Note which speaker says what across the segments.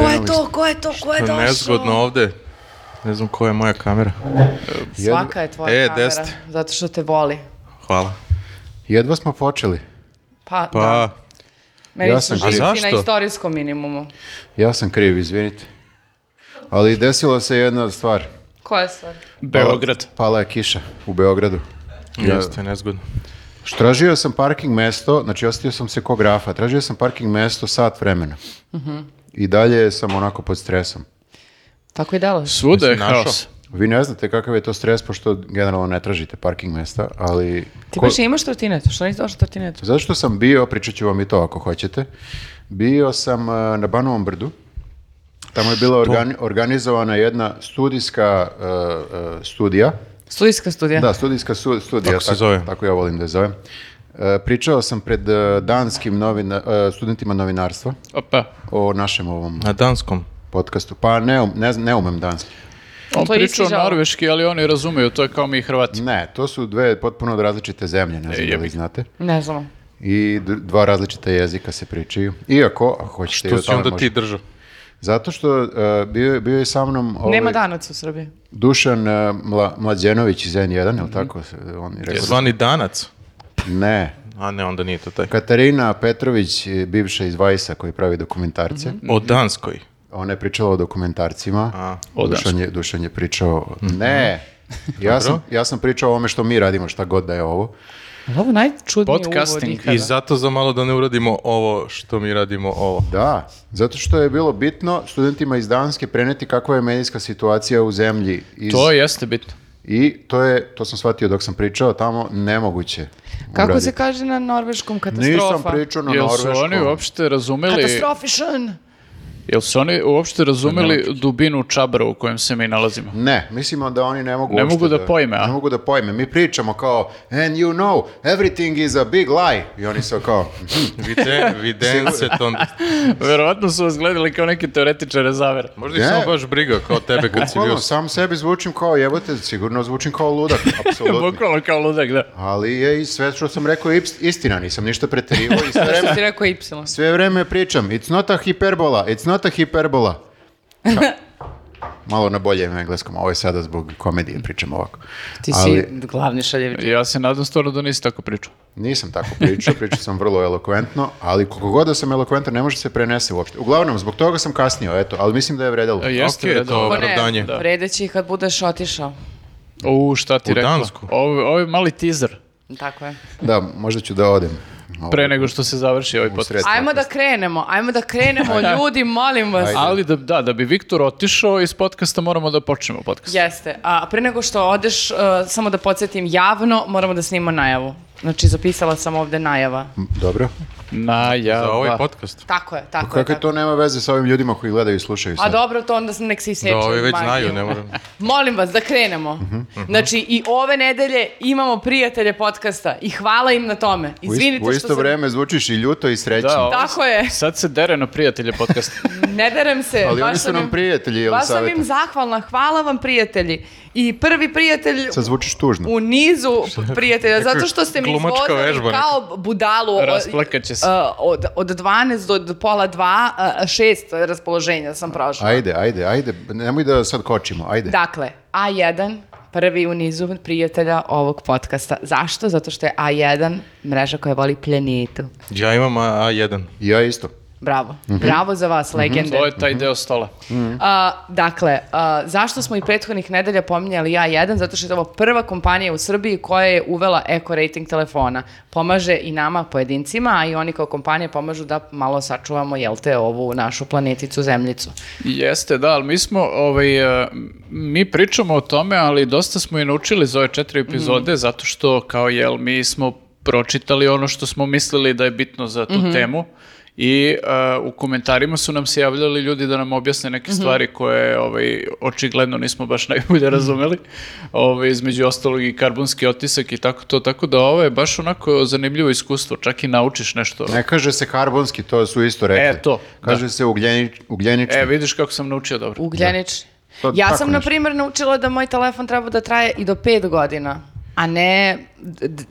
Speaker 1: ko je to, ko je došao?
Speaker 2: Nezgodno ovde. Ne znam koja je moja kamera.
Speaker 1: Svaka je tvoja
Speaker 2: E,
Speaker 1: kamera,
Speaker 2: desete.
Speaker 1: zato što te voli.
Speaker 2: Hvala.
Speaker 3: Jedva smo počeli.
Speaker 1: Pa,
Speaker 2: Pa,
Speaker 1: da. Meni
Speaker 3: ja
Speaker 1: su
Speaker 3: sam- A
Speaker 1: živci na
Speaker 2: zašto?
Speaker 1: istorijskom minimumu.
Speaker 3: Ja sam kriv, izvinite. Ali desila se jedna stvar.
Speaker 1: Koja je stvar?
Speaker 4: Beograd.
Speaker 3: Pala je kiša u Beogradu.
Speaker 2: jeste nezgodno.
Speaker 3: Tražio sam parking mesto, znači ostio sam se ko grafa, tražio sam parking mesto sat vremena. I dalje sam onako pod stresom.
Speaker 1: Tako i delo.
Speaker 4: Svuda je
Speaker 2: Jesi našao?
Speaker 4: haos.
Speaker 3: Vi ne znate kakav je to stres, pošto generalno ne tražite parking mesta, ali...
Speaker 1: Ti
Speaker 3: ko-
Speaker 1: baš imaš trotinetu, što nisi došao trotinetu?
Speaker 3: Zato što Pa sam bio, pričat ću vam i to ako hoćete, bio sam e, na Banovom brdu, tamo je bila organi- organizovana jedna studijska e, e, studija,
Speaker 1: Studijska studija.
Speaker 3: da, studijska su- studija,
Speaker 2: E. Tako se zove.
Speaker 3: tako ja volim da je zovem. E, pričao sam pred e, danskim novina, e, studentima novinarstva
Speaker 4: Opa.
Speaker 3: o našem ovom
Speaker 2: Na danskom.
Speaker 3: podcastu, pa ne, um- ne, zna- ne umem danski.
Speaker 4: On
Speaker 1: To je
Speaker 4: pričao
Speaker 1: isti žal.
Speaker 4: norveški, ali oni razumeju, to je kao mi Hrvati.
Speaker 3: Ne, to su dve potpuno različite zemlje, ne
Speaker 2: E,
Speaker 3: znam da li
Speaker 4: jebi.
Speaker 3: znate.
Speaker 1: Ne znam.
Speaker 3: Ovaj- I d- dva različita jezika se pričaju. Iako, ako hoćete... i
Speaker 2: Tu
Speaker 3: o
Speaker 2: si
Speaker 3: tome
Speaker 2: onda
Speaker 3: možemo-
Speaker 2: ti držao.
Speaker 3: Zato što e, bio, je- bio je sa mnom ovaj,
Speaker 1: Nema danac u Srbiji.
Speaker 3: Dušan e, Mla- Mlađenović iz N1, je
Speaker 1: Mhm.
Speaker 3: li tako? se- On je rekao,
Speaker 2: Zvani danac.
Speaker 3: ne.
Speaker 2: A ne, onda nije to taj.
Speaker 3: Katarina Petrović, e, bivša iz Vajsa koji pravi dokumentarce,
Speaker 1: Mhm.
Speaker 2: O Danskoj.
Speaker 3: ona je pričala o dokumentarcima,
Speaker 2: A,
Speaker 4: o
Speaker 3: Dušan, je, Dušan je pričao, ne, ja sam, ja sam pričao o ovome što mi radimo, šta god da je ovo.
Speaker 1: Ali ovo je najčudniji
Speaker 4: Podcasting
Speaker 1: uvod ikada.
Speaker 2: I zato za malo da ne uradimo ovo što mi radimo ovo.
Speaker 3: Da, zato što je bilo bitno studentima iz Danske preneti kakva je medijska situacija u zemlji. Iz,
Speaker 4: To jeste bitno.
Speaker 3: I to je, to sam shvatio dok sam pričao tamo, nemoguće.
Speaker 1: Kako se
Speaker 3: obraditi.
Speaker 1: kaže na norveškom katastrofa?
Speaker 3: Nisam pričao na
Speaker 4: Jel su
Speaker 3: norveškom.
Speaker 4: oni uopšte razumeli,
Speaker 1: Katastrofišan!
Speaker 4: jel su oni uopšte razumeli dubinu čabra u kojem se mi nalazimo?
Speaker 3: Ne, mislimo da oni ne mogu
Speaker 4: Ne
Speaker 3: uopšte
Speaker 4: mogu da pojme, a?
Speaker 3: Ne mogu da pojme. Mi pričamo kao, and you know, everything is a big lie. I oni su kao, "Mhm."
Speaker 2: Vide, vidence to...
Speaker 4: Verovatno su vas gledali kao neke teoretičare zavere.
Speaker 2: Možda ih
Speaker 3: Ne.
Speaker 2: samo baš briga kao tebe kad si bio...
Speaker 3: bukvalno, sam sebi zvučim kao jebote, sigurno zvučim kao ludak, apsolutno.
Speaker 4: Bukvalno kao ludak, da.
Speaker 3: Ali je i sve što sam rekao ips- istina, nisam ništa preterivao i sve vreme,
Speaker 1: Što si rekao Y.
Speaker 3: sve vreme pričam, it's not a hiperbola, it's not a hiperbola. Ka- Malo na boljem engleskom, a ovo je sada zbog komedije pričam ovako.
Speaker 1: Ti si
Speaker 3: Ali-
Speaker 1: glavni šaljević.
Speaker 4: Ja se nadam stvarno da nisi tako pričao.
Speaker 3: Nisam tako pričao, pričao sam vrlo elokventno, ali koliko god da sam elokventan ne može se prenese uopšte. Uglavnom, zbog toga sam kasnio, eto, ali mislim da je vredelo.
Speaker 4: E, Jeste
Speaker 2: Okej,
Speaker 4: okay,
Speaker 2: to-
Speaker 1: Pa
Speaker 2: Opravdanje.
Speaker 1: ne,
Speaker 2: Da.
Speaker 1: vredeći i kad budeš otišao.
Speaker 4: U, šta ti
Speaker 2: U
Speaker 4: rekla?
Speaker 2: Dansku.
Speaker 4: Ovo, ovo je mali teaser
Speaker 1: Tako je.
Speaker 3: Da, možda ću da odem. Ovo-
Speaker 4: pre nego što se završi ovaj podcast.
Speaker 3: sred.
Speaker 1: Ajmo da krenemo, ajmo da krenemo, ljudi, molim vas.
Speaker 4: Ali da, da, da bi Viktor otišao iz podcasta, moramo da počnemo podcast.
Speaker 1: Jeste. A pre nego što odeš, uh, samo da podsjetim javno, moramo da snimamo najavu. Znači, zapisala sam ovde najava.
Speaker 3: Dobro.
Speaker 4: Najava.
Speaker 2: Za
Speaker 3: pa.
Speaker 2: ovaj podcast.
Speaker 1: Tako je, tako je.
Speaker 3: Kako
Speaker 1: Tako.
Speaker 3: to nema veze sa ovim ljudima koji gledaju i slušaju
Speaker 1: A
Speaker 3: sad?
Speaker 1: dobro, to onda nek se
Speaker 2: Da,
Speaker 1: isjećaju.
Speaker 2: ovi već
Speaker 1: magiju.
Speaker 2: znaju, ne moram...
Speaker 1: Molim vas, da krenemo.
Speaker 3: Mhm,
Speaker 1: Znači, i ove nedelje imamo prijatelje podcasta i hvala im na tome.
Speaker 3: U, ist-
Speaker 1: Izvinite
Speaker 3: u
Speaker 1: što
Speaker 3: isto
Speaker 1: sam-
Speaker 3: vreme zvučiš i ljuto i srećno.
Speaker 4: Da, ovo-
Speaker 1: Tako je.
Speaker 4: Sad se dere na prijatelje podcasta.
Speaker 1: Ne derem se.
Speaker 3: ali
Speaker 1: baš
Speaker 3: oni su
Speaker 1: sam
Speaker 3: nam
Speaker 1: im-
Speaker 3: prijatelji, jel
Speaker 1: Baš sam im zahvalna, hvala vam prijatelji. I prvi prijatelj
Speaker 3: Sad zvučiš tužno.
Speaker 1: u nizu prijatelja, zato što ste mi
Speaker 2: Glumačka
Speaker 1: izvozili
Speaker 2: vežba neka.
Speaker 1: kao budalu o-
Speaker 4: Rasplakaće se.
Speaker 1: a, od, od 12 do, do pola 2, 6 raspoloženja sam prošla.
Speaker 3: Ajde, ajde, ajde, nemoj da sad kočimo, ajde.
Speaker 1: Dakle, A1, prvi u nizu prijatelja ovog podcasta. Zašto? Zato što je A1 mreža koja voli pljenitu.
Speaker 2: Ja imam A1.
Speaker 3: I Ja isto.
Speaker 1: Bravo. Bravo za vas, legende.
Speaker 4: To je Ovaj taj deo stola.
Speaker 1: A, dakle, a, zašto smo i prethodnih nedelja pominjali A1? Zato što je ovo prva kompanija u Srbiji koja je uvela eko rating telefona. Pomaže i nama pojedincima, a i oni kao kompanije pomažu da malo sačuvamo, jel te, ovu našu planeticu, zemljicu.
Speaker 4: Jeste, da, ali mi smo, ovaj, e, mi pričamo o tome, ali dosta smo i naučili za ove četiri epizode, zato što, kao jel, mi smo pročitali ono što smo mislili da je bitno za tu temu i e, u komentarima su nam se javljali ljudi da nam objasne neke stvari koje ovaj, očigledno nismo baš najbolje razumeli, ovaj, između ostalog i karbonski otisak i tako to, tako da ovo je baš onako zanimljivo iskustvo, čak i naučiš nešto.
Speaker 3: Ne kaže se karbonski, to su isto rekli.
Speaker 4: E, to,
Speaker 3: Kaže se ugljeni, ugljenični.
Speaker 4: E, vidiš kako sam naučio dobro.
Speaker 1: Ugljenič.
Speaker 3: To je
Speaker 1: ja
Speaker 3: tako
Speaker 1: sam, na
Speaker 3: nešto.
Speaker 1: primjer, naučila da moj telefon treba da traje i do pet godina, a ne d- d-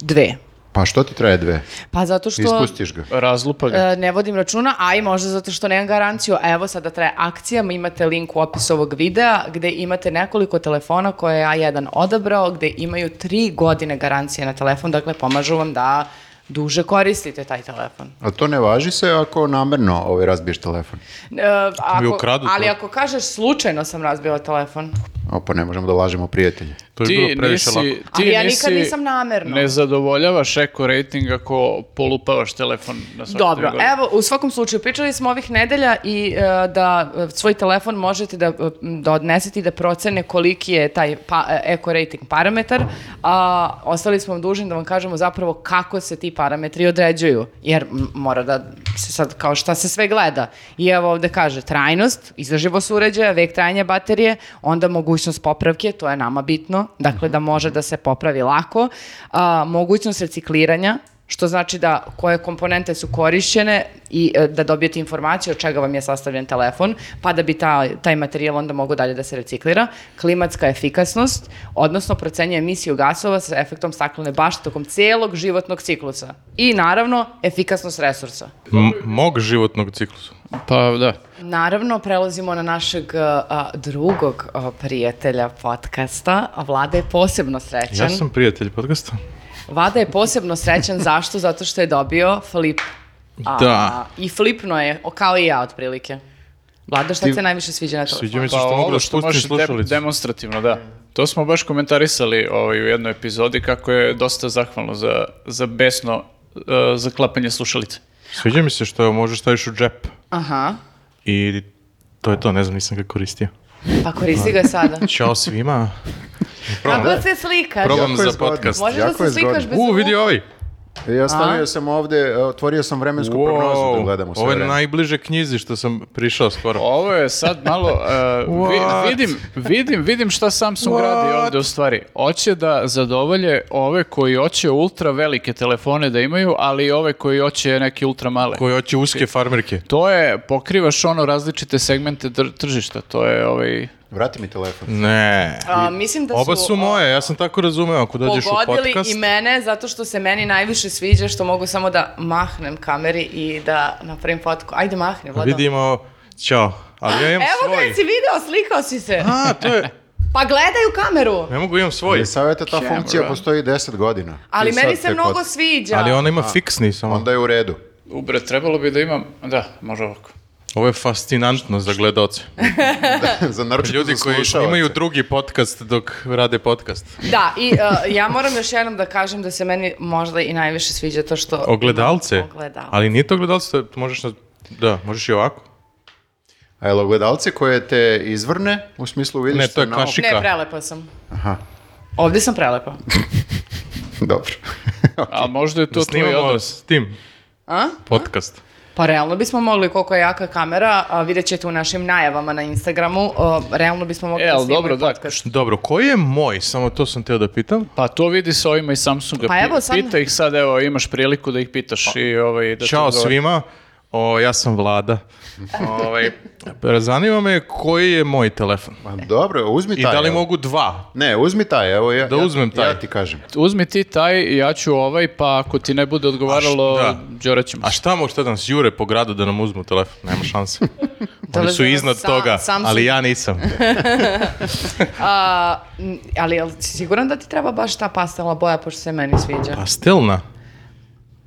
Speaker 1: dve.
Speaker 3: Pa što ti traje dve?
Speaker 1: Pa zato što...
Speaker 3: Ispustiš ga.
Speaker 4: Razlupa ga.
Speaker 1: E, ne vodim računa, a i možda zato što nemam garanciju. A evo sada traje akcija, imate link u opisu ovog videa gde imate nekoliko telefona koje je A1 odabrao, gde imaju tri godine garancije na telefon, dakle pomažu vam da duže koristite taj telefon.
Speaker 3: A to ne važi se ako namerno ovaj, razbiješ telefon.
Speaker 1: E, ako,
Speaker 2: ukradu to.
Speaker 1: ali ako kažeš slučajno sam razbila telefon,
Speaker 3: O, pa ne možemo da lažemo prijatelje.
Speaker 2: To je bilo previše lako.
Speaker 1: Ali ja nikad nisam namerno.
Speaker 4: Ne zadovoljavaš eko rating ako polupavaš telefon na svakom
Speaker 1: Dobro, evo, u svakom slučaju, pričali smo ovih nedelja i e, da e, svoj telefon možete da, e, m, da odnesete i da procene koliki je taj pa, e, eko rating parametar, a ostali smo vam dužni da vam kažemo zapravo kako se ti parametri određuju, jer m, mora da se sad, kao šta se sve gleda. I evo ovde kaže trajnost, izdrživost uređaja, vek trajanja baterije, onda mogućnost popravke, to je nama bitno, dakle da može da se popravi lako, a, mogućnost recikliranja, što znači da koje komponente su korišćene i e, da dobijete informaciju od čega vam je sastavljen telefon, pa da bi ta, taj materijal onda mogo dalje da se reciklira, klimatska efikasnost, odnosno procenje emisiju gasova sa efektom staklene bašte tokom celog životnog ciklusa i naravno efikasnost resursa.
Speaker 2: M- mog životnog ciklusa.
Speaker 4: Pa da.
Speaker 1: Naravno, prelazimo na našeg e, a, drugog a, prijatelja podcasta, a Vlada je posebno srećan.
Speaker 2: Ja sam prijatelj podcasta.
Speaker 1: Vlada je posebno srećan, zašto? Zato što je dobio flip.
Speaker 2: Da.
Speaker 1: I flipno je, o, kao i ja otprilike. Vlada, šta ti se najviše sviđa na telefonu?
Speaker 2: Sviđa mi se
Speaker 4: Pa
Speaker 2: što mogu
Speaker 4: ovo
Speaker 3: ono
Speaker 2: da
Speaker 4: što
Speaker 2: spustim
Speaker 4: možeš de-
Speaker 2: slušalicu.
Speaker 4: demonstrativno, da. To smo baš komentarisali ovaj, u jednoj epizodi kako je dosta zahvalno za, za besno e, zaklapanje slušalice.
Speaker 2: Sviđa mi se što možeš staviš u džep.
Speaker 1: Aha,
Speaker 2: I to je to, ne znam, nisam ga koristio.
Speaker 1: pa koristi ga sada.
Speaker 2: Ćao svima.
Speaker 1: Kako se slikaš?
Speaker 2: Znači, Probam
Speaker 3: Jako je
Speaker 2: za
Speaker 3: zgodno.
Speaker 2: podcast.
Speaker 1: Možeš
Speaker 3: Jako
Speaker 1: da
Speaker 3: je
Speaker 1: se slikaš
Speaker 3: zgodno. E,
Speaker 1: bez
Speaker 2: U, vidi ovaj.
Speaker 3: Ja stavio sam ovde, e, otvorio sam vremensku prognozu da gledam u sve
Speaker 2: ovo je
Speaker 3: vreme.
Speaker 2: najbliže knjizi što sam prišao skoro.
Speaker 4: Ovo je sad malo, e, vi-
Speaker 2: What?
Speaker 4: vidim, vidim, vidim šta Samsung
Speaker 2: What?
Speaker 4: radi ovde u stvari. Hoće da zadovolje ove koji hoće ultra velike telefone da imaju, ali i ove koji hoće neke ultra male.
Speaker 2: Koji hoće uske farmerke.
Speaker 4: To je, pokrivaš ono različite segmente dr- tržišta, to je ovaj...
Speaker 3: Vrati mi telefon.
Speaker 2: Ne.
Speaker 1: A, mislim da su,
Speaker 2: Oba su
Speaker 1: a,
Speaker 2: moje, ja sam tako razumeo. Ako dođeš u
Speaker 1: pogodili
Speaker 2: podcast...
Speaker 1: i mene zato što se meni najviše sviđa što mogu samo da mahnem kameri i da napravim fotku. Ajde mahni, Vlada.
Speaker 2: Vidimo, ćao. Ali ja imam
Speaker 1: Evo ga,
Speaker 2: svoj.
Speaker 1: si video, slikao si se.
Speaker 2: A, to je,
Speaker 1: Pa gledaj u kameru.
Speaker 2: ne mogu, imam svoj.
Speaker 3: Ali savjeta, E, ta
Speaker 4: Camera.
Speaker 3: funkcija postoji 10 godina.
Speaker 1: Ali
Speaker 3: I
Speaker 1: meni
Speaker 3: sad
Speaker 1: se
Speaker 3: tek
Speaker 1: mnogo
Speaker 3: od-
Speaker 1: sviđa.
Speaker 2: Ali ona ima fiksni samo.
Speaker 3: Onda je u redu.
Speaker 4: Ubre, trebalo bi da imam... Da, može ovako.
Speaker 2: Ovo je fascinantno za gledaoce.
Speaker 3: za naročito
Speaker 2: Ljudi
Speaker 3: za
Speaker 2: koji
Speaker 3: slušaoce.
Speaker 2: imaju drugi podcast dok rade podcast.
Speaker 1: Da, i uh, ja moram još jednom da kažem da se meni možda i najviše sviđa to što...
Speaker 2: Ogledalce?
Speaker 1: Ogledalce.
Speaker 2: Ali nije to ogledalce, to je- možeš na... Da, možeš i ovako.
Speaker 3: A jel ogledalce koje te izvrne, u smislu vidiš
Speaker 2: Ne, to je
Speaker 3: se naoko-
Speaker 2: kašik.
Speaker 1: Ne,
Speaker 2: Čika.
Speaker 1: prelepa sam. Aha. Ovdje sam prelepa.
Speaker 3: Dobro.
Speaker 4: A možda je to
Speaker 2: To
Speaker 4: tvoj
Speaker 2: snimamo
Speaker 4: odnos.
Speaker 2: s tim
Speaker 1: A?
Speaker 2: podcast.
Speaker 1: Pa realno bismo mogli, koliko je jaka kamera, a vidjet ćete u našim najavama na Instagramu, a, realno bismo
Speaker 2: ovaj
Speaker 1: mogli
Speaker 4: E,
Speaker 1: da
Speaker 4: ali
Speaker 1: snimamo
Speaker 4: dobro,
Speaker 1: i
Speaker 4: da.
Speaker 1: podcast.
Speaker 2: Dobro, koji je moj? Samo to sam teo da pitam.
Speaker 4: Pa to vidi sa ovima iz Samsunga.
Speaker 1: Pa
Speaker 4: Pi-
Speaker 1: evo sad-
Speaker 4: Pita ih sad, evo, imaš priliku da ih pitaš i ovaj... Da ti
Speaker 2: Pa- Ćao
Speaker 4: odgovore.
Speaker 2: svima. O, ja sam Vlada. Ovaj, zanima me koji je moj telefon.
Speaker 3: Ma, dobro, uzmi taj.
Speaker 2: I da li
Speaker 3: evo.
Speaker 2: mogu dva?
Speaker 3: Ne, uzmi taj, evo ja.
Speaker 2: Da
Speaker 3: ja-
Speaker 2: uzmem taj.
Speaker 3: Ja ti kažem.
Speaker 4: Uzmi ti taj, ja ću ovaj, pa ako ti ne bude odgovaralo,
Speaker 2: A š- da.
Speaker 4: đorat ćemo
Speaker 2: A
Speaker 4: se.
Speaker 2: šta mu šta nas jure po gradu da nam uzmu telefon? Nema šanse. Oni
Speaker 1: Dolaze
Speaker 2: su
Speaker 1: nam
Speaker 2: iznad
Speaker 1: Sam-
Speaker 2: toga,
Speaker 1: Samsung.
Speaker 2: ali ja nisam.
Speaker 1: A, m, ali jel si siguran da ti treba baš ta pastelna boja, pošto se meni sviđa?
Speaker 2: Pastelna?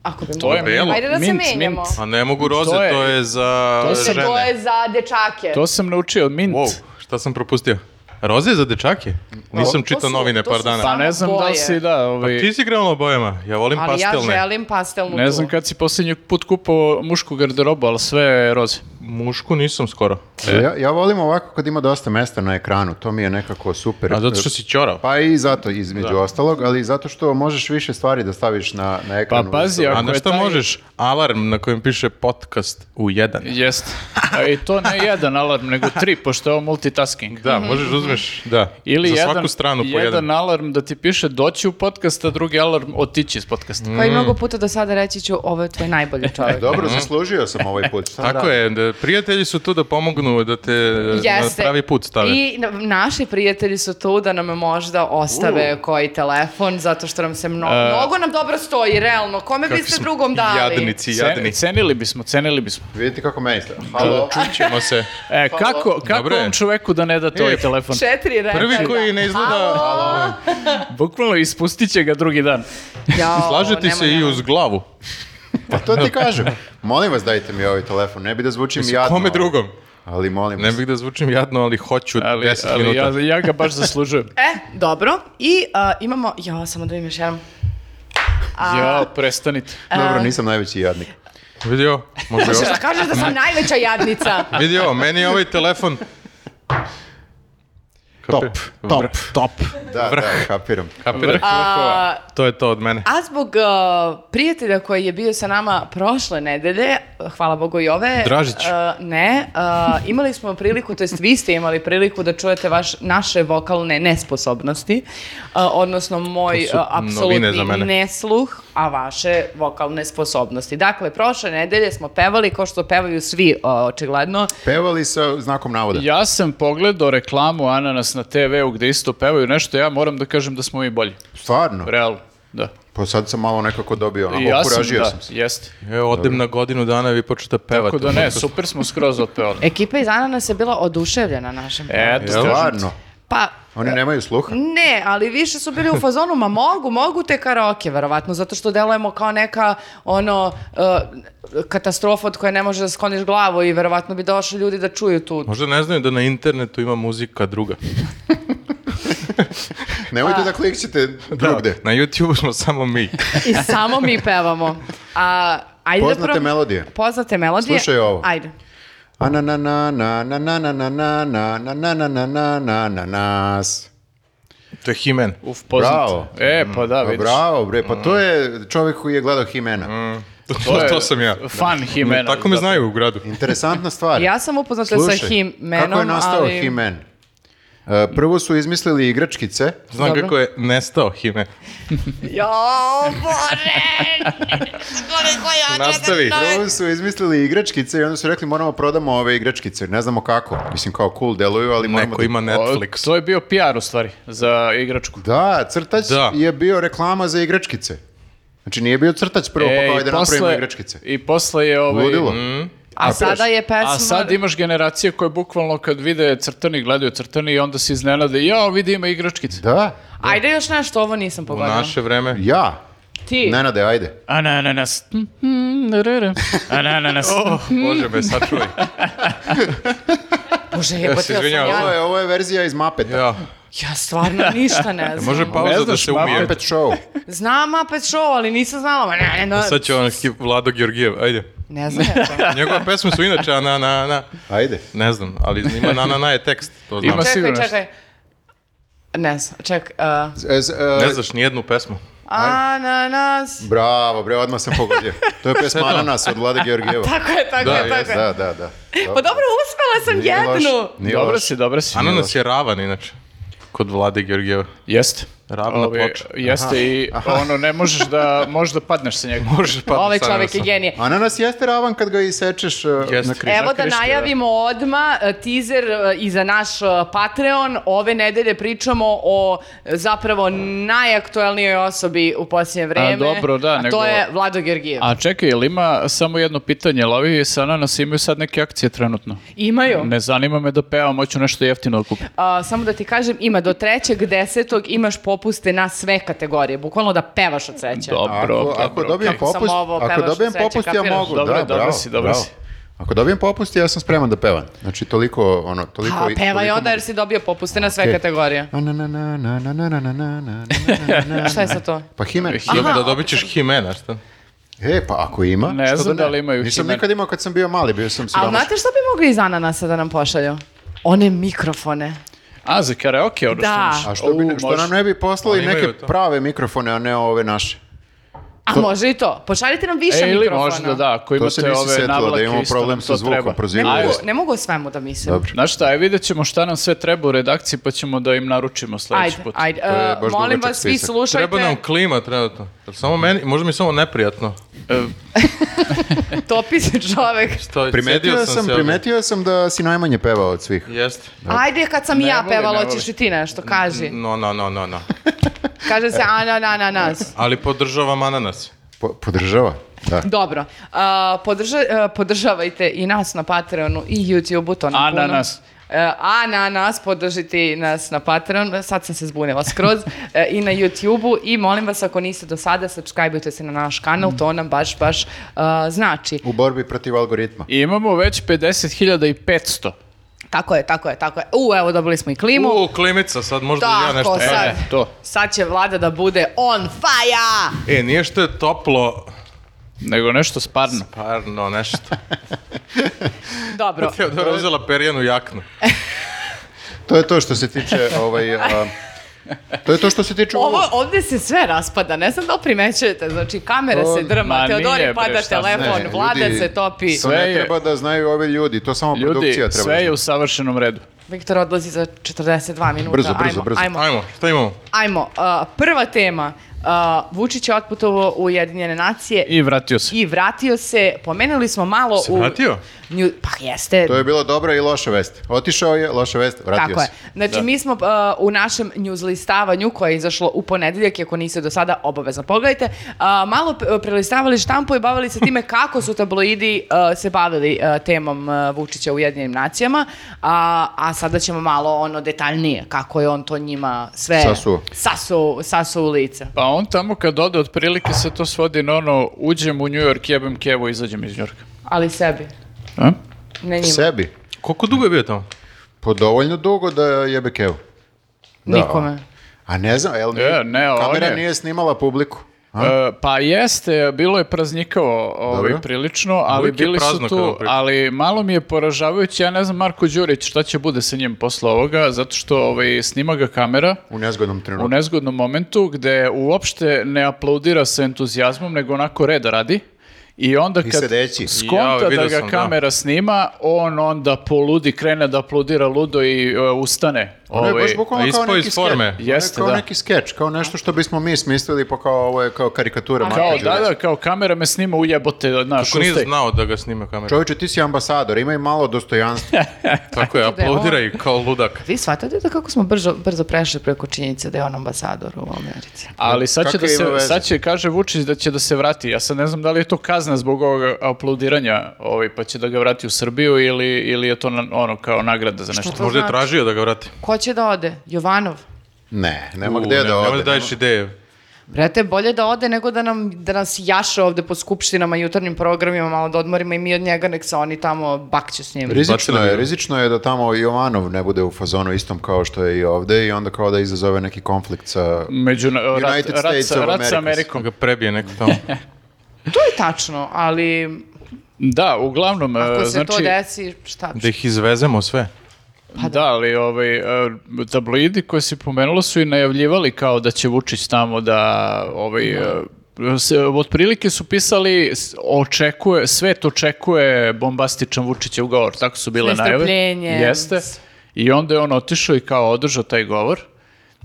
Speaker 1: Ako bi
Speaker 4: Pa, To je
Speaker 1: mogli.
Speaker 4: belo.
Speaker 1: Ajde da se
Speaker 4: Mint, Pa,
Speaker 1: menjamo.
Speaker 4: mint.
Speaker 2: A ne mogu roze,
Speaker 4: To
Speaker 2: to
Speaker 4: je-
Speaker 2: je, za
Speaker 4: to se-
Speaker 1: Mislim,
Speaker 2: žene.
Speaker 1: To je za dečake.
Speaker 4: To sam naučio, mint.
Speaker 2: Wow, šta sam propustio? Roze je za dečake? Nisam
Speaker 1: to
Speaker 2: čitao
Speaker 1: su-
Speaker 2: novine
Speaker 1: to
Speaker 2: par
Speaker 1: su
Speaker 2: dana.
Speaker 1: samo
Speaker 4: Pa ne znam da
Speaker 1: boje.
Speaker 4: li si, da, ovaj...
Speaker 2: Ti si igrao na bojama, ja volim
Speaker 1: Ali
Speaker 2: pastelne.
Speaker 1: ja želim pastelnu
Speaker 4: Ne
Speaker 1: tu.
Speaker 4: znam kad si posljednji put kupao mušku garderobu, ali sve je roze.
Speaker 2: Mušku nisam skoro.
Speaker 3: Ja, ja volim ovako kad ima dosta mesta na ekranu, to mi je nekako super.
Speaker 2: A zato što si ćorav.
Speaker 3: Pa i zato, između ostalog, ali i zato što možeš više stvari da staviš na, na
Speaker 4: Pa
Speaker 3: ekranu.
Speaker 4: pazi,
Speaker 2: A
Speaker 4: ako
Speaker 2: na
Speaker 4: je
Speaker 2: šta
Speaker 4: taj-
Speaker 2: možeš? Alarm na kojem piše podcast u jedan.
Speaker 4: Jeste. A I to ne jedan alarm, nego tri, pošto je ovo multitasking.
Speaker 2: Da, možeš da uzmeš, da,
Speaker 4: Mhm. Ili
Speaker 2: za
Speaker 4: jedan,
Speaker 2: svaku stranu po
Speaker 4: jedan,
Speaker 2: jedan.
Speaker 4: alarm da ti piše doći u podcast, a drugi alarm otići iz podcasta.
Speaker 2: Mm,
Speaker 1: Kao i mnogo puta do sada reći ću, ovo je tvoj najbolji čovjek.
Speaker 3: Dobro, zaslužio sam ovaj put. Šta
Speaker 2: Tako
Speaker 3: da?
Speaker 2: je, da prijatelji su tu da pomognu, da te
Speaker 1: Jeste.
Speaker 2: na pravi put stave.
Speaker 1: I na- naši prijatelji su tu da nam možda ostave
Speaker 2: Uh.
Speaker 1: koji telefon, zato što nam se mnogo, mnogo nam dobro stoji, realno. Kome
Speaker 2: Kakvi
Speaker 1: biste
Speaker 2: smo
Speaker 1: drugom dali?
Speaker 2: Jadnici, E, jadni.
Speaker 4: Cen- cenili bismo, cenili bismo.
Speaker 3: Vidite kako meni ste. Halo.
Speaker 2: Čućemo se.
Speaker 4: E, kako, kako
Speaker 2: Dobro je.
Speaker 4: ovom čovjeku da ne date ovaj
Speaker 2: E,
Speaker 4: telefon?
Speaker 1: Četiri reda.
Speaker 2: Prvi koji ne izgleda-
Speaker 1: Halo.
Speaker 4: Bukvalno ispustit će ga drugi dan.
Speaker 1: Jao,
Speaker 2: Slažete
Speaker 1: nema,
Speaker 2: se i
Speaker 1: nema.
Speaker 2: uz glavu.
Speaker 3: Pa to ti kažem. Molim vas dajte mi ovaj telefon. Ne bi da zvučim jadno.
Speaker 2: Kome drugom?
Speaker 3: Ali molim
Speaker 2: Ne
Speaker 3: vas.
Speaker 2: bih da zvučim jadno, ali hoću
Speaker 4: Ali,
Speaker 2: 10
Speaker 4: ali
Speaker 2: minuta.
Speaker 4: ja, ja ga baš zaslužujem.
Speaker 1: E, dobro. I a, imamo, ja samo da im još jedan.
Speaker 4: Ja, prestanite.
Speaker 3: Dobro, nisam najveći jadnik.
Speaker 2: Vidio? Može
Speaker 1: Šta kažeš da sam najveća jadnica?
Speaker 2: Vidio, meni je ovaj telefon... Top, top, top.
Speaker 3: Da, da, kapiram.
Speaker 1: A,
Speaker 2: To je to od mene.
Speaker 1: A zbog uh, prijatelja koji je bio sa nama prošle nedelje, hvala Bogu i ove...
Speaker 2: Dražić.
Speaker 1: uh, ne, uh, imali smo priliku, to jest vi ste imali priliku da čujete vaš, naše vokalne nesposobnosti, uh, odnosno moj
Speaker 2: To su
Speaker 1: uh,
Speaker 2: novine za
Speaker 1: apsolutni
Speaker 2: mene.
Speaker 1: nesluh, a vaše vokalne sposobnosti. Dakle, prošle nedelje smo pevali, kao što pevaju svi, uh, očigledno.
Speaker 3: Pevali sa znakom navoda.
Speaker 4: Ja sam pogledao reklamu Ananas na TV-u gde isto pevaju nešto, ja moram da kažem da smo mi bolji.
Speaker 3: Stvarno.
Speaker 4: Realno, da.
Speaker 3: Pa sad sam malo nekako dobio, ono,
Speaker 4: I ja sam,
Speaker 3: okuražio
Speaker 4: da,
Speaker 3: sam se.
Speaker 4: jeste.
Speaker 2: Evo, odem E, na godinu dana i vi počete pevati.
Speaker 4: Tako da ne, super smo skroz otpevali.
Speaker 1: Ekipa iz Ananas je bila oduševljena našem.
Speaker 4: Eto,
Speaker 2: Jel?
Speaker 4: kažem ti.
Speaker 3: Stvarno.
Speaker 1: Pa,
Speaker 3: Oni nemaju sluha.
Speaker 1: Ne, ali više su bili u fazonu, ma mogu, mogu te karaoke, verovatno, zato što delujemo kao neka, ono, eh, katastrofa od koje ne možeš da skloniš glavu i verovatno bi došli ljudi da čuju tu.
Speaker 2: Možda ne znaju da na internetu ima muzika druga.
Speaker 3: Nemojte da klikćete drugde.
Speaker 2: Na YouTube smo samo mi.
Speaker 1: I samo mi pevamo. A, ajde da
Speaker 3: Poznate
Speaker 1: prob-
Speaker 3: melodije.
Speaker 1: Poznate melodije.
Speaker 3: Slušaj ovo.
Speaker 1: Ajde.
Speaker 3: A na na na na na na na na na na na na na na na na na nas.
Speaker 2: To je Himen.
Speaker 4: Uf, poznat.
Speaker 3: Bravo.
Speaker 4: E, pa da,
Speaker 3: Pa
Speaker 4: vidiš.
Speaker 3: bravo, bre, pa to je čovjek koji je gledao
Speaker 1: Mm.
Speaker 3: Himena.
Speaker 2: To,
Speaker 4: To je
Speaker 2: sam ja.
Speaker 4: Fan Himena.
Speaker 2: Tako me
Speaker 4: Da.
Speaker 2: znaju u gradu.
Speaker 3: Interesantna stvar.
Speaker 1: Ja sam upoznata sa Himenom,
Speaker 3: kako je nastao
Speaker 1: ali...
Speaker 3: Himen? E, Prvo su izmislili igračkice,
Speaker 2: Znam
Speaker 1: Dobro.
Speaker 2: kako je nestao Himen.
Speaker 1: Jo, Bože! Koliko ja
Speaker 2: Nastavi.
Speaker 1: čekam da-
Speaker 3: prvo su izmislili igračkice i onda su rekli moramo prodamo ove igračkice, ne znamo kako. Mislim kao cool deluju, ali moramo...
Speaker 2: Neko
Speaker 3: da-
Speaker 2: ima
Speaker 4: O,
Speaker 2: Netflix.
Speaker 4: To je bio PR u stvari za igračku.
Speaker 3: Da, crtač
Speaker 2: Da.
Speaker 3: je bio reklama za igračkice. Znači nije bio crtač prvo, pa
Speaker 4: E, i
Speaker 3: kao ajde napravimo
Speaker 4: posle-
Speaker 3: igračkice.
Speaker 4: I posle je ovaj...
Speaker 3: Ludilo.
Speaker 2: mm.
Speaker 1: A sada je pesma...
Speaker 4: A sad imaš generacije koje bukvalno kad vide crtani, gledaju crtani i onda se iznenade, ja vidi ima igračkice.
Speaker 3: Da,
Speaker 1: Ajde još nešto, ovo nisam
Speaker 2: U
Speaker 1: pogodila.
Speaker 2: naše vreme.
Speaker 3: ja.
Speaker 1: Ti.
Speaker 3: Nenade, ajde.
Speaker 4: Anananas. Mhm, darara. Anananas.
Speaker 2: Oh. Bože me, sačuvaj.
Speaker 1: Bože,
Speaker 2: Ja
Speaker 1: jebote,
Speaker 2: se
Speaker 1: ja sam
Speaker 2: izvinjavam.
Speaker 1: jadna.
Speaker 3: Ovo je, ovo je verzija iz Mapeta.
Speaker 2: Ja.
Speaker 1: Ja stvarno ništa ne znam.
Speaker 2: Može pauza
Speaker 4: Ne
Speaker 2: da
Speaker 4: znaš,
Speaker 2: se
Speaker 4: mama,
Speaker 2: umije.
Speaker 3: Muppet show.
Speaker 1: Znam Muppet Show, ali nisam znala. Ma, Ne, ne, ne,
Speaker 2: Sad ono- će on ki- Vlado Georgijev, ajde.
Speaker 1: Ne znam ja to.
Speaker 2: Njegove pesme su inače a na na na.
Speaker 3: Ajde.
Speaker 2: Ne znam, ali ima na na na je tekst, to znam.
Speaker 4: Ima-
Speaker 1: Čekaj,
Speaker 4: sigurno nešto.
Speaker 1: čekaj. Ne znam, ček. Uh,
Speaker 3: Z- z- e,
Speaker 2: Ne znaš ni jednu pesmu.
Speaker 1: ananas.
Speaker 3: Bravo, bre, odmah sam pogodio. To je pesma
Speaker 2: to.
Speaker 3: Ananas od Vlade Georgijeva.
Speaker 1: Tako je, tako
Speaker 2: Da,
Speaker 1: je, tako
Speaker 2: jest,
Speaker 1: je.
Speaker 3: Da, da, da.
Speaker 1: Pa dobro, uspela sam
Speaker 3: Nije loše,
Speaker 1: jednu.
Speaker 3: nije
Speaker 4: Dobro
Speaker 3: loše.
Speaker 4: si, dobro si.
Speaker 2: Ananas je ravan inače. Kod Vlade Georgijeva.
Speaker 4: Jeste.
Speaker 2: Ravna
Speaker 4: Ovi,
Speaker 2: ploča.
Speaker 4: Jeste i ono, ne možeš da, možda padneš sa njega.
Speaker 2: Možeš pa.
Speaker 1: Ovaj čovjek je genije.
Speaker 3: Ananas jeste ravan kad ga isečeš e,
Speaker 2: Jeste.
Speaker 3: na križ.
Speaker 1: Evo da
Speaker 4: kriške, da.
Speaker 1: najavimo odma e, teaser e, i za naš e, Patreon. Ove nedelje pričamo o e, zapravo najaktuelnijoj osobi u posljednje vreme.
Speaker 4: dobro, da,
Speaker 1: A
Speaker 4: nego-
Speaker 1: to je Vlado Georgijev.
Speaker 4: A čekaj, jel ima samo jedno pitanje, jel ovi sa ananas imaju sad neke akcije trenutno?
Speaker 1: Imaju.
Speaker 4: Ne zanima me da pevam, hoću nešto jeftino da kupim.
Speaker 1: A, samo da ti kažem, ima do trećeg desetog imaš popuste na sve kategorije. Bukvalno da pevaš od sreće.
Speaker 4: Dobro,
Speaker 3: Ako,
Speaker 4: dobro.
Speaker 3: ako dobijem
Speaker 1: Kako sam
Speaker 3: popust,
Speaker 1: ovo
Speaker 3: ako
Speaker 1: pevaš
Speaker 3: dobijem
Speaker 1: od sreće,
Speaker 3: popust ja
Speaker 1: kapiraš?
Speaker 3: mogu.
Speaker 4: Dobro,
Speaker 3: da,
Speaker 4: dobro
Speaker 3: bravo,
Speaker 4: si, dobro
Speaker 3: bravo.
Speaker 4: si.
Speaker 3: Ako dobijem popust, ja sam spreman da pevam. Znači, toliko, ono, toliko...
Speaker 1: Pa, pevaj
Speaker 3: toliko
Speaker 1: onda jer
Speaker 3: mogu.
Speaker 1: si dobio popuste na sve
Speaker 3: Okej.
Speaker 1: kategorije.
Speaker 3: Na, na, na, na, na, na, na, na, na, na, na, na, na.
Speaker 1: Šta je sa to?
Speaker 3: Pa Himen.
Speaker 2: Dobro, da dobit ćeš Himena, šta?
Speaker 3: E, pa ako ima,
Speaker 4: Ne
Speaker 3: što
Speaker 4: znam da
Speaker 3: ne?
Speaker 4: li imaju
Speaker 3: Nisam
Speaker 4: Himen.
Speaker 3: nikad imao kad sam bio mali, bio sam
Speaker 1: Ali
Speaker 3: siromašan.
Speaker 1: znate što bi mogli iz ananasa da nam pošalju? One mikrofone.
Speaker 4: A, za karaoke, ono
Speaker 1: Da.
Speaker 4: što
Speaker 3: A što, bi,
Speaker 4: U,
Speaker 3: što
Speaker 4: može.
Speaker 3: nam ne bi poslali
Speaker 2: Oni imaju
Speaker 3: neke
Speaker 2: to.
Speaker 3: prave mikrofone, a ne ove naše.
Speaker 1: A može i to. Pošaljite nam više
Speaker 4: E, ili
Speaker 1: mikrofona.
Speaker 4: možda da, ako
Speaker 3: To se
Speaker 4: imate
Speaker 3: nisi
Speaker 4: ove
Speaker 3: setila da
Speaker 4: navlake,
Speaker 3: imamo
Speaker 4: isto
Speaker 3: problem
Speaker 4: nam
Speaker 3: sa
Speaker 4: to
Speaker 3: zvukom,
Speaker 4: treba.
Speaker 1: Ne
Speaker 3: prozivaju.
Speaker 1: mogu,
Speaker 3: Jeste.
Speaker 1: ne mogu o svemu da mislim.
Speaker 3: Dobro.
Speaker 4: Znaš šta, je, vidjet ćemo šta nam sve treba u redakciji, pa ćemo da im naručimo
Speaker 1: Ajde,
Speaker 4: sljedeći put.
Speaker 1: ajde.
Speaker 3: je
Speaker 1: E,
Speaker 3: baš
Speaker 1: molim
Speaker 3: dugačak
Speaker 1: vas, vi
Speaker 3: spisak.
Speaker 1: slušajte.
Speaker 2: Treba nam klima trenutno. Jel Samo meni, možda mi je samo neprijatno.
Speaker 4: E,
Speaker 1: Topi se čovek.
Speaker 2: Što,
Speaker 3: Primetio
Speaker 2: sjetio
Speaker 3: sam,
Speaker 2: se, ali-
Speaker 3: primetio sam da si najmanje pevao od svih.
Speaker 2: Jeste.
Speaker 1: Ajde, kad sam
Speaker 4: Ne
Speaker 1: ja
Speaker 4: voli,
Speaker 1: pevala,
Speaker 4: ne
Speaker 1: hoćeš i
Speaker 4: voli.
Speaker 1: ti nešto, kaži.
Speaker 2: No, no, no, no, no.
Speaker 1: Kaže se ananananas.
Speaker 2: Ali podržavam ananas.
Speaker 3: Po- podržava, da.
Speaker 1: Dobro, A, podrža- e, podržavajte i nas na Patreonu i YouTube-u, to nam puno.
Speaker 4: Ananas.
Speaker 1: E, Ananas, podržite i nas na Patreon, sad sam se zbunila skroz, E, i na YouTube-u i molim vas ako niste do sada, subscribeujte se na naš kanal, to nam baš, baš e, znači.
Speaker 3: U borbi protiv algoritma.
Speaker 4: I imamo već 50.500.
Speaker 1: Tako je, tako je, tako je. U, evo, dobili smo i klimu.
Speaker 2: U, klimica, sad možda i ja nešto.
Speaker 1: Tako,
Speaker 2: E,
Speaker 1: sad,
Speaker 4: E, to.
Speaker 1: sad će vlada da bude on fire!
Speaker 2: E, nije što je toplo,
Speaker 4: Nego nešto sparno.
Speaker 2: parno, nešto.
Speaker 1: Dobro,
Speaker 2: Teodora uzela perjenu jaknu.
Speaker 3: To je to što se tiče ovaj... a, to je to što se tiče
Speaker 1: Ovo,
Speaker 3: ovog.
Speaker 1: ovdje se sve raspada, ne znam da li primećujete, znači kamera
Speaker 3: To-
Speaker 1: se drma,
Speaker 4: Ma nije,
Speaker 1: Teodori
Speaker 4: bre,
Speaker 1: pada
Speaker 4: šta
Speaker 1: telefon,
Speaker 3: Ne,
Speaker 1: vlada
Speaker 3: ljudi,
Speaker 1: se topi.
Speaker 3: To ne
Speaker 4: Sve je-
Speaker 3: treba da znaju ovi ljudi, to samo produkcija
Speaker 4: Ljudi,
Speaker 3: treba. da
Speaker 4: sve je
Speaker 3: zna.
Speaker 4: u savršenom redu.
Speaker 1: Viktor odlazi za 42 minuta,
Speaker 3: Brzo, brzo,
Speaker 1: ajmo,
Speaker 3: brzo.
Speaker 1: ajmo.
Speaker 2: Ajmo, šta imamo?
Speaker 1: ajmo. A, prva tema, a, Vučić je otputovo u Jedinjene nacije i,
Speaker 4: I vratio se.
Speaker 1: vratio se, pomenuli smo malo
Speaker 2: Se
Speaker 1: u...
Speaker 2: vratio?
Speaker 1: Nju- pa jeste,
Speaker 3: To je bilo dobra i loša vest. Otišao je, loša vest, vratio
Speaker 1: Tako je.
Speaker 3: se.
Speaker 1: Znači, mi smo uh, u našem news listavanju koje je izašlo u ponedeljak, i ako niste do sada, obavezno pogledajte, uh, malo p- prelistavali štampu i bavili se time kako su tabloidi uh, se bavili uh, temom uh, Vučića u Jedinim nacijama, a, a sada ćemo malo ono detaljnije kako je on to njima sve
Speaker 3: Sasuo.
Speaker 1: sasu, sasu u lice.
Speaker 4: Pa on tamo kad ode, otprilike se to svodi na ono, uđem u New York, jebem kevo, izađem iz New Yorka.
Speaker 1: Ali sebi,
Speaker 4: A?
Speaker 1: ne njima,
Speaker 3: Sebi.
Speaker 2: Koliko dugo je bio tamo?
Speaker 3: Po dovoljno dugo da jebe kevu. Da.
Speaker 1: nikome.
Speaker 3: A ne znam, jel
Speaker 4: E, ne, on
Speaker 3: kamera
Speaker 4: je-
Speaker 3: nije snimala publiku. A?
Speaker 4: E, pa jeste, bilo je praznikavo ovaj,
Speaker 3: Dobro.
Speaker 4: prilično, ali
Speaker 2: Uvijek je
Speaker 4: bili su
Speaker 2: prazno kada
Speaker 4: tu,
Speaker 2: pričam.
Speaker 4: ali malo mi je poražavajući, ja ne znam Marko Đurić šta će bude sa njim posle ovoga, zato što ovaj, snima ga kamera
Speaker 3: U nezgodnom
Speaker 4: u
Speaker 3: trenutku.
Speaker 4: nezgodnom momentu gde uopšte ne aplaudira sa entuzijazmom, nego onako reda radi. I onda kad
Speaker 3: sedeći.
Speaker 4: skonta
Speaker 2: Jao,
Speaker 4: da
Speaker 2: vidio
Speaker 4: ga
Speaker 2: sam, da.
Speaker 4: kamera snima, on onda poludi, krene da aplaudira ludo i e, ustane.
Speaker 3: Ono je
Speaker 4: Ovaj,
Speaker 3: baš bukvalno
Speaker 2: a
Speaker 3: kao
Speaker 2: ispao
Speaker 3: neki
Speaker 2: iz forme.
Speaker 3: skeč.
Speaker 4: Jeste,
Speaker 3: Jeste, kao
Speaker 4: da.
Speaker 3: neki skeč, kao nešto što bismo mi smislili, pa kao ovo je kao karikatura. Marka
Speaker 4: Kao, da,
Speaker 3: Đurića.
Speaker 4: da, kao kamera me snima u jebote, znaš,
Speaker 2: Ko nije
Speaker 4: ustaj.
Speaker 2: znao da ga snima kamera.
Speaker 3: Čovječe, ti si ambasador, imaj malo dostojanstva.
Speaker 2: Tako je,
Speaker 1: Tako da je
Speaker 2: aplaudira i kao ludak.
Speaker 1: Vi shvatate da kako smo brzo, brzo prešli preko činjenice da je on ambasador u Americi.
Speaker 4: Ali sad će, da
Speaker 3: Kakve ima
Speaker 4: se,
Speaker 3: veze?
Speaker 4: sad će, kaže Vučić da će da se vrati. Ja sad ne znam da li je to kazna zbog ovog aplaudiranja, ovaj, pa će da ga vrati u Srbiju ili, ili je to na- ono kao nagrada za nešto.
Speaker 1: To
Speaker 2: Možda je
Speaker 1: znači-
Speaker 2: tražio da ga vrati.
Speaker 1: Ko će da ode? Jovanov?
Speaker 3: Ne, nema
Speaker 2: U,
Speaker 3: gde
Speaker 2: ne,
Speaker 3: da
Speaker 2: nemoj
Speaker 3: ode.
Speaker 2: daješ ideje.
Speaker 1: Brate, bolje da ode nego da, nam, da nas jaše ovde po skupštinama, jutarnjim programima, malo da odmorimo i mi od njega, nek se oni tamo bakću s njim.
Speaker 3: Rizično
Speaker 2: Bacili
Speaker 3: je,
Speaker 2: bi.
Speaker 3: rizično je da tamo Jovanov ne bude u fazonu istom kao što je i ovde i onda kao da izazove neki konflikt sa...
Speaker 4: Među, rat, rat,
Speaker 3: United States
Speaker 4: sa-
Speaker 3: of
Speaker 4: rat
Speaker 3: America.
Speaker 2: Ko
Speaker 4: sa Amerikom.
Speaker 2: ga prebije neko tamo.
Speaker 1: To je tačno, ali
Speaker 4: Da, uglavnom,
Speaker 1: ako
Speaker 4: e,
Speaker 1: se
Speaker 4: znači,
Speaker 1: to desi, šta?
Speaker 2: Da ih izvezemo sve.
Speaker 1: Pa
Speaker 4: da, ali ovaj, e, tabloidi koje si pomenula su i najavljivali kao da će Vučić tamo da, ovaj, e, se- otprilike su pisali s- očekuje, svet očekuje bombastičan Vučićev govor, tako su bile
Speaker 1: S
Speaker 4: najave.
Speaker 1: nestrpljenjem.
Speaker 4: Jeste. I onda je on otišao i kao održao taj govor.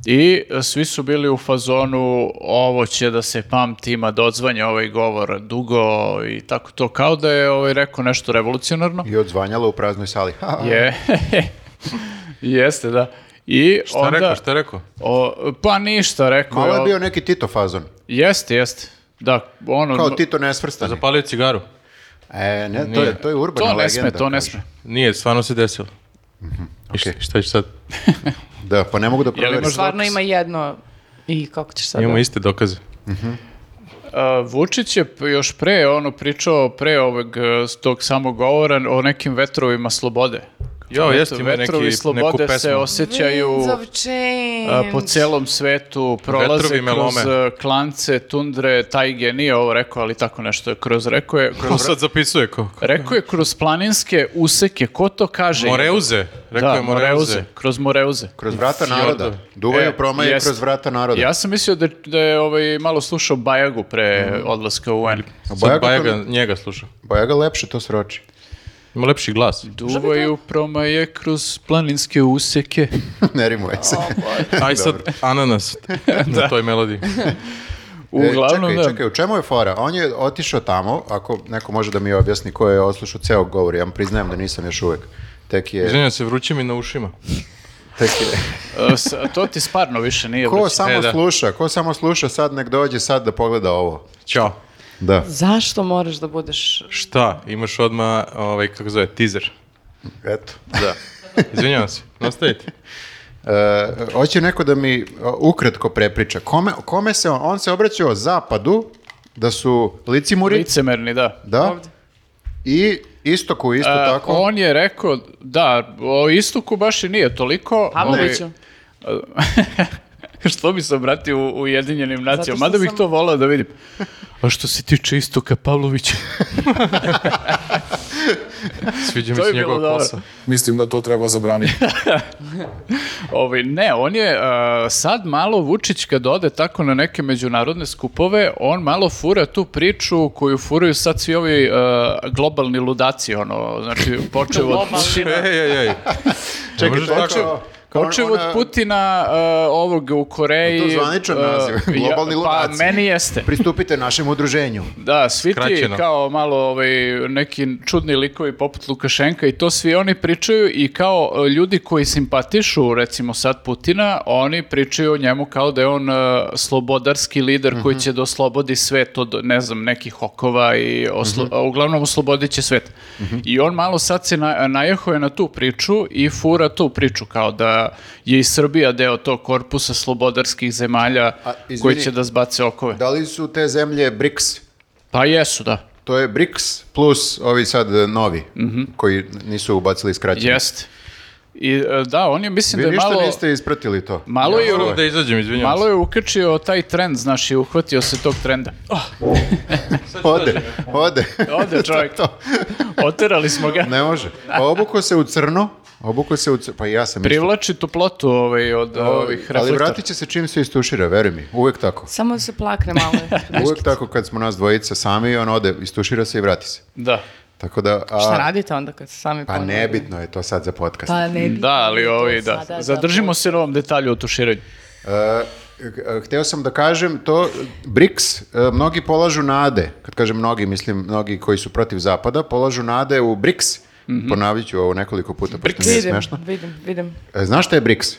Speaker 4: I e, svi su bili u fazonu ovo će da se pamti, ima dodzvanja ovaj govor dugo i tako to kao da je ovaj rekao nešto revolucionarno.
Speaker 3: I odzvanjalo u praznoj sali. Ha, ha.
Speaker 4: Je. Jeste, da. I
Speaker 2: Šta
Speaker 4: onda...
Speaker 2: rekao, šta rekao?
Speaker 4: O, pa ništa, rekao
Speaker 3: Malo je
Speaker 4: al-
Speaker 3: bio neki Tito fazon.
Speaker 4: Jeste, jeste. Da, ono...
Speaker 3: Kao Tito nesvrstani.
Speaker 2: Zapalio je cigaru.
Speaker 3: E, ne, to je, to je urbana
Speaker 4: To ne
Speaker 3: legenda.
Speaker 4: sme, to ne
Speaker 3: kaže.
Speaker 4: sme.
Speaker 2: Nije, stvarno se desilo.
Speaker 3: Mhm,
Speaker 2: I šta- Šta je sad?
Speaker 3: Da, pa ne mogu da proverim.
Speaker 4: možda-
Speaker 1: Stvarno
Speaker 4: dokaz.
Speaker 1: ima jedno i kako ćeš sad?
Speaker 2: Imamo iste dokaze.
Speaker 4: A, Vučić je p- još pre ono pričao, pre ovog e, s tog samog govora o nekim vetrovima slobode.
Speaker 2: Jo,
Speaker 4: Eto,
Speaker 2: jeste, ima neki,
Speaker 4: vetrovi
Speaker 2: neku
Speaker 4: slobode se
Speaker 2: pesmu.
Speaker 4: osjećaju
Speaker 1: Winds of change.
Speaker 4: a, po celom svetu, prolaze
Speaker 2: Vetrovi me
Speaker 4: kroz
Speaker 2: lome.
Speaker 4: e, klance, tundre, tajge, nije ovo rekao, ali tako nešto je kroz rekao je.
Speaker 2: Ko
Speaker 4: Kroz,
Speaker 2: sad zapisuje ko? ko-
Speaker 4: rekao je kroz planinske useke, ko to kaže?
Speaker 2: Moreuze. Rekao
Speaker 4: Da,
Speaker 2: je Moreuze.
Speaker 4: kroz Moreuze.
Speaker 3: Kroz vrata naroda. Duvaju
Speaker 4: E,
Speaker 3: promaje
Speaker 4: jest.
Speaker 3: kroz vrata naroda.
Speaker 4: Ja sam mislio da, da je ovaj, malo slušao Bajagu pre odlaska u UN.
Speaker 3: A
Speaker 2: Sad
Speaker 3: Bajaga,
Speaker 2: Bajaga
Speaker 3: to-
Speaker 2: njega sluša.
Speaker 3: Bajaga Pa lepše to sroči.
Speaker 2: Ima lepši glas.
Speaker 4: Duvaju promaje kroz planinske useke.
Speaker 3: E, ne rimuje se.
Speaker 2: Aj sad ananas na toj melodiji.
Speaker 4: Uglavnom,
Speaker 3: E, čekaj,
Speaker 4: da.
Speaker 3: čekaj, u čemu je fora? On je otišao tamo, ako neko može da mi objasni ko je oslušao ceo govor, ja vam priznajem da nisam još uvek. Tek je,
Speaker 2: Izvinjam se, vrući mi na ušima.
Speaker 3: tek je.
Speaker 4: E, s- to ti stvarno više nije.
Speaker 3: Ko
Speaker 4: vraćeno.
Speaker 3: samo
Speaker 2: E, da.
Speaker 3: sluša, ko samo sluša, sad nek dođe sad da pogleda ovo.
Speaker 2: Ćao.
Speaker 3: Da.
Speaker 1: Zašto moraš da budeš...
Speaker 2: Šta? Imaš odmah, ovaj, kako zove, teaser.
Speaker 3: Eto.
Speaker 2: Da. Izvinjavam se, nastavite.
Speaker 3: E, hoće neko da mi o, ukratko prepriča. Kome, kome se on, on se obraćao zapadu, da su licimuri,
Speaker 4: Licemerni, da.
Speaker 3: da, i istoku isto
Speaker 4: E,
Speaker 3: tako.
Speaker 4: On je rekao, da, o istoku baš i nije toliko.
Speaker 1: Pavloviću?
Speaker 4: ovaj, što bi se obratio u Ujedinjenim nacijama,
Speaker 1: što
Speaker 4: mada bih
Speaker 1: sam-
Speaker 4: to volao da vidim. A što se tiče istoka Pavlovića,
Speaker 2: Sviđa mi
Speaker 4: To
Speaker 2: se
Speaker 4: je bilo
Speaker 2: njegova
Speaker 4: dobro.
Speaker 2: kosa.
Speaker 5: Mislim da to treba zabraniti.
Speaker 4: Ovaj, ne, on je a, sad malo Vučić kad ode tako na neke međunarodne skupove, on malo fura tu priču koju furaju sad svi ovi a, globalni ludaci, ono, znači počeo od,
Speaker 2: Ej, ej, ej. Ne možeš
Speaker 3: to je
Speaker 2: tako.
Speaker 3: kao- kao
Speaker 4: počeo od
Speaker 3: ona-
Speaker 4: Putina, a, ovog u Koreji.
Speaker 3: To je zvaničan
Speaker 4: a,
Speaker 3: naziv, globalni
Speaker 4: ja-
Speaker 3: ludaci.
Speaker 4: Pa meni jeste.
Speaker 3: Pristupite našem udruženju.
Speaker 4: Da, svi ti
Speaker 2: Skraćeno.
Speaker 4: kao malo ovaj, neki čudni likovi poput Lukašenka i to svi oni pričaju i kao e, ljudi koji simpatišu recimo sad Putina, oni pričaju o njemu kao da je on e, slobodarski lider koji će da oslobodi svet od ne znam nekih hokova i oslo- a uglavnom oslobodit će svet. I on malo sad se na, najehuje na tu priču i fura tu priču kao da je i Srbija deo tog korpusa slobodarskih zemalja
Speaker 3: A, izvini,
Speaker 4: koji će da zbace okove.
Speaker 3: Da li su te zemlje BRICS?
Speaker 4: Pa jesu, da.
Speaker 3: To je BRICS plus ovi sad e, novi,
Speaker 4: Mhm.
Speaker 3: koji nisu ubacili skraćenje.
Speaker 4: Jeste. I e, da, on je mislim
Speaker 3: Vi
Speaker 4: da je
Speaker 3: ništa
Speaker 4: malo
Speaker 3: niste ispratili to.
Speaker 4: malo
Speaker 2: Ja
Speaker 4: je
Speaker 2: moram da izađem, izvinjavam
Speaker 4: malo je ukrčio taj trend, znaš, i uhvatio se tog trenda.
Speaker 1: Oh.
Speaker 3: Ode, ode.
Speaker 4: Ode čovjek.
Speaker 3: to.
Speaker 4: Oterali smo ga.
Speaker 3: ne može. Pa obuko se u crno, obuko se u crno, pa i ja sam isto.
Speaker 4: Privlači toplotu ovaj od ovih reflektora.
Speaker 3: Ali vratit će se čim se istušira, veruj mi. Uvek tako.
Speaker 1: Samo se plakne malo.
Speaker 3: Uvek tako kad smo nas dvojica sami, on ode, istušira se i vrati se.
Speaker 4: Da.
Speaker 3: Tako da... A,
Speaker 1: Šta radite onda kad se sami
Speaker 3: Pa
Speaker 1: ponove?
Speaker 3: nebitno je to sad za podcast.
Speaker 1: Pa ne bi-
Speaker 4: Da, ali ovi,
Speaker 1: to
Speaker 4: da.
Speaker 1: sada
Speaker 4: Zadržimo se na ovom detalju o tuširanju.
Speaker 3: E, k- Hteo sam da kažem to, BRICS, e, mnogi polažu nade, kad kažem mnogi, mislim mnogi koji su protiv zapada, polažu nade u BRICS,
Speaker 1: Mhm.
Speaker 3: ponavit ću ovo nekoliko puta, pošto mi je
Speaker 1: Vidim,
Speaker 3: smešno.
Speaker 1: vidim, vidim.
Speaker 3: E, Znaš šta je BRICS?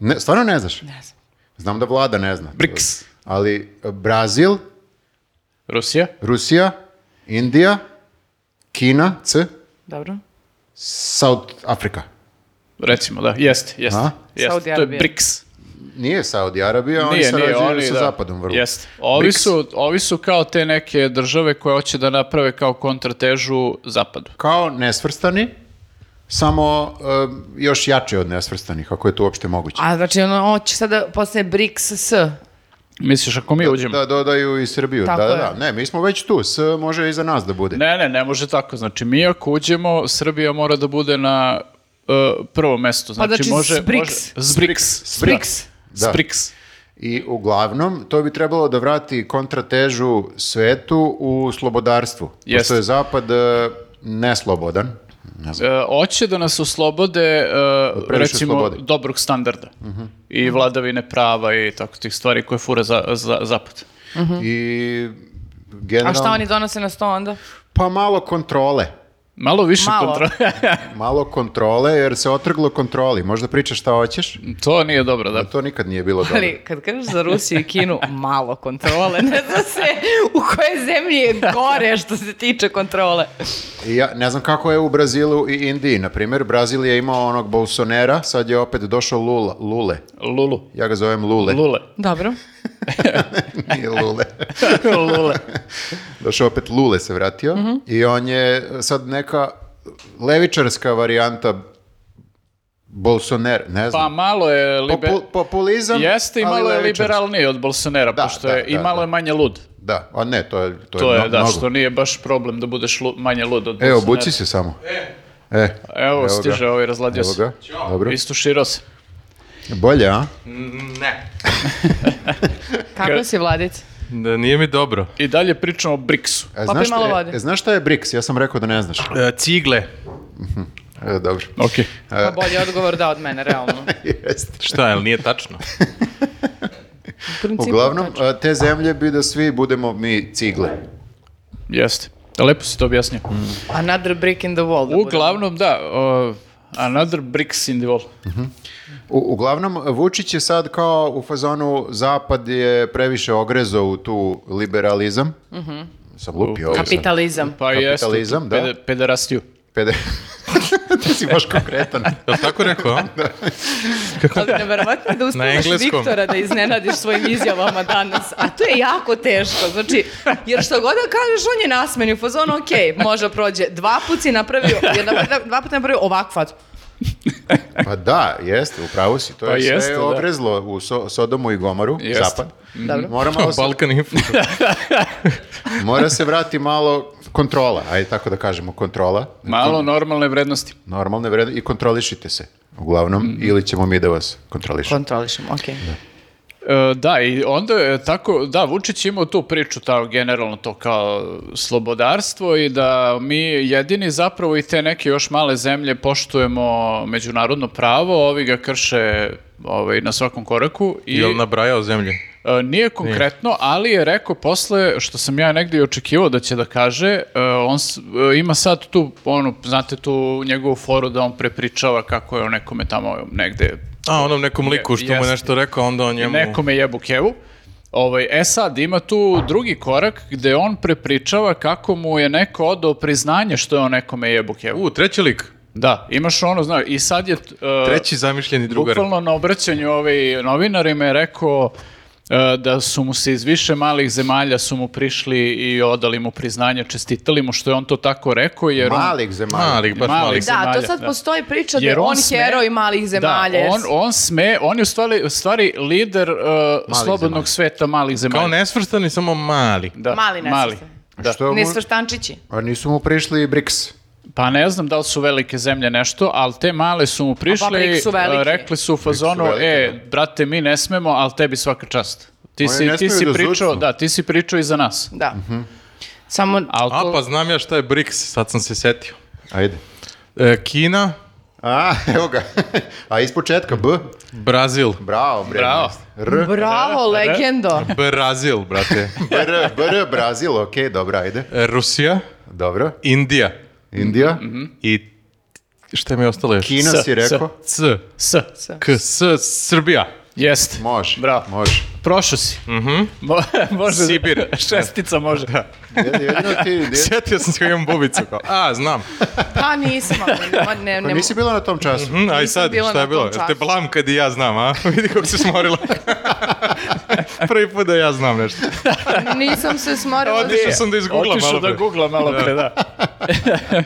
Speaker 3: Ne, stvarno ne znaš?
Speaker 1: Ne znam.
Speaker 3: Znam da vlada ne zna.
Speaker 4: BRICS.
Speaker 3: Ali e, Brazil,
Speaker 4: Rusija?
Speaker 3: Rusija, Indija, Kina, C,
Speaker 1: Dobro.
Speaker 3: South Afrika.
Speaker 4: Recimo, da. Jeste, jeste.
Speaker 3: A?
Speaker 4: jeste.
Speaker 1: Saudi
Speaker 4: To je
Speaker 1: Arabija.
Speaker 4: BRICS.
Speaker 3: Nije Saudi Arabija, oni sarađuju sa
Speaker 4: da.
Speaker 3: zapadom vrlo.
Speaker 4: Jeste. Ovi
Speaker 3: BRICS.
Speaker 4: su, ovi su kao te neke države koje hoće da naprave kao kontratežu zapadu.
Speaker 3: kao nesvrstani, samo e, još jače od nesvrstanih, ako je to uopšte moguće.
Speaker 1: A znači ono, on će sada postane BRICS S.
Speaker 4: Misliš ako mi uđemo?
Speaker 3: Da dodaju i Srbiju.
Speaker 1: Tako
Speaker 3: da, da,
Speaker 1: je.
Speaker 3: da. Ne, mi smo već tu, S može i za nas da bude.
Speaker 4: Ne, ne, ne može tako. Znači, mi ako uđemo, Srbija mora da bude na uh, prvom mestu. Znači,
Speaker 1: znači,
Speaker 4: može,
Speaker 1: Sbriks.
Speaker 4: Može, Sbriks.
Speaker 1: BRICS.
Speaker 3: Da.
Speaker 4: Sbriks.
Speaker 3: I uglavnom, to bi trebalo da vrati kontratežu svetu u slobodarstvu.
Speaker 4: Jeste.
Speaker 3: Pošto je zapad e, neslobodan. Ne znam.
Speaker 4: E, hoće da nas oslobode, uh,
Speaker 3: previše
Speaker 4: recimo,
Speaker 3: slobode. Mhm.
Speaker 4: dobrog standarda. I vladavine prava i tako tih stvari koje fura za, za, zapad.
Speaker 3: I
Speaker 1: Mhm. A
Speaker 3: generalno...
Speaker 1: šta oni donose na sto onda?
Speaker 3: Pa malo kontrole.
Speaker 4: Malo više
Speaker 1: Malo.
Speaker 4: kontrole.
Speaker 3: Malo kontrole, jer se otrglo kontroli. Možda pričaš šta hoćeš,
Speaker 4: to nije dobro, da.
Speaker 3: a to nikad nije bilo dobro.
Speaker 1: Ali kad kažeš za Rusiju i Kinu, malo kontrole. Ne zna se u kojoj zemlji je gore što se tiče kontrole.
Speaker 3: I Ja ne znam kako je u Brazilu i Indiji. Na primjer, Brazil je imao onog Bolsonera, sad je opet došao Lula, Lule.
Speaker 4: Lulu.
Speaker 3: Ja ga zovem Lule.
Speaker 4: Lule.
Speaker 1: Dobro.
Speaker 3: Nije Lule.
Speaker 4: Lule.
Speaker 3: Došao opet Lule se vratio.
Speaker 4: Mhm.
Speaker 3: I on je sad neka levičarska varijanta Bolsoner, ne
Speaker 4: Pa
Speaker 3: znam.
Speaker 4: malo je... Libe...
Speaker 3: Popu- populizam,
Speaker 4: Jeste i
Speaker 3: ali
Speaker 4: malo je
Speaker 3: levičarski.
Speaker 4: liberalniji od Bolsonera,
Speaker 3: Da,
Speaker 4: pošto
Speaker 3: da,
Speaker 4: je, i
Speaker 3: da,
Speaker 4: malo
Speaker 3: da.
Speaker 4: je manje lud.
Speaker 3: Da, a ne, to je, to
Speaker 4: To
Speaker 3: je,
Speaker 4: je,
Speaker 3: mno-
Speaker 4: da,
Speaker 3: mnogo.
Speaker 4: što nije baš problem da budeš lu- manje lud od
Speaker 3: E,
Speaker 4: Bolsonera.
Speaker 3: obuci se samo. E,
Speaker 4: Evo,
Speaker 3: Evo
Speaker 4: stiže
Speaker 3: ga.
Speaker 4: ovaj, razladio
Speaker 3: evo
Speaker 4: se.
Speaker 3: ga. Dobro.
Speaker 4: Istuširao se.
Speaker 3: Bolje, a?
Speaker 1: Pa
Speaker 2: Ne.
Speaker 1: Kako si vladic?
Speaker 2: Da, nije mi dobro.
Speaker 4: I dalje pričamo o Briksu.
Speaker 3: E,
Speaker 1: Pa
Speaker 3: znaš,
Speaker 1: pij malo
Speaker 3: e,
Speaker 1: vode.
Speaker 3: e, znaš šta je BRICS? Ja sam rekao da ne znaš.
Speaker 2: cigle.
Speaker 3: E, dobro.
Speaker 4: Ok.
Speaker 1: Pa bolji odgovor da od mene, realno.
Speaker 3: Jeste.
Speaker 2: Šta, jel nije tačno?
Speaker 1: U principu,
Speaker 3: Uglavnom,
Speaker 1: tačno.
Speaker 3: a, te zemlje bi da svi budemo mi cigle.
Speaker 4: Jeste. Lepo si to objasnio.
Speaker 3: Mm.
Speaker 1: Another brick in the wall. da budemo.
Speaker 4: Uglavnom, da, o, another bricks in the wall.
Speaker 3: U, uglavnom, Vučić je sad kao u fazonu Zapad je previše ogrezao u tu liberalizam.
Speaker 1: Mhm.
Speaker 3: Sam lupio ovo. sad.
Speaker 1: Kapitalizam.
Speaker 4: Pa jeste.
Speaker 3: Kapitalizam, da.
Speaker 4: pede- Pederastiju.
Speaker 3: Pede... Ti si baš konkretan.
Speaker 2: Je li tako rekao? a?
Speaker 1: Ali nevjerovatno je da
Speaker 2: Na
Speaker 1: uspiješ
Speaker 2: engleskom.
Speaker 1: Viktora da iznenadiš svojim izjavama danas. A to je jako teško. Znači, jer što god da kažeš, on je nasmeni u fazonu, ok, može prođe. Dva put si napravio, jedna, dva puta napravio ovakvu facu.
Speaker 3: Pa da, jeste, upravo si. To je
Speaker 4: Pa
Speaker 3: sve
Speaker 4: jeste, da.
Speaker 3: ogrezlo u so, Sodomu i Gomoru,
Speaker 4: Jeste.
Speaker 3: Zapad.
Speaker 1: Dobro.
Speaker 3: Mora, malo se,
Speaker 2: Balkan Info.
Speaker 3: mora se vrati malo kontrola, ajde tako da kažemo, kontrola.
Speaker 4: Malo normalne vrednosti.
Speaker 3: Normalne vrednosti i kontrolišite se uglavnom
Speaker 4: Mhm.
Speaker 3: ili ćemo mi da vas kontrolišemo.
Speaker 1: Kontrolišemo, ok.
Speaker 4: E, da, i onda je tako, da, Vučić je imao tu priču, ta, generalno to kao slobodarstvo i da mi jedini zapravo i te neke još male zemlje poštujemo međunarodno pravo, ovi ga krše ovaj, na svakom koraku. I,
Speaker 2: Je li nabrajao zemlje?
Speaker 4: E, nije konkretno, ali je rekao posle, što sam ja negdje i očekivao da će da kaže, e, on s- e, ima sad tu, ono, znate tu njegovu foru da on prepričava kako je o nekome tamo negde
Speaker 2: A, onom nekom liku što mu je
Speaker 4: jeste.
Speaker 2: nešto rekao, onda on njemu...
Speaker 4: nekome jebu kevu. Ovaj, e sad, ima tu drugi korak gde on prepričava kako mu je neko odao priznanje što je on nekome jebu kevu.
Speaker 2: U, treći lik.
Speaker 4: Da, imaš ono, znaš, i sad je... t- e,
Speaker 2: Treći zamišljeni drugar.
Speaker 4: Bukvalno na obraćanju ovaj novinarima je rekao e, da su mu se iz više malih zemalja su mu prišli i odali mu priznanje, čestitali mu što je on to tako rekao, jer on-
Speaker 3: Malih zemalja.
Speaker 2: Malih, baš
Speaker 4: Malih.
Speaker 2: malih.
Speaker 1: Da, to
Speaker 4: zemalja,
Speaker 1: sad
Speaker 4: da.
Speaker 1: postoji priča da
Speaker 4: Jer
Speaker 1: je on,
Speaker 4: sme-
Speaker 1: heroj malih zemalja.
Speaker 4: Da,
Speaker 1: jer
Speaker 4: on, on sme, on je u stvari, u stvari lider e, slobodnog
Speaker 3: zemalja.
Speaker 4: sveta malih zemalja.
Speaker 2: Kao nesvrstani, samo mali.
Speaker 4: Da,
Speaker 1: Mali nesvrstani.
Speaker 4: Da.
Speaker 3: Što mu-
Speaker 1: Nesvrstančići.
Speaker 3: A nisu mu prišli i BRICS.
Speaker 4: Pa ne znam da li su velike zemlje nešto, ali te male su mu
Speaker 1: A pa
Speaker 4: prišle
Speaker 1: Brik
Speaker 4: i
Speaker 1: su velike.
Speaker 4: e, rekli su u fazonu,
Speaker 3: Brik su velike,
Speaker 4: e, brate, mi ne smemo, ali tebi svaka čast. Ti
Speaker 3: Oni
Speaker 4: si,
Speaker 3: ne
Speaker 4: ti
Speaker 3: smeju
Speaker 4: si
Speaker 3: da
Speaker 4: pričao,
Speaker 3: zucnu.
Speaker 4: da, ti si pričao i za nas.
Speaker 1: Da.
Speaker 3: Mhm.
Speaker 1: Samo...
Speaker 4: Al to-
Speaker 2: A, pa znam ja šta je BRICS, sad sam se setio.
Speaker 3: Ajde.
Speaker 2: E, Kina,
Speaker 3: A, evo ga. A iz početka, B.
Speaker 2: Brazil.
Speaker 3: Bravo, bre.
Speaker 4: Bravo.
Speaker 3: R,
Speaker 1: Bravo, legendo.
Speaker 2: Brazil, brate.
Speaker 3: br, br, Brazil, okej, dobro, ajde.
Speaker 2: E, Rusija,
Speaker 3: Dobro.
Speaker 2: Indija
Speaker 3: Indija.
Speaker 2: i šta mi je ostalo još?
Speaker 3: Kina
Speaker 4: Mhm. S,
Speaker 3: si rekao.
Speaker 2: C,
Speaker 4: S.
Speaker 2: K, S, Srbija.
Speaker 4: Jeste.
Speaker 3: Može.
Speaker 4: Bravo.
Speaker 3: Može.
Speaker 4: Prošao si. Mo- može.
Speaker 2: Sibir.
Speaker 4: Šestica može.
Speaker 3: Jed- Jedino ti... jed-
Speaker 2: Sjetio sam se kako imam bubicu. Kao. A, znam.
Speaker 1: Pa nisam, ali ma ne,
Speaker 3: Pa
Speaker 1: ne,
Speaker 3: nisi bila na tom času.
Speaker 4: Mhm.
Speaker 2: Hm, aj
Speaker 1: Nisam
Speaker 2: sad,
Speaker 1: bila
Speaker 2: šta
Speaker 1: na
Speaker 2: je
Speaker 1: tom
Speaker 2: bilo? Jel te
Speaker 1: času.
Speaker 2: blam kad i ja znam, a? Vidi kako se smorila. Prvi put da ja znam nešto.
Speaker 1: nisam se smorila.
Speaker 2: Odi- Otišao sam da izgooglam malo
Speaker 4: Otišao da
Speaker 2: pre.
Speaker 4: googlam malo pre, da.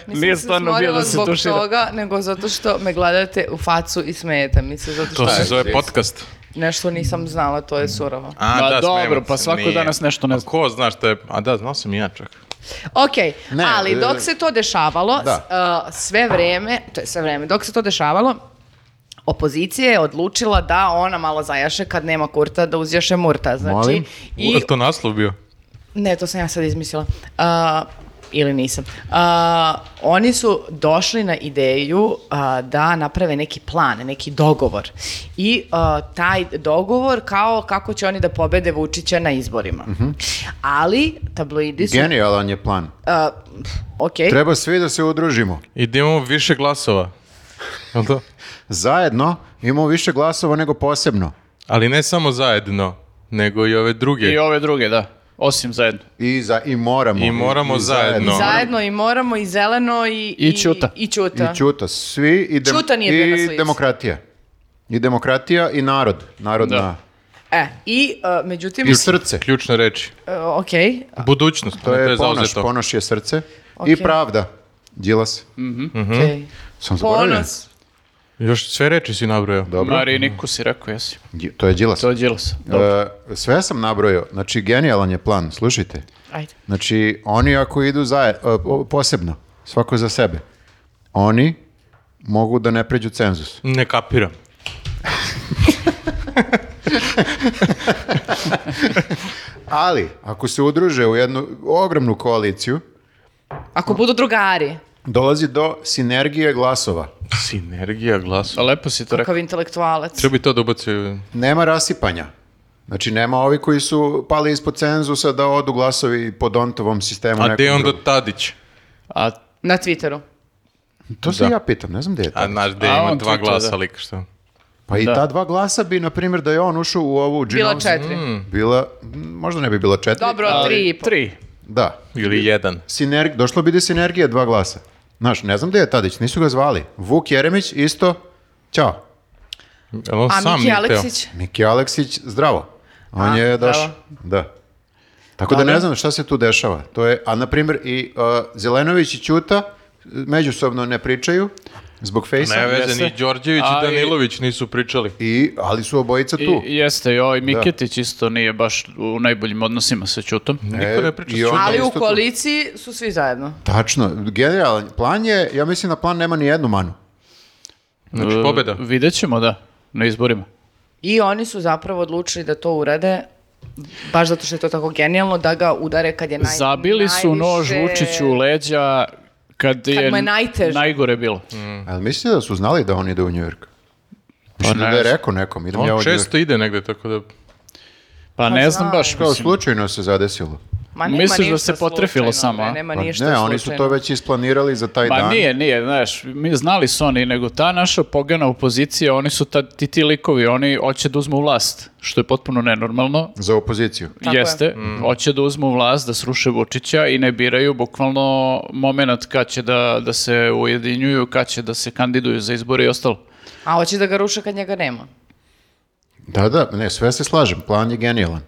Speaker 4: Nije
Speaker 1: Nisam
Speaker 4: stvarno bio
Speaker 1: smorila
Speaker 4: da se
Speaker 1: zbog
Speaker 4: tušira.
Speaker 1: toga, nego zato što me gledate u facu i smijete mi se, zato što
Speaker 2: To se
Speaker 3: je,
Speaker 2: zove
Speaker 3: Chris?
Speaker 2: podcast.
Speaker 1: nešto nisam znala, to je surovo.
Speaker 2: A,
Speaker 4: Ma
Speaker 2: da,
Speaker 4: dobro,
Speaker 2: smijemo
Speaker 4: pa
Speaker 2: se.
Speaker 4: svako danas nešto ne
Speaker 2: A
Speaker 4: zna.
Speaker 2: Ko zna šta je... A da, znao sam i ja čak.
Speaker 1: Ok,
Speaker 3: Ne,
Speaker 1: ali
Speaker 3: e,
Speaker 1: dok se to dešavalo,
Speaker 3: da.
Speaker 1: s- uh, sve vreme, to je sve vreme, dok se to dešavalo, opozicija je odlučila da ona malo zajaše kad nema kurta, da uzjaše murta. Znači,
Speaker 3: Molim?
Speaker 2: I...
Speaker 1: I
Speaker 2: to naslov bio?
Speaker 1: Ne, to sam ja sad izmislila. A, ili nisam. A, oni su došli na ideju a, da naprave neki plan, neki dogovor. I a, taj dogovor kao kako će oni da pobede Vučića na izborima.
Speaker 3: Mhm.
Speaker 1: Ali tabloidi su...
Speaker 3: Genijalan je plan.
Speaker 1: a, pf, ok.
Speaker 3: Treba svi da se udružimo.
Speaker 2: I da imamo više glasova. Jel to?
Speaker 3: Zajedno imamo više glasova nego posebno.
Speaker 2: Ali ne samo zajedno, nego i ove druge.
Speaker 4: I ove druge, da. Osim zajedno.
Speaker 3: I, za, i moramo.
Speaker 2: I moramo zajedno.
Speaker 1: I zajedno i moramo i zeleno i...
Speaker 4: I Ćuta.
Speaker 1: I, Ćuta.
Speaker 3: I Ćuta. Svi i, dem-
Speaker 1: Ćuta nije bio na
Speaker 3: i
Speaker 1: slici.
Speaker 3: demokratija. I demokratija i narod. Narodna.
Speaker 4: Da.
Speaker 1: E, i a, međutim... e,
Speaker 3: I srce.
Speaker 2: Ključne reči.
Speaker 1: a, ok,
Speaker 2: Budućnost.
Speaker 3: To je ponoš.
Speaker 2: zauzeto.
Speaker 3: Ponoš je srce. I
Speaker 1: Ok.
Speaker 3: pravda. Đilas.
Speaker 1: ok.
Speaker 3: Sam Mhm. zaboravio.
Speaker 1: Ponos.
Speaker 2: Još sve reči si nabrojao.
Speaker 3: Dobro.
Speaker 4: Mariniku si rekao, jesi.
Speaker 3: Đi- To je Đilas.
Speaker 4: To je Đilas.
Speaker 3: E, sve sam nabrojao. Znači, genijalan je plan. Slušajte.
Speaker 1: Ajde.
Speaker 3: Znači, oni ako idu zaje, e, po- posebno, svako za sebe, oni mogu da ne pređu cenzus.
Speaker 2: Ne kapiram.
Speaker 3: Ali, ako se udruže u jednu ogromnu koaliciju,
Speaker 1: Ako budu drugari.
Speaker 3: dolazi do sinergije glasova.
Speaker 2: Sinergija glasova.
Speaker 4: Lepo si to rekao.
Speaker 1: Kakav intelektualac.
Speaker 2: Treba bi to da ubacio.
Speaker 3: Nema rasipanja. Znači, nema ovi koji su pali ispod cenzusa da odu glasovi po Dontovom sistemu.
Speaker 2: A
Speaker 3: nekom
Speaker 2: gde je onda
Speaker 3: drugom.
Speaker 2: Tadić?
Speaker 4: A
Speaker 1: Na Twitteru.
Speaker 3: To se ja pitam, ne znam gde je
Speaker 2: A
Speaker 3: to.
Speaker 2: znaš gde
Speaker 4: A
Speaker 2: ima
Speaker 4: on
Speaker 2: dva
Speaker 4: tweetuje,
Speaker 2: glasa
Speaker 4: da.
Speaker 2: lika što?
Speaker 3: Pa i
Speaker 4: Da.
Speaker 3: ta dva glasa bi, na primjer, da je on ušao u ovu...
Speaker 1: Bila
Speaker 3: Džinovsku-
Speaker 1: četiri.
Speaker 2: Hmm.
Speaker 3: Bila, m, možda ne bi bila četiri.
Speaker 1: Dobro, tri i po.
Speaker 4: tri.
Speaker 3: Da.
Speaker 2: Ili jedan.
Speaker 3: Siner, došlo bi do sinergije dva glasa. Znaš, ne znam gde je Tadić, nisu ga zvali. Vuk Jeremić isto, ćao.
Speaker 2: Jel on
Speaker 1: A
Speaker 2: sam
Speaker 1: Miki
Speaker 2: nije teo?
Speaker 1: Aleksić?
Speaker 3: Miki Aleksić, zdravo. On
Speaker 1: A,
Speaker 3: je
Speaker 1: zdravo.
Speaker 3: došao. Da. Tako da ne znam šta se tu dešava. To je, a na primjer i uh, Zelenović i Ćuta međusobno ne pričaju zbog fejsa.
Speaker 2: Ne veze,
Speaker 4: Jeste.
Speaker 2: ni Đorđević
Speaker 4: A
Speaker 2: i
Speaker 4: i-
Speaker 2: Danilović nisu pričali.
Speaker 3: I, ali su obojica
Speaker 4: I,
Speaker 3: tu.
Speaker 4: jeste, i ovaj Miketić isto nije baš u najboljim odnosima sa Ćutom.
Speaker 2: Niko ne priča
Speaker 3: E, i on-
Speaker 2: s
Speaker 1: Ali
Speaker 3: Isto
Speaker 1: u
Speaker 3: tu.
Speaker 1: koaliciji su svi zajedno.
Speaker 3: Tačno. Generalan plan je, ja mislim da plan nema ni jednu manu.
Speaker 2: Ćutom. Znači, pobjeda.
Speaker 4: E, vidjet ćemo, da, na izborima.
Speaker 1: I oni su zapravo odlučili da to urade baš zato što je to tako genijalno da ga udare kad je naj,
Speaker 4: Zabili su nož
Speaker 1: najviše-
Speaker 4: Vučiću u leđa kad, je,
Speaker 1: mu je najteže.
Speaker 4: najgore bilo.
Speaker 2: Mm.
Speaker 3: Ali mislite da su znali da on ide u Njujork?
Speaker 4: Pa
Speaker 3: Mislim da
Speaker 4: ne
Speaker 3: je
Speaker 4: znam.
Speaker 3: rekao nekom, idem ja u
Speaker 2: On
Speaker 3: Njujork.
Speaker 2: često ide negde, tako da...
Speaker 4: Pa ne znam baš.
Speaker 3: Kao
Speaker 4: mislim.
Speaker 3: slučajno se zadesilo.
Speaker 1: Ma nema
Speaker 4: Misliš da
Speaker 1: ništa
Speaker 4: se
Speaker 1: slučajno,
Speaker 4: potrefilo samo, a?
Speaker 1: bre, Nema
Speaker 3: Pa
Speaker 1: ništa
Speaker 3: ne, oni su to
Speaker 1: slučajno.
Speaker 3: već isplanirali za taj
Speaker 4: Pa
Speaker 3: dan.
Speaker 4: nije, nije, znaš, mi znali su oni, nego ta naša pogana opozicija, oni su ta, ti ti likovi, oni hoće da uzmu vlast, što je potpuno nenormalno,
Speaker 3: Za opoziciju.
Speaker 1: Tako je.
Speaker 4: jeste,
Speaker 3: Mhm.
Speaker 4: hoće da uzmu vlast, da sruše Vučića i ne biraju bukvalno moment kad će da, da se ujedinjuju, kad će da se kandiduju za izbore i ostalo.
Speaker 1: A hoće da ga ruše kad njega nema.
Speaker 3: Da, da, ne, sve se slažem, plan je genijalan.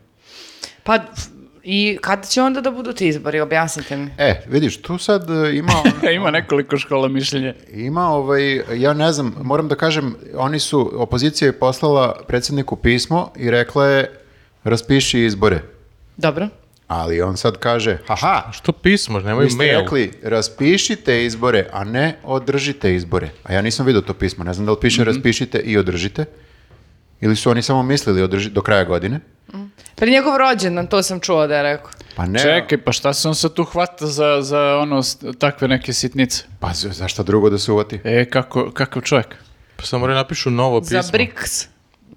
Speaker 1: Pa f- i kada će onda da budu ti izbori, objasnite mi.
Speaker 3: E, vidiš, tu sad e, ima,
Speaker 4: Ima nekoliko škola mišljenja.
Speaker 3: ima ovaj, ja ne znam, moram da kažem, oni su, opozicija je poslala predsjedniku pismo i rekla je raspiši izbore.
Speaker 1: Dobro.
Speaker 3: Ali on sad kaže, haha,
Speaker 2: Što pismo, nemaju
Speaker 3: vi ste
Speaker 2: mail.
Speaker 3: rekli raspišite izbore, a ne održite izbore. A ja nisam vidio to pismo, ne znam da li piše raspišite i održite. Ili su oni samo mislili održi, do kraja godine?
Speaker 1: Pre njegov rođendan, to sam čuo da je rekao.
Speaker 3: Pa ne,
Speaker 4: Čekaj, pa šta se on sad tu hvata za, za ono, s- takve neke sitnice?
Speaker 3: pa za- za šta drugo da se uvati?
Speaker 4: E, kako, kakav čovjek?
Speaker 2: Pa sam moraju napišu novo pismo.
Speaker 1: Za BRICS.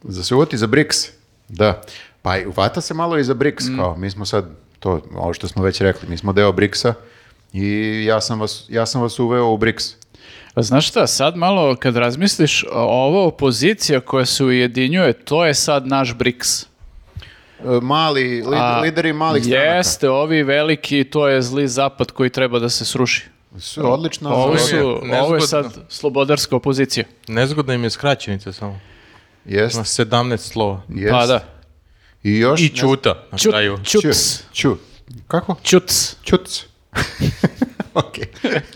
Speaker 3: Za se uvati za BRICS, da. Mm. Pa i uvata se malo i za BRICS, kao mi smo sad, to, ovo što smo već rekli, mi smo deo BRICS-a i ja sam vas, ja sam vas uveo u BRICS.
Speaker 4: A Znaš šta, sad malo kad razmisliš, o- ova opozicija koja se ujedinjuje, to je sad naš BRICS.
Speaker 3: E, Mali, lid-
Speaker 4: A
Speaker 3: lideri malih stranaka.
Speaker 4: Jeste, ovi veliki, to je zli zapad koji treba da se sruši.
Speaker 3: Su odlično.
Speaker 4: Ovo,
Speaker 2: je
Speaker 4: Pa su, ovo
Speaker 2: nezgodno.
Speaker 4: je sad slobodarska opozicija.
Speaker 2: Nezgodna im je skraćenica samo.
Speaker 3: Jest,
Speaker 2: Na 17 slova.
Speaker 3: jest.
Speaker 4: Pa da.
Speaker 3: I još...
Speaker 2: I Ćuta na
Speaker 4: Ćut,
Speaker 2: kraju.
Speaker 4: čuts,
Speaker 3: Ću. Kako?
Speaker 4: čuts.
Speaker 3: Ćuc. ok.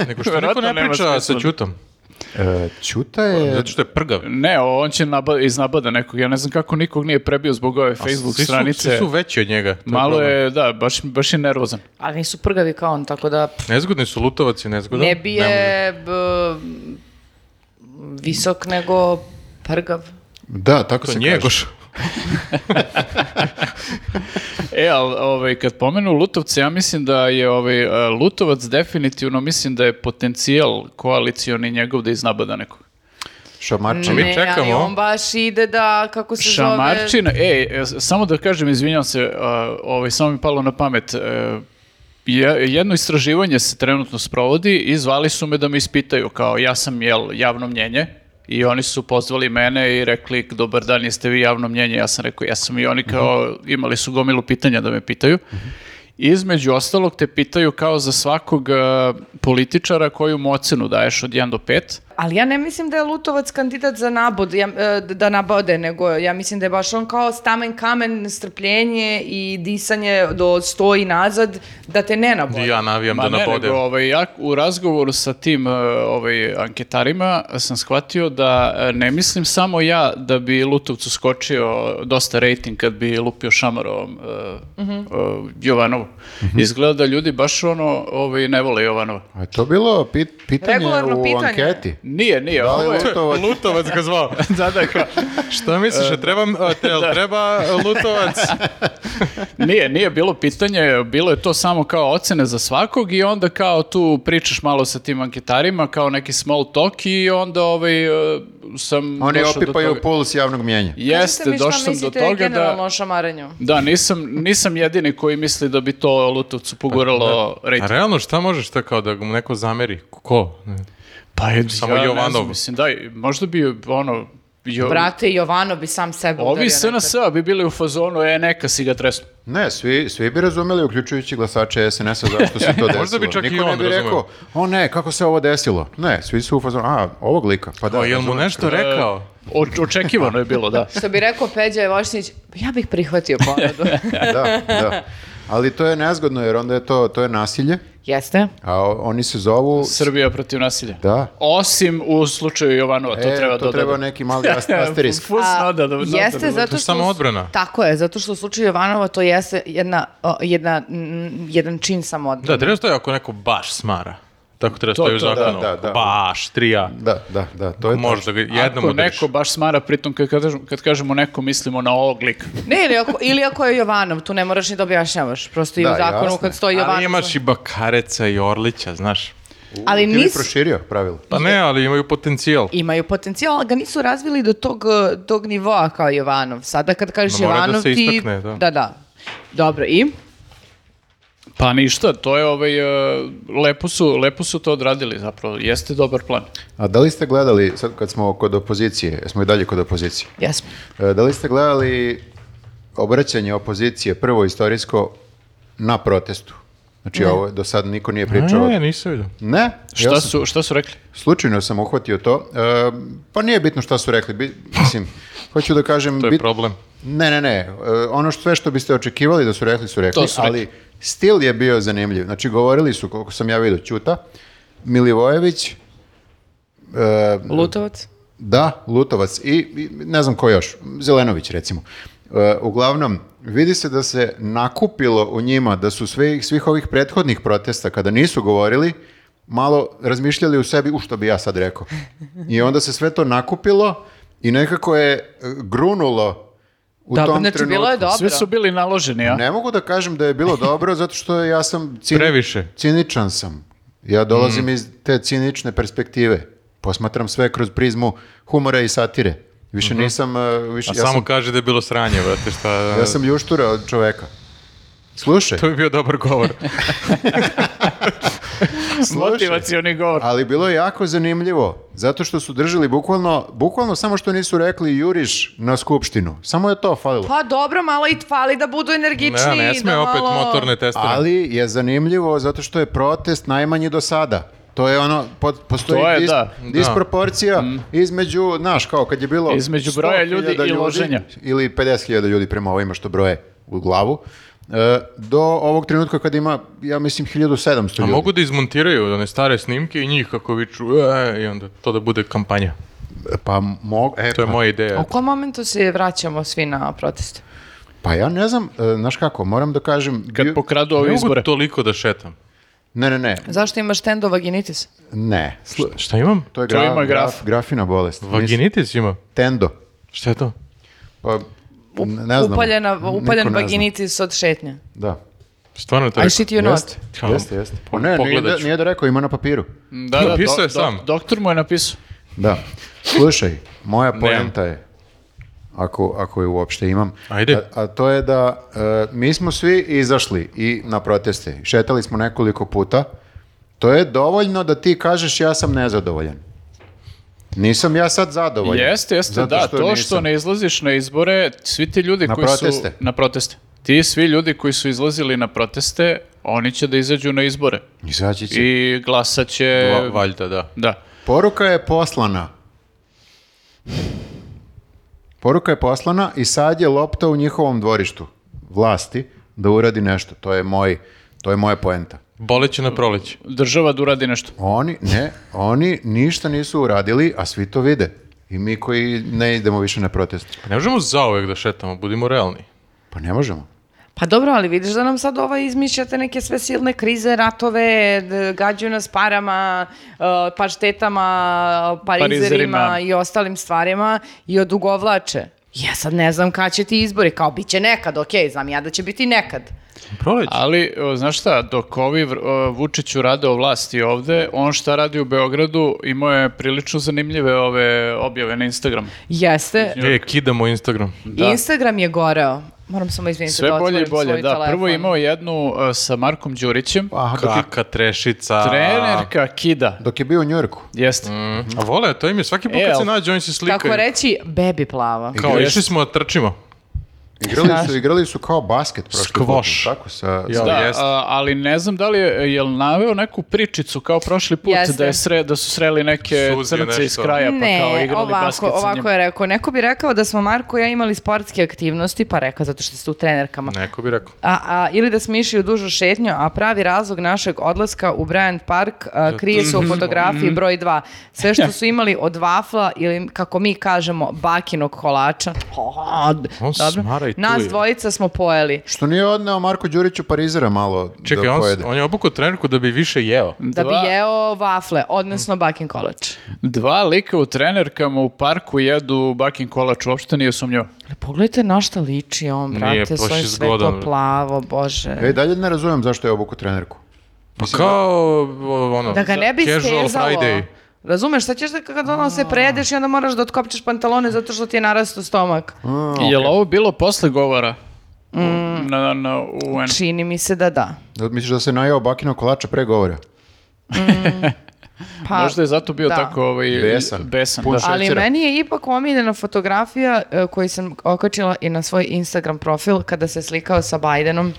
Speaker 2: Nego što niko
Speaker 4: Verovatno
Speaker 2: ne
Speaker 4: nema
Speaker 2: priča sa
Speaker 4: smisla.
Speaker 2: Ćutom.
Speaker 3: E, Ćuta je...
Speaker 2: Zato što je prgav.
Speaker 4: Ne, on će naba, iznabada nekog. Ja ne znam kako nikog nije prebio zbog ove Facebook
Speaker 2: Svi su-
Speaker 4: stranice.
Speaker 2: Svi su veći od njega. to
Speaker 4: Malo
Speaker 2: problem.
Speaker 4: je, da, baš, baš je nervozan.
Speaker 1: Ali nisu prgavi kao on, tako da pff,
Speaker 2: Nezgodni su Lutovac i nezgodan.
Speaker 1: ne bi
Speaker 2: Pa Ne
Speaker 1: je b, visok nego prgav.
Speaker 3: Da, tako
Speaker 2: može.
Speaker 3: se
Speaker 2: To
Speaker 3: kaže.
Speaker 2: njegoš.
Speaker 4: E, ali ovaj, kad pomenu Lutovce, ja mislim da je ovaj, e, Lutovac definitivno, mislim da je potencijal koalicioni njegov da iznabada nekog.
Speaker 3: Šamarčin.
Speaker 2: Mi
Speaker 1: Ne, ali
Speaker 2: čekamo.
Speaker 1: on baš ide da, kako se zove...
Speaker 4: Šamarčina, e, e, s- samo da kažem, izvinjam se, a, ovaj, samo mi palo na pamet, e, je- jedno istraživanje se trenutno sprovodi i zvali su me da me ispitaju, kao ja sam jel, javno mnjenje, I oni su pozvali mene i rekli, dobar dan, jeste vi javno mnjenje? Ja sam rekao, ja sam i oni kao,
Speaker 1: Mhm.
Speaker 4: imali su gomilu pitanja da me pitaju. Između ostalog te pitaju kao za svakog e, političara koju mu ocenu daješ od 1 do 5.
Speaker 1: Ali ja ne mislim da je Lutovac kandidat za nabod, ja, e, da nabode, nego ja mislim da je baš on kao stamen kamen, strpljenje i disanje do sto i nazad, da te ne nabode.
Speaker 2: I ja navijam
Speaker 4: Ma
Speaker 2: da
Speaker 4: ne,
Speaker 2: nabode.
Speaker 4: nego, ovaj, ja u razgovoru sa tim e, ovaj, anketarima sam shvatio da e, ne mislim samo ja da bi Lutovcu skočio dosta rejting kad bi lupio Šamarovom e, e, Jovanovu.
Speaker 3: Mhm.
Speaker 4: Izgleda da ljudi baš ono ovaj, ne vole Jovanova.
Speaker 3: A je to bilo pit- pitanje
Speaker 1: Regularno
Speaker 3: u
Speaker 1: pitanje.
Speaker 3: anketi.
Speaker 4: Nije, nije.
Speaker 3: Da
Speaker 4: ovo
Speaker 3: li
Speaker 4: je-
Speaker 3: Lutovac?
Speaker 2: Lutovac ga zvao.
Speaker 4: da, da, kao-
Speaker 2: Šta
Speaker 4: E,
Speaker 2: misliš, jel treba, a, te- jel treba Lutovac?
Speaker 4: Nije, nije bilo pitanje, bilo je to samo kao ocene za svakog i onda kao tu pričaš malo sa tim anketarima, kao neki small talk i onda ovaj, e, sam
Speaker 3: Oni
Speaker 4: došao do
Speaker 3: opipaju
Speaker 4: toga.
Speaker 3: puls javnog mjenja.
Speaker 4: Jeste,
Speaker 1: Kažite mi šta
Speaker 4: došao sam do
Speaker 1: mislite
Speaker 4: toga
Speaker 1: generalno
Speaker 4: da...
Speaker 1: o šamaranju.
Speaker 4: Da, nisam, nisam jedini koji misli da bi to Lutovcu poguralo
Speaker 2: A
Speaker 4: rejting.
Speaker 2: realno šta možeš to kao da mu neko zameri? Ko?
Speaker 4: Pa je,
Speaker 2: Samo
Speaker 4: ja ne
Speaker 2: Jovanov.
Speaker 4: znam, mislim, da, i možda bi ono... Jo, Pa
Speaker 1: Brate, Jovano bi sam sebe
Speaker 4: ovi
Speaker 1: udario
Speaker 4: SNS -a bi bili u fazonu, e, neka si ga tresnu.
Speaker 3: Ne, svi, svi bi razumeli, uključujući glasače SNS-a, zašto se to desilo.
Speaker 2: Možda bi čak i
Speaker 3: Niko ne
Speaker 2: on
Speaker 3: bi
Speaker 2: razumeo.
Speaker 3: rekao, o ne, kako se ovo desilo. Ne, svi su u fazonu, a, ovog lika, pa da.
Speaker 2: O, jel mu
Speaker 3: razumem.
Speaker 2: nešto rekao?
Speaker 4: O- očekivano je bilo, da.
Speaker 1: Što bi rekao Peđa Jevošnić, ja bih prihvatio ponudu.
Speaker 3: Da, da. Ali to je nezgodno, jer onda je to, to je nasilje,
Speaker 1: Jeste?
Speaker 3: a o- oni se zovu...
Speaker 4: Srbija protiv nasilja.
Speaker 3: Da.
Speaker 4: Osim u slučaju Jovanova, to
Speaker 3: E,
Speaker 4: treba
Speaker 3: to treba
Speaker 4: dodati.
Speaker 3: neki mali ast- asterisk.
Speaker 1: A,
Speaker 4: Fusnoda, da, da,
Speaker 1: jeste
Speaker 4: da, da.
Speaker 1: zato
Speaker 2: To
Speaker 1: što...
Speaker 2: je samo odbrana.
Speaker 1: Tako je, zato što u slučaju Jovanova to jeste jedna, o, jedna, mm, jedan čin samo odbrane.
Speaker 2: Da, treba stoji ako neko baš smara. Tako treba stoji u
Speaker 4: to, da,
Speaker 2: zakonu.
Speaker 3: da, da.
Speaker 2: Baš, trija.
Speaker 3: Da, da, da, to je to.
Speaker 2: Možda ga jednom
Speaker 4: Ako
Speaker 2: udariš.
Speaker 4: neko baš smara, pritom kad, kažem- kad kažemo neko, mislimo na ovog lika.
Speaker 1: Ne, ili ako, ili ako je Jovanov, tu ne moraš ni da objašnjavaš. Prosto i u
Speaker 3: Da,
Speaker 1: zakonu
Speaker 3: jasno.
Speaker 1: kad stoji Jovanov.
Speaker 2: Ali imaš i Bakareca i Orlića, znaš.
Speaker 1: ali
Speaker 3: Ti bi
Speaker 1: nis-
Speaker 3: proširio pravilo.
Speaker 2: Pa ne, ali imaju potencijal.
Speaker 1: imaju potencijal, ali ga nisu razvili do tog, eh, tog nivoa kao Jovanov. Sada kad kažeš
Speaker 2: Da mora da
Speaker 1: Jovanov
Speaker 2: se
Speaker 1: ti...
Speaker 2: istakne, da.
Speaker 1: da, da. Dobro, i?
Speaker 4: Pa ništa, to je ovaj, e, lepo, su, lepo su to odradili zapravo, jeste dobar plan.
Speaker 3: A da li ste gledali, sad kad smo kod opozicije, smo i dalje kod opozicije,
Speaker 1: Jesmo.
Speaker 3: e, da li ste gledali obraćanje opozicije, prvo istorijsko, na protestu? Znači, ovo je- do sad niko nije pričao.
Speaker 2: Ne, nisam vidio.
Speaker 3: Ne,
Speaker 4: Šta,
Speaker 3: ja sam-
Speaker 4: su, šta su rekli?
Speaker 3: slučajno sam uhvatio to. E, pa nije bitno šta su rekli, bi- mislim, hoću da kažem...
Speaker 2: To je
Speaker 3: bit-
Speaker 2: problem.
Speaker 3: Ne, ne, ne. E, ono što, sve što biste očekivali da su rekli su rekli,
Speaker 4: To su rekli.
Speaker 3: ali stil je bio zanimljiv. Znači, govorili su, koliko sam ja vidio, Ćuta, Milivojević, e,
Speaker 1: Lutovac?
Speaker 3: da, Lutovac i, i ne znam ko još, Zelenović recimo. E, uglavnom, vidi se da se nakupilo u njima da su svih, svih ovih prethodnih protesta, kada nisu govorili, malo razmišljali u sebi, u što bi ja sad rekao. I onda se sve to nakupilo i nekako je e, grunulo u
Speaker 1: Dobro,
Speaker 3: tom
Speaker 1: znači
Speaker 3: trenutku.
Speaker 1: bilo je dobro.
Speaker 4: Svi su bili naloženi, a?
Speaker 3: Ne mogu da kažem da je bilo dobro, zato što ja sam cini-
Speaker 2: Previše.
Speaker 3: ciničan sam. Ja
Speaker 2: Mm.
Speaker 3: dolazim iz te cinične perspektive. Posmatram sve kroz prizmu humora i satire. Više nisam... uh, Više,
Speaker 2: Mhm. A
Speaker 3: ja,
Speaker 2: samo
Speaker 3: sam,
Speaker 2: kaže da je bilo sranje, brate, šta...
Speaker 3: ja sam ljuštura od čoveka. Slušaj,
Speaker 2: To bi bio dobar govor.
Speaker 3: slušaj.
Speaker 4: Motivacioni govor.
Speaker 3: Ali bilo je jako zanimljivo, zato što su držali bukvalno, bukvalno samo što nisu rekli juriš na skupštinu. Samo je to falilo.
Speaker 1: Pa dobro, malo i fali da budu energični.
Speaker 2: ne, ne sme
Speaker 1: da
Speaker 2: opet
Speaker 1: malo-
Speaker 2: motorne testere.
Speaker 3: Ali je zanimljivo zato što je protest najmanji do sada. To je ono, pod, postoji
Speaker 4: To je,
Speaker 3: dis-
Speaker 4: da. Mm.
Speaker 3: disproporcija između, znaš, kao kad je bilo
Speaker 4: Između broja
Speaker 3: 100.000
Speaker 4: ljudi i loženja.
Speaker 3: Ili 50.000 ljudi prema ovima što broje u glavu. e, do ovog trenutka kad ima, ja mislim, 1700
Speaker 2: A
Speaker 3: ljudi.
Speaker 2: mogu da izmontiraju one stare snimke i njih kako viču, e, i onda to da bude kampanja.
Speaker 3: Pa, mogu, e,
Speaker 2: To je
Speaker 3: pa,
Speaker 2: moja ideja.
Speaker 1: U kom momentu se vraćamo svi na protest?
Speaker 3: pa ja ne znam, e, znaš kako, moram da kažem...
Speaker 4: Kad
Speaker 3: bio-
Speaker 4: pokradu
Speaker 2: Ne
Speaker 4: ove
Speaker 2: mogu
Speaker 4: izbore.
Speaker 2: toliko da šetam.
Speaker 3: Ne, ne, ne,
Speaker 1: Zašto imaš tendovaginitis?
Speaker 3: ne. slu-
Speaker 2: Šta imam?
Speaker 3: To je
Speaker 4: To
Speaker 3: gra-
Speaker 4: ima graf.
Speaker 3: graf- grafina bolest. Mislim,
Speaker 2: Vaginitis ima.
Speaker 3: Tendo.
Speaker 2: Šta je to?
Speaker 3: Pa, n- ne znam.
Speaker 1: Upaljena,
Speaker 3: Niko
Speaker 1: upaljen
Speaker 3: ne zna.
Speaker 1: vaginitis od šetnje.
Speaker 3: Da.
Speaker 2: Stvarno to
Speaker 1: I shit you not.
Speaker 3: Jeste,
Speaker 2: Kao,
Speaker 3: jeste, jeste.
Speaker 2: po-
Speaker 3: Pa ne, nije
Speaker 2: pogledat
Speaker 3: da,
Speaker 2: ću.
Speaker 3: nije da rekao, ima na papiru.
Speaker 4: Da, da,
Speaker 2: Napisao je
Speaker 4: dok-
Speaker 2: sam.
Speaker 4: dok- doktor mu je napisao.
Speaker 3: Da. Slušaj, moja poenta je, ako, ako je uopšte imam,
Speaker 2: Ajde.
Speaker 3: A, a to je da e, mi smo svi izašli i na proteste. Šetali smo nekoliko puta. To je dovoljno da ti kažeš ja sam nezadovoljan. Nisam ja sad zadovoljan.
Speaker 4: Jeste, jeste,
Speaker 3: Zato
Speaker 4: da, to što
Speaker 3: nisam.
Speaker 4: ne izlaziš na izbore, svi ti ljudi
Speaker 3: Na
Speaker 4: koji
Speaker 3: proteste.
Speaker 4: su na proteste. Ti svi ljudi koji su izlazili na proteste, oni će da izađu na izbore
Speaker 3: Izaći će.
Speaker 4: i glasat će
Speaker 2: Va- E, valjda, da.
Speaker 4: da.
Speaker 3: Poruka je poslana. Poruka je poslana i sad je lopta u njihovom dvorištu vlasti da uradi nešto. To je moj, to je moja poenta.
Speaker 2: Boleće na proleće.
Speaker 4: Država da uradi nešto.
Speaker 3: Oni ne, oni ništa nisu uradili, a svi to vide. I mi koji ne idemo više na protest.
Speaker 2: Pa ne možemo zauvek da šetamo, budimo realni.
Speaker 3: Pa ne možemo.
Speaker 1: Pa dobro, ali vidiš da nam sad ova izmišljate neke sve silne krize, ratove, d- gađaju nas parama, uh, paštetama, parizerima,
Speaker 4: Parizerima.
Speaker 1: i ostalim stvarima i odugovlače. Ja sad ne znam kada će ti izbori, kao bit će nekad, okej, znam ja da će biti nekad.
Speaker 2: Proleć.
Speaker 4: Ali, o, znaš šta, dok ovi vr- o, Vučiću rade o vlasti ovde, on šta radi u Beogradu, imao je prilično zanimljive ove objave na Instagramu.
Speaker 1: Jeste,
Speaker 2: E, kidamo Instagram.
Speaker 1: Instagram je goreo. Moram samo izviniti
Speaker 4: Sve
Speaker 1: da
Speaker 4: bolje i
Speaker 1: otvorim svoj
Speaker 4: bolje, da.
Speaker 1: telefon.
Speaker 4: Prvo je imao jednu e, sa Markom Đurićem,
Speaker 3: Aha, dok je,
Speaker 2: Kaka trešica.
Speaker 4: trenerka Kida.
Speaker 3: dok je bio u Njorku.
Speaker 4: Jeste.
Speaker 2: Mm. A vole, to im je svaki put
Speaker 4: E,
Speaker 2: kad se
Speaker 4: al-
Speaker 2: nađe, oni se slikaju.
Speaker 1: Kako reći, bebi plava.
Speaker 2: Kao,
Speaker 4: Jeste.
Speaker 2: išli smo da trčimo.
Speaker 3: Igrali su, igrali su kao basket prošli put,
Speaker 2: Skvoš.
Speaker 3: Tako sa...
Speaker 2: Ja.
Speaker 4: Da,
Speaker 2: Jeste.
Speaker 4: a, ali ne znam da li je, jel naveo neku pričicu kao prošli put
Speaker 1: Jeste.
Speaker 4: da, je sre, da su sreli neke
Speaker 2: Suzio
Speaker 4: crnce iz
Speaker 2: nešto.
Speaker 4: kraja pa
Speaker 1: ne,
Speaker 4: kao igrali basket
Speaker 1: ovako,
Speaker 4: sa
Speaker 1: ovako
Speaker 4: njim.
Speaker 1: je rekao. Neko bi rekao da smo Marko i ja imali sportske aktivnosti, pa rekao zato što ste u trenerkama.
Speaker 4: Pa.
Speaker 2: Neko bi rekao.
Speaker 1: A, a, ili da smo išli u dužu šetnju, a pravi razlog našeg odlaska u Bryant Park a, krije se u
Speaker 4: Mhm.
Speaker 1: fotografiji broj 2. Sve što su imali od vafla ili, kako mi kažemo, bakinog kolača.
Speaker 4: Pa,
Speaker 1: O, d-
Speaker 2: On smara i tu
Speaker 1: Nas
Speaker 2: je.
Speaker 1: dvojica smo pojeli.
Speaker 3: Što nije odneo Marko Đuriću Parizera malo
Speaker 2: Čekaj,
Speaker 3: da
Speaker 2: on,
Speaker 3: pojede.
Speaker 2: on je obukao trenerku da bi više jeo.
Speaker 1: Da bi
Speaker 4: Dva-
Speaker 1: jeo vafle, odnosno bakin kolač.
Speaker 4: Dva lika u trenerkama u parku jedu bakin kolač, uopšte nije sumnjivo.
Speaker 1: Ali pogledajte na šta liči on,
Speaker 2: Nije,
Speaker 1: brate,
Speaker 2: baš
Speaker 1: svoj
Speaker 2: je zgodan,
Speaker 1: svetlo
Speaker 2: bre.
Speaker 1: plavo, bože.
Speaker 3: Ja i E, dalje ne razumem zašto je obuku trenerku.
Speaker 2: Pa kao, o, ono,
Speaker 1: Da ga ne bi
Speaker 2: casual
Speaker 1: stezalo.
Speaker 2: Friday.
Speaker 1: Razumeš, šta ćeš da kad ono se prejedeš i onda moraš da otkopčeš pantalone zato što ti je narastu stomak.
Speaker 4: Jel ovo bilo posle govora? u-
Speaker 1: Mm.
Speaker 4: Na, na UN.
Speaker 1: Čini mi se da da.
Speaker 3: Da, Misliš da se najeo bakino kolača pre govora?
Speaker 1: Pa,
Speaker 4: Možda je zato bio
Speaker 1: da.
Speaker 4: tako ovaj,
Speaker 3: Besan. Pun
Speaker 4: da.
Speaker 3: šećera.
Speaker 1: Ali meni je ipak omiljena fotografija e, koju sam okačila i na svoj Instagram profil kada se slikao sa Bajdenom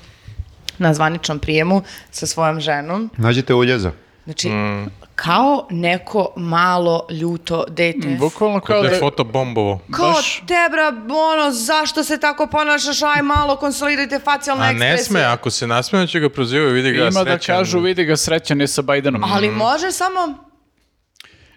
Speaker 1: na zvaničnom prijemu sa svojom ženom.
Speaker 3: Nađite uljeza.
Speaker 1: Znači,
Speaker 2: Mm.
Speaker 1: kao neko malo ljuto dete.
Speaker 4: Bukvalno kao
Speaker 2: Kao da
Speaker 4: da...
Speaker 2: je fotobombovo.
Speaker 1: Kao
Speaker 4: baš-
Speaker 1: tebra, ono, zašto se tako ponašaš, aj malo konsolidujte facijalne
Speaker 2: A ne
Speaker 1: ekspresije.
Speaker 2: sme, ako se nasmije, će ga prozivaju, vidi ga
Speaker 4: Ima da
Speaker 2: srećan.
Speaker 4: kažu, vidi ga srećan je sa Bajdenom.
Speaker 1: Ali može samo...
Speaker 4: Mm.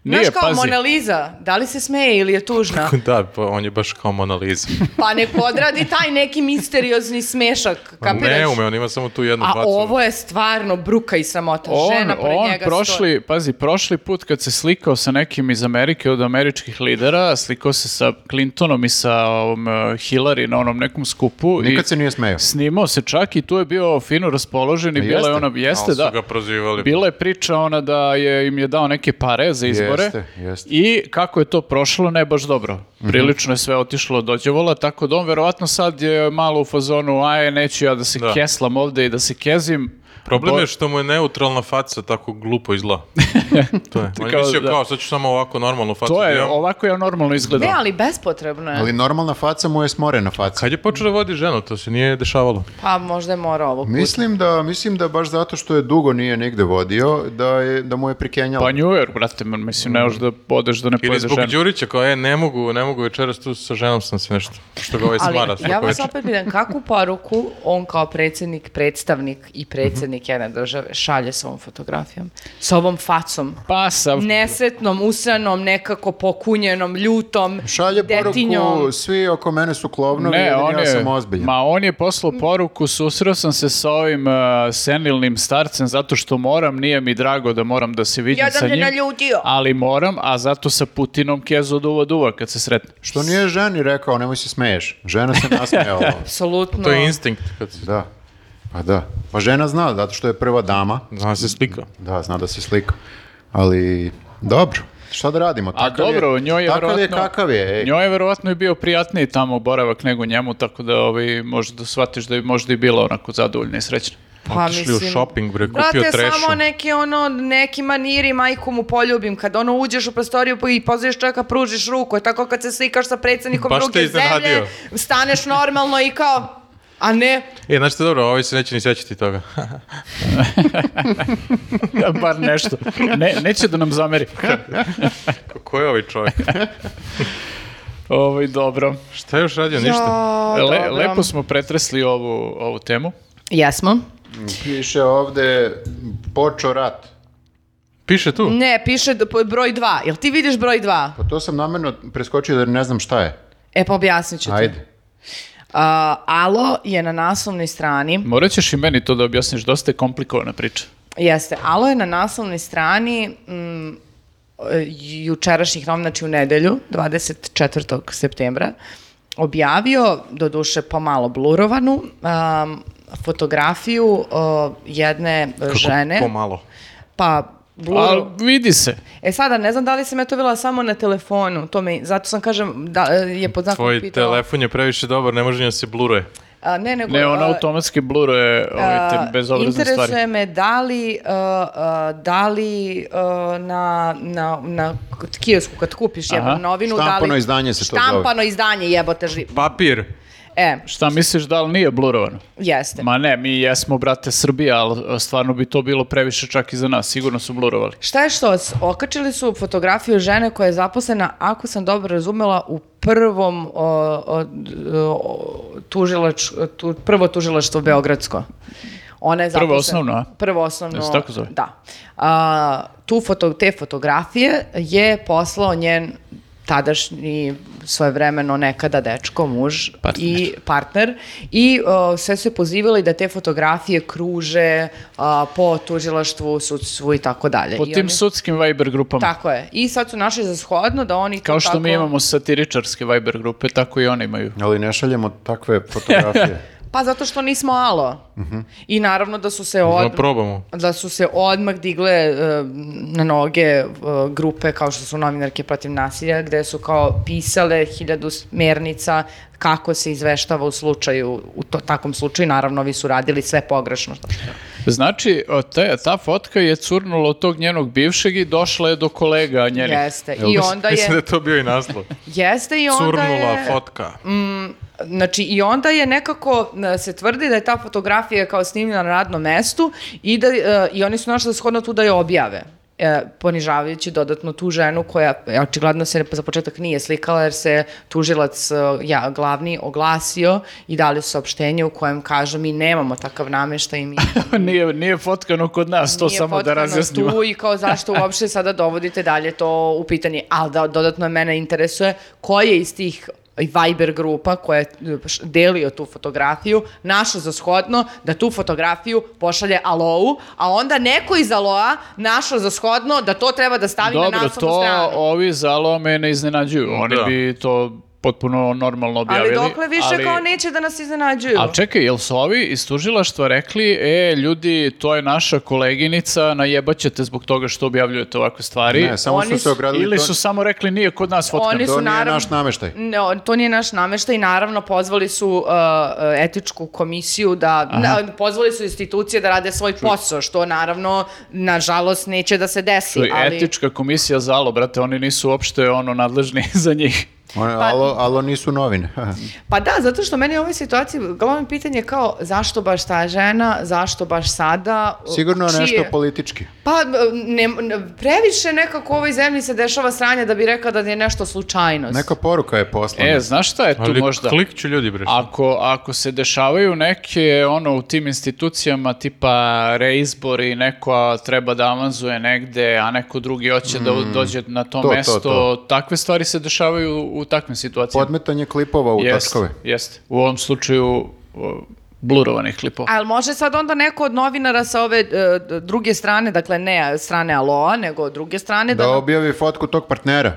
Speaker 4: Nije,
Speaker 1: Znaš kao
Speaker 4: pazi.
Speaker 1: Mona Lisa, da li se smeje ili je tužna?
Speaker 2: Da, pa on je baš kao Mona Lisa.
Speaker 1: Pa nek odradi taj neki misteriozni smešak,
Speaker 4: Pa
Speaker 1: kapiraš?
Speaker 2: Ne ume, on ima samo tu jednu
Speaker 1: A
Speaker 2: facu.
Speaker 1: ovo je stvarno bruka i samota. Žena pored
Speaker 4: on
Speaker 1: njega
Speaker 4: prošli,
Speaker 1: stoji.
Speaker 4: pazi, prošli put kad se slikao sa nekim iz Amerike od američkih lidera, slikao se sa Clintonom i sa ovom, e, Hillary na onom nekom skupu.
Speaker 3: Nikad
Speaker 4: i
Speaker 3: se nije smejao.
Speaker 4: Snimao se čak i tu je bio fino raspoložen i
Speaker 3: A
Speaker 4: bila je
Speaker 3: jeste?
Speaker 4: ona, jeste
Speaker 2: Ali su
Speaker 4: da,
Speaker 2: ga prozivali.
Speaker 4: bila je priča ona da je, im je dao neke pare za izbore
Speaker 3: Jeste, jeste.
Speaker 4: i kako je to prošlo, ne baš dobro.
Speaker 2: Mhm.
Speaker 4: Prilično je sve otišlo dođevola, tako da on verovatno sad je malo u fazonu, aj neću ja da se
Speaker 2: Da.
Speaker 4: keslam ovde i da se kezim.
Speaker 2: Problem
Speaker 4: Bo-
Speaker 2: je što mu je neutralna faca tako glupo izla. to je. On je
Speaker 4: Kao
Speaker 2: mislio
Speaker 4: da-
Speaker 2: kao, sad ću samo ovako normalnu facu.
Speaker 4: To
Speaker 2: da
Speaker 4: je,
Speaker 2: imam.
Speaker 4: ovako ja normalno izgledam.
Speaker 1: Ne, ali bespotrebno je.
Speaker 3: Ali normalna faca mu je smorena faca.
Speaker 2: Kad je počeo da vodi ženu, to se nije dešavalo.
Speaker 1: Pa možda je morao ovo put.
Speaker 3: Mislim da, mislim da baš zato što je dugo nije nigde vodio, da, je, da mu je prikenjalo.
Speaker 4: Pa New York, brate, man, mislim, ne možeš da odeš da ne
Speaker 2: Ili
Speaker 4: pojedeš
Speaker 2: zbog
Speaker 4: ženu.
Speaker 2: Đurića koja je, ne mogu, ne mogu večeras tu sa ženom sam se nešto. Što ga ovaj smara
Speaker 1: Ali ja
Speaker 2: svako
Speaker 1: vas
Speaker 2: večer.
Speaker 1: opet pitam, kakvu poruku on kao predsjednik, predstavnik i predsjednik jedne države šalje s ovom fotografijom? S ovom facom?
Speaker 4: Pa sa...
Speaker 1: Nesretnom, usranom, nekako pokunjenom, ljutom,
Speaker 3: Šalje
Speaker 1: detinjom.
Speaker 3: poruku, svi oko mene su klovnovi,
Speaker 4: Ne,
Speaker 3: jedini
Speaker 4: on
Speaker 3: ja
Speaker 4: je,
Speaker 3: sam ozbiljan.
Speaker 4: ma on je poslao poruku, susreo sam se sa ovim uh, senilnim starcem zato što moram, nije mi drago da moram da se vidim sa
Speaker 1: Jedan je
Speaker 4: njim,
Speaker 1: naljutio.
Speaker 4: ali moram, a zato sa Putinom kezu od uva do uva kad se sretne.
Speaker 3: Što nije ženi rekao, nemoj se smeješ. Žena se nasmejala.
Speaker 1: Apsolutno.
Speaker 2: To je instinkt. Kad se,
Speaker 3: da. Pa da. Pa žena zna, zato što je prva dama.
Speaker 2: zna se slika.
Speaker 3: Da, zna da se slika. Ali, dobro. Šta da radimo?
Speaker 4: A
Speaker 3: Takav
Speaker 4: dobro, njoj je
Speaker 3: Takav je
Speaker 4: verovatno-
Speaker 3: kakav je. Ej.
Speaker 4: Njoj je verovatno i bio prijatniji tamo boravak nego njemu, tako da ovaj, možda da shvatiš da je možda i bila onako zadovoljna i srećna.
Speaker 1: Pa
Speaker 2: Otišli u
Speaker 1: mislim-
Speaker 2: shopping, bre, kupio
Speaker 1: Brate,
Speaker 2: trešu.
Speaker 1: samo neki ono, neki maniri, majku mu poljubim. Kad ono uđeš u prostoriju i pozdraviš čovjeka, pružiš ruku. Je Tako kad se slikaš sa predsjednikom
Speaker 2: Baš te
Speaker 1: druge zemlje,
Speaker 2: iznenadio.
Speaker 1: staneš normalno i kao, a ne,
Speaker 2: E, znaš te dobro, ovaj se neće ni sećati toga.
Speaker 4: Bar nešto. Ne, neće da nam zameri.
Speaker 2: Ko je ovaj čovjek?
Speaker 4: Ovaj, dobro.
Speaker 2: Šta je još radio? Ništa.
Speaker 1: "Jo,
Speaker 4: Le,
Speaker 1: Pa dobro."
Speaker 4: lepo smo pretresli ovu, ovu temu.
Speaker 1: Jesmo.
Speaker 3: Piše ovde, počeo rat.
Speaker 2: Piše tu.
Speaker 1: Ne, piše d- po- broj 2. Jel ti vidiš broj 2?
Speaker 3: Pa to sam namjerno preskočio da ne znam šta je.
Speaker 1: E pa objasnit ću ti.
Speaker 3: Ajde.
Speaker 1: A, Alo je na naslovnoj strani,
Speaker 4: Morat ćeš i meni to da objasniš, dosta je komplikovana priča.
Speaker 1: jeste, Alo je na naslovnoj strani mm, e, jučerašnjih novina, znači u nedelju, 24. septembra, objavio, doduše pomalo blurovanu, um, fotografiju uh, jedne žene.
Speaker 2: Pomalo.
Speaker 1: Pa, blur...
Speaker 4: Ali vidi se.
Speaker 1: E sada, ne znam da li sam ja to videla samo na telefonu, to me, zato sam kažem, da, e, je pod znakom
Speaker 2: Tvoj
Speaker 1: pitala.
Speaker 2: telefon je previše dobar, ne može ni da se bluruje.
Speaker 1: A, ne, nego,
Speaker 4: Ne, ona
Speaker 1: a,
Speaker 4: automatski bluruje ove te
Speaker 1: a,
Speaker 4: bezobrazne
Speaker 1: interesuje
Speaker 4: stvari.
Speaker 1: me da li, a, a, da li a, na, na, na kiosku kad kupiš jednu
Speaker 4: Aha.
Speaker 1: novinu, da
Speaker 3: Štampano
Speaker 1: li,
Speaker 3: izdanje se to zove.
Speaker 1: štampano izdanje jebote živ.
Speaker 2: Papir.
Speaker 1: E,
Speaker 4: Šta misliš da li nije blurovano?
Speaker 1: jeste.
Speaker 4: Ma ne, mi jesmo, brate, Srbija, ali stvarno bi to bilo previše čak i za nas. Sigurno su blurovali.
Speaker 1: Šta je što? Okačili su fotografiju žene koja je zaposlena, ako sam dobro razumela, u prvom o, o, o, tužilač, tu, prvo tužilaštvo Beogradsko. Ona je
Speaker 4: Prvo
Speaker 1: zaposlena-
Speaker 4: osnovno, a?
Speaker 1: Prvo osnovno,
Speaker 4: Jel se tako zove?
Speaker 1: da. A, tu foto, te fotografije je poslao njen tadašnji svojevremeno nekada dečko, muž
Speaker 4: Partner.
Speaker 1: i partner i uh, sve su je pozivali da te fotografije kruže uh, po tužilaštvu, sudstvu i tako dalje.
Speaker 4: Po
Speaker 1: E, I
Speaker 4: tim
Speaker 1: oni-
Speaker 4: sudskim Viber grupama.
Speaker 1: Tako je. I sad su našli za shodno da oni... to
Speaker 4: Kao što mi
Speaker 1: tako-
Speaker 4: imamo satiričarske Viber grupe, tako i one imaju.
Speaker 3: Ali ne šaljemo takve fotografije.
Speaker 1: Pa zato što nismo alo. I naravno da su se od...
Speaker 2: Da probamo.
Speaker 1: da su se odmah digle e, na noge e, grupe kao što su novinarke protiv nasilja gde su kao pisale hiljadu smernica kako se izveštava u slučaju u to, takvom slučaju naravno ovi su radili sve pogrešno šta šta.
Speaker 4: Znači, o, te- ta fotka je curnula od tog njenog bivšeg i došla je do kolega njenih.
Speaker 1: jeste i onda
Speaker 2: Mislim da
Speaker 1: je
Speaker 2: je to bio i naslov.
Speaker 1: jeste i onda
Speaker 2: Curnula
Speaker 1: je
Speaker 2: fotka.
Speaker 1: Znači, i onda je nekako e, se tvrdi da je ta fotografija kao snimljena na radnom mestu i, da, e, i oni su našli da shodno tu da je objave. E, ponižavajući dodatno tu ženu koja e, očigledno se za početak nije slikala jer se tužilac e, ja, glavni oglasio i dali su saopštenje u kojem kažu mi nemamo takav nameštaj mi
Speaker 4: nije, nije fotkano kod nas, to
Speaker 1: nije
Speaker 4: samo da
Speaker 1: potrebno
Speaker 4: razjasnimo.
Speaker 1: tu i kao zašto uopšte sada dovodite dalje to u pitanje. Ali da dodatno mene interesuje koje iz tih Viber grupa koja je š- delio tu fotografiju, našla za shodno da tu fotografiju pošalje Alou, a onda neko iz Aloa našao za shodno da to treba da stavi na
Speaker 4: Dobro,
Speaker 1: naslovnu
Speaker 4: to
Speaker 1: stranu.
Speaker 4: ovi zalo me ne iznenađuju. Oni
Speaker 2: Da.
Speaker 4: bi to potpuno normalno
Speaker 1: Ali
Speaker 4: objavili.
Speaker 1: dokle više
Speaker 4: ali-
Speaker 1: kao neće da nas iznenađuju.
Speaker 4: Ali čekaj, jel su ovi iz tužilaštva rekli, e, ljudi, to je naša koleginica, najebaćete zbog toga što objavljujete ovakve stvari?
Speaker 3: Ne, samo
Speaker 1: Oni
Speaker 3: su
Speaker 1: su-
Speaker 3: se ogradili.
Speaker 4: Ili
Speaker 3: to-
Speaker 4: su samo rekli, nije kod nas fotkano?
Speaker 1: Oni
Speaker 3: To
Speaker 1: su
Speaker 3: nije
Speaker 1: naravno-
Speaker 3: naš nameštaj.
Speaker 1: Ne, on- to nije naš nameštaj. Naravno, pozvali su uh, uh, etičku komisiju da, na- pozvali su institucije da rade svoj posao, što naravno, nažalost, neće da se desi.
Speaker 4: Čuj,
Speaker 1: ali...
Speaker 4: Etička komisija zalo, brate, oni nisu uopšte ono nadležni za njih.
Speaker 3: One, alo, alo nisu novine.
Speaker 1: Pa da, zato što meni u ovoj situaciji glavno pitanje je kao zašto baš ta žena, zašto baš sada?
Speaker 3: Sigurno
Speaker 1: čije-
Speaker 3: nešto politički.
Speaker 1: Pa ne, ne- previše nekako u ovoj zemlji se dešava sranje da bi rekao da je nešto slučajnost.
Speaker 3: Neka poruka je poslana.
Speaker 4: E, znaš šta je tu
Speaker 2: Ali
Speaker 4: možda?
Speaker 2: klik ću ljudi, bre.
Speaker 4: Ako, ako se dešavaju neke ono u tim institucijama tipa reizbori, neko treba da avanzuje negde, a neko drugi hoće da u- dođe na to,
Speaker 3: Mm. To, to,
Speaker 4: mesto,
Speaker 3: to.
Speaker 4: takve stvari se dešavaju u, u takvim situacijama.
Speaker 3: Podmetanje klipova u
Speaker 4: Jest,
Speaker 3: tačkove.
Speaker 4: jest. U ovom slučaju o, blurovanih klipova.
Speaker 1: Ali može sad onda neko od novinara sa ove e, d- druge strane, dakle ne strane Aloa, nego od druge strane da,
Speaker 3: Da objavi fotku tog partnera.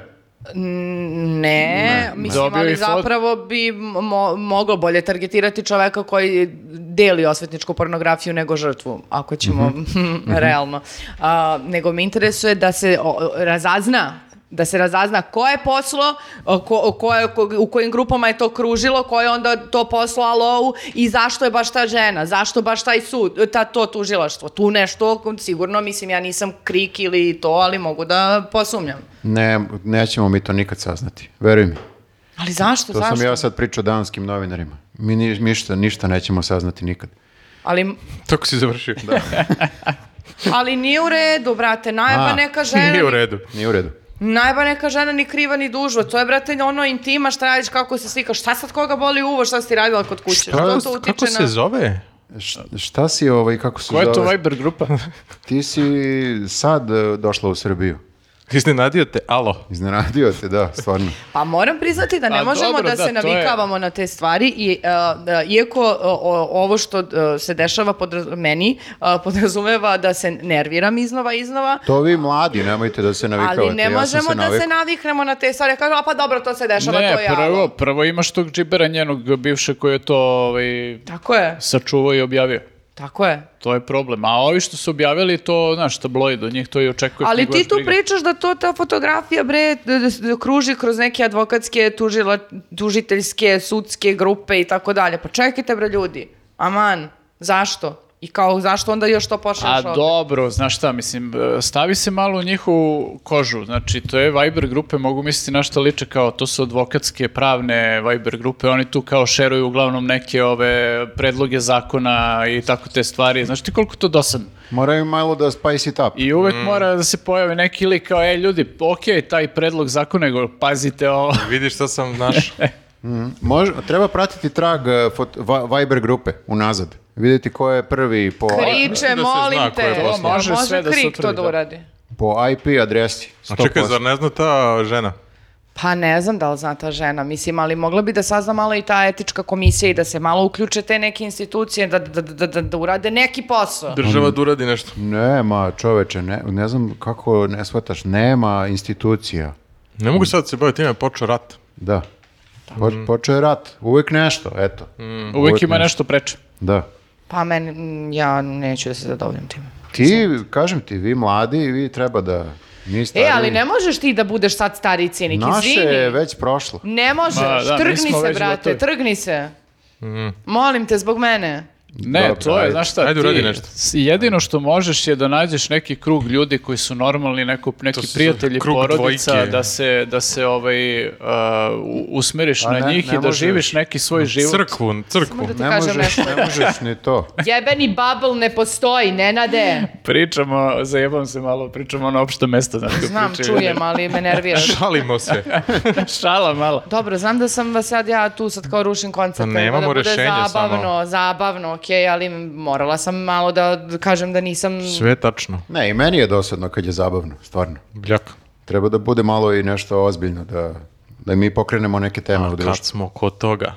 Speaker 1: ne, mislim,
Speaker 4: Dobio
Speaker 1: ali
Speaker 4: i fot-
Speaker 1: zapravo bi mo- moglo bolje targetirati čoveka koji deli osvetničku pornografiju nego žrtvu, ako ćemo realno. A, nego me interesuje da se o, o, razazna da se razazna ko je poslo, o, ko, o, ko je- ko- u kojim grupama je to kružilo, ko je onda to poslo Alou i zašto je baš ta žena, zašto baš taj sud, ta, to tužilaštvo. Tu nešto, sigurno, mislim, ja nisam krik ili to, ali mogu da posumnjam.
Speaker 3: Ne, nećemo mi to nikad saznati. Veruj mi.
Speaker 1: Ali zašto,
Speaker 3: To
Speaker 1: zašto?
Speaker 3: sam ja sad pričao danskim novinarima. Mi ni, ništa, ništa nećemo saznati nikad.
Speaker 1: Ali,
Speaker 2: Tako si završio.
Speaker 1: ali nije u redu, brate, najba
Speaker 3: A,
Speaker 1: neka žena,
Speaker 2: Nije u redu.
Speaker 3: Nije u redu.
Speaker 1: najba neka žena ni kriva ni dužva, to je, brate, ono intima, šta radiš, kako se slikaš, šta sad koga boli uvo, šta si ti radila kod kuće, što to utiče
Speaker 2: Pa, kako
Speaker 1: na...
Speaker 2: se zove?
Speaker 3: Š- šta si ovaj, kako se
Speaker 4: Koja je to
Speaker 3: zove?
Speaker 4: Viber grupa?
Speaker 3: Ti si sad e, eh, došla u Srbiju.
Speaker 2: Iznenadio te, alo.
Speaker 3: Iznenadio te, da, stvarno.
Speaker 1: Pa moram priznati da ne
Speaker 4: Pa
Speaker 1: možemo
Speaker 4: dobro,
Speaker 1: da,
Speaker 4: da,
Speaker 1: se
Speaker 4: to je-
Speaker 1: navikavamo na te stvari i e, da, iako e, o- ovo što e, se dešava podra- meni e, podrazumeva da se nerviram iznova iznova,
Speaker 3: To vi mladi, nemojte da se navikavate.
Speaker 1: ali ne
Speaker 3: ja sam
Speaker 1: možemo da
Speaker 3: navikao.
Speaker 1: se naviknemo na te stvari. Kažemo, a pa dobro, to se dešava, to
Speaker 4: Ne,
Speaker 1: je
Speaker 4: prvo,
Speaker 1: prvo...
Speaker 4: prvo imaš tog džibera njenog bivše koji je to ovaj,
Speaker 1: Tako je,
Speaker 4: sačuvao i objavio.
Speaker 1: tako je.
Speaker 4: To je problem. A ovi što su objavili to, znaš, tabloid, od njih to i očekuje.
Speaker 1: Ali
Speaker 4: koga
Speaker 1: ti
Speaker 4: baš
Speaker 1: tu
Speaker 4: briga.
Speaker 1: pričaš da to ta fotografija bre d- d- d- kruži kroz neke advokatske, tužila, tužiteljske, sudske grupe i tako dalje. Pa čekajte bre ljudi. Aman, zašto? I kao zašto onda još to
Speaker 4: A
Speaker 1: pošalješ ovde?
Speaker 4: dobro, znaš šta, mislim, e, stavi se malo u njihovu kožu, znači to je Viber grupe, mogu misliti na što liče kao, to su advokatske, pravne Viber grupe, oni tu kao šeruju uglavnom neke ove predloge zakona i tako te stvari, znaš ti koliko to dosadno?
Speaker 3: Moraju malo da spice it up.
Speaker 4: I uvek mora da se pojavi neki lik kao, e ljudi, okej, taj predlog zakona, nego pazite ovo.
Speaker 2: Vidiš šta sam naš.
Speaker 3: Mož, treba pratiti trag e, fot, va- Viber grupe unazad. Vidjeti ko je prvi po,
Speaker 1: Kriče,
Speaker 2: Da se
Speaker 1: molim
Speaker 2: zna ko je
Speaker 1: te.
Speaker 2: vlasnik.
Speaker 1: Pa
Speaker 4: Može sve da se
Speaker 1: Krik to
Speaker 4: utvrdi,
Speaker 1: da
Speaker 4: da.
Speaker 1: uradi.
Speaker 3: po IP adresi.
Speaker 2: A čekaj, zar ne zna ta žena?
Speaker 1: Pa ne znam da li zna ta žena, mislim, ali mogla bi da sazna malo i ta etička komisija i da se malo uključe te neke institucije da, da, da, da, da urade neki posao.
Speaker 2: Država da uradi nešto.
Speaker 3: Nema čoveče, ne, ne znam kako ne shvataš, nema institucija.
Speaker 2: Ne mogu sad se baviti time, počeo rat.
Speaker 3: Da. Po, počeo je rat, uvijek nešto, eto.
Speaker 4: Uvek ima nešto preče.
Speaker 3: Da.
Speaker 1: Pa meni, mm, ja neću da se zadovoljim time.
Speaker 3: Ti, kažem ti, vi mladi, vi treba da... Mi
Speaker 1: E,
Speaker 3: stariji-
Speaker 1: ali ne možeš ti da budeš sad stari cinik,
Speaker 3: Naše
Speaker 1: izvini.
Speaker 3: je već prošlo.
Speaker 1: Ne možeš,
Speaker 4: Ma, da, mi
Speaker 1: trgni
Speaker 4: smo
Speaker 1: se,
Speaker 4: već
Speaker 1: brate,
Speaker 4: gotovi.
Speaker 1: trgni se.
Speaker 2: Mm.
Speaker 1: Molim te, zbog mene.
Speaker 4: Ne,
Speaker 3: Dobro,
Speaker 4: to je,
Speaker 3: ajde.
Speaker 4: znaš šta,
Speaker 2: Ajde,
Speaker 4: ti,
Speaker 2: uradi nešto.
Speaker 4: s- jedino što možeš je da nađeš neki krug ljudi koji su normalni, neko, neki
Speaker 2: su sad
Speaker 4: prijatelji,
Speaker 2: krug
Speaker 4: porodica,
Speaker 2: dvojke.
Speaker 4: da se, da se ovaj, uh, u- usmeriš
Speaker 3: A
Speaker 4: na
Speaker 3: Pa ne,
Speaker 4: njih
Speaker 3: ne
Speaker 4: i da
Speaker 3: možeš.
Speaker 4: živiš neki svoj život.
Speaker 2: Crkvu, crkvu.
Speaker 1: Da ti
Speaker 3: Ne
Speaker 1: kažem
Speaker 3: možeš,
Speaker 1: nešto.
Speaker 3: ne možeš ni to.
Speaker 1: Jebeni bubble ne postoji, Nenade.
Speaker 4: Pričamo, zajebam se malo, pričamo na opšta mesta. Znaš, kako
Speaker 1: Znam,
Speaker 2: Znači-
Speaker 4: pričaju.
Speaker 1: čujem, ali me nerviraš.
Speaker 2: Šalimo se.
Speaker 4: Šala malo.
Speaker 1: Dobro, znam da sam vas sad ja tu sad kao rušim koncert.
Speaker 2: Pa nemamo rešenje
Speaker 1: zabavno,
Speaker 2: samo.
Speaker 1: Zabavno, zabavno, okej, ali morala sam malo da d- kažem da nisam...
Speaker 2: Sve tačno.
Speaker 3: Ne, i meni je dosadno kad je zabavno, stvarno.
Speaker 2: Bljak.
Speaker 3: Treba da bude malo i nešto ozbiljno, da, da i mi pokrenemo neke teme u
Speaker 2: Kad
Speaker 3: društvu.
Speaker 2: smo kod toga?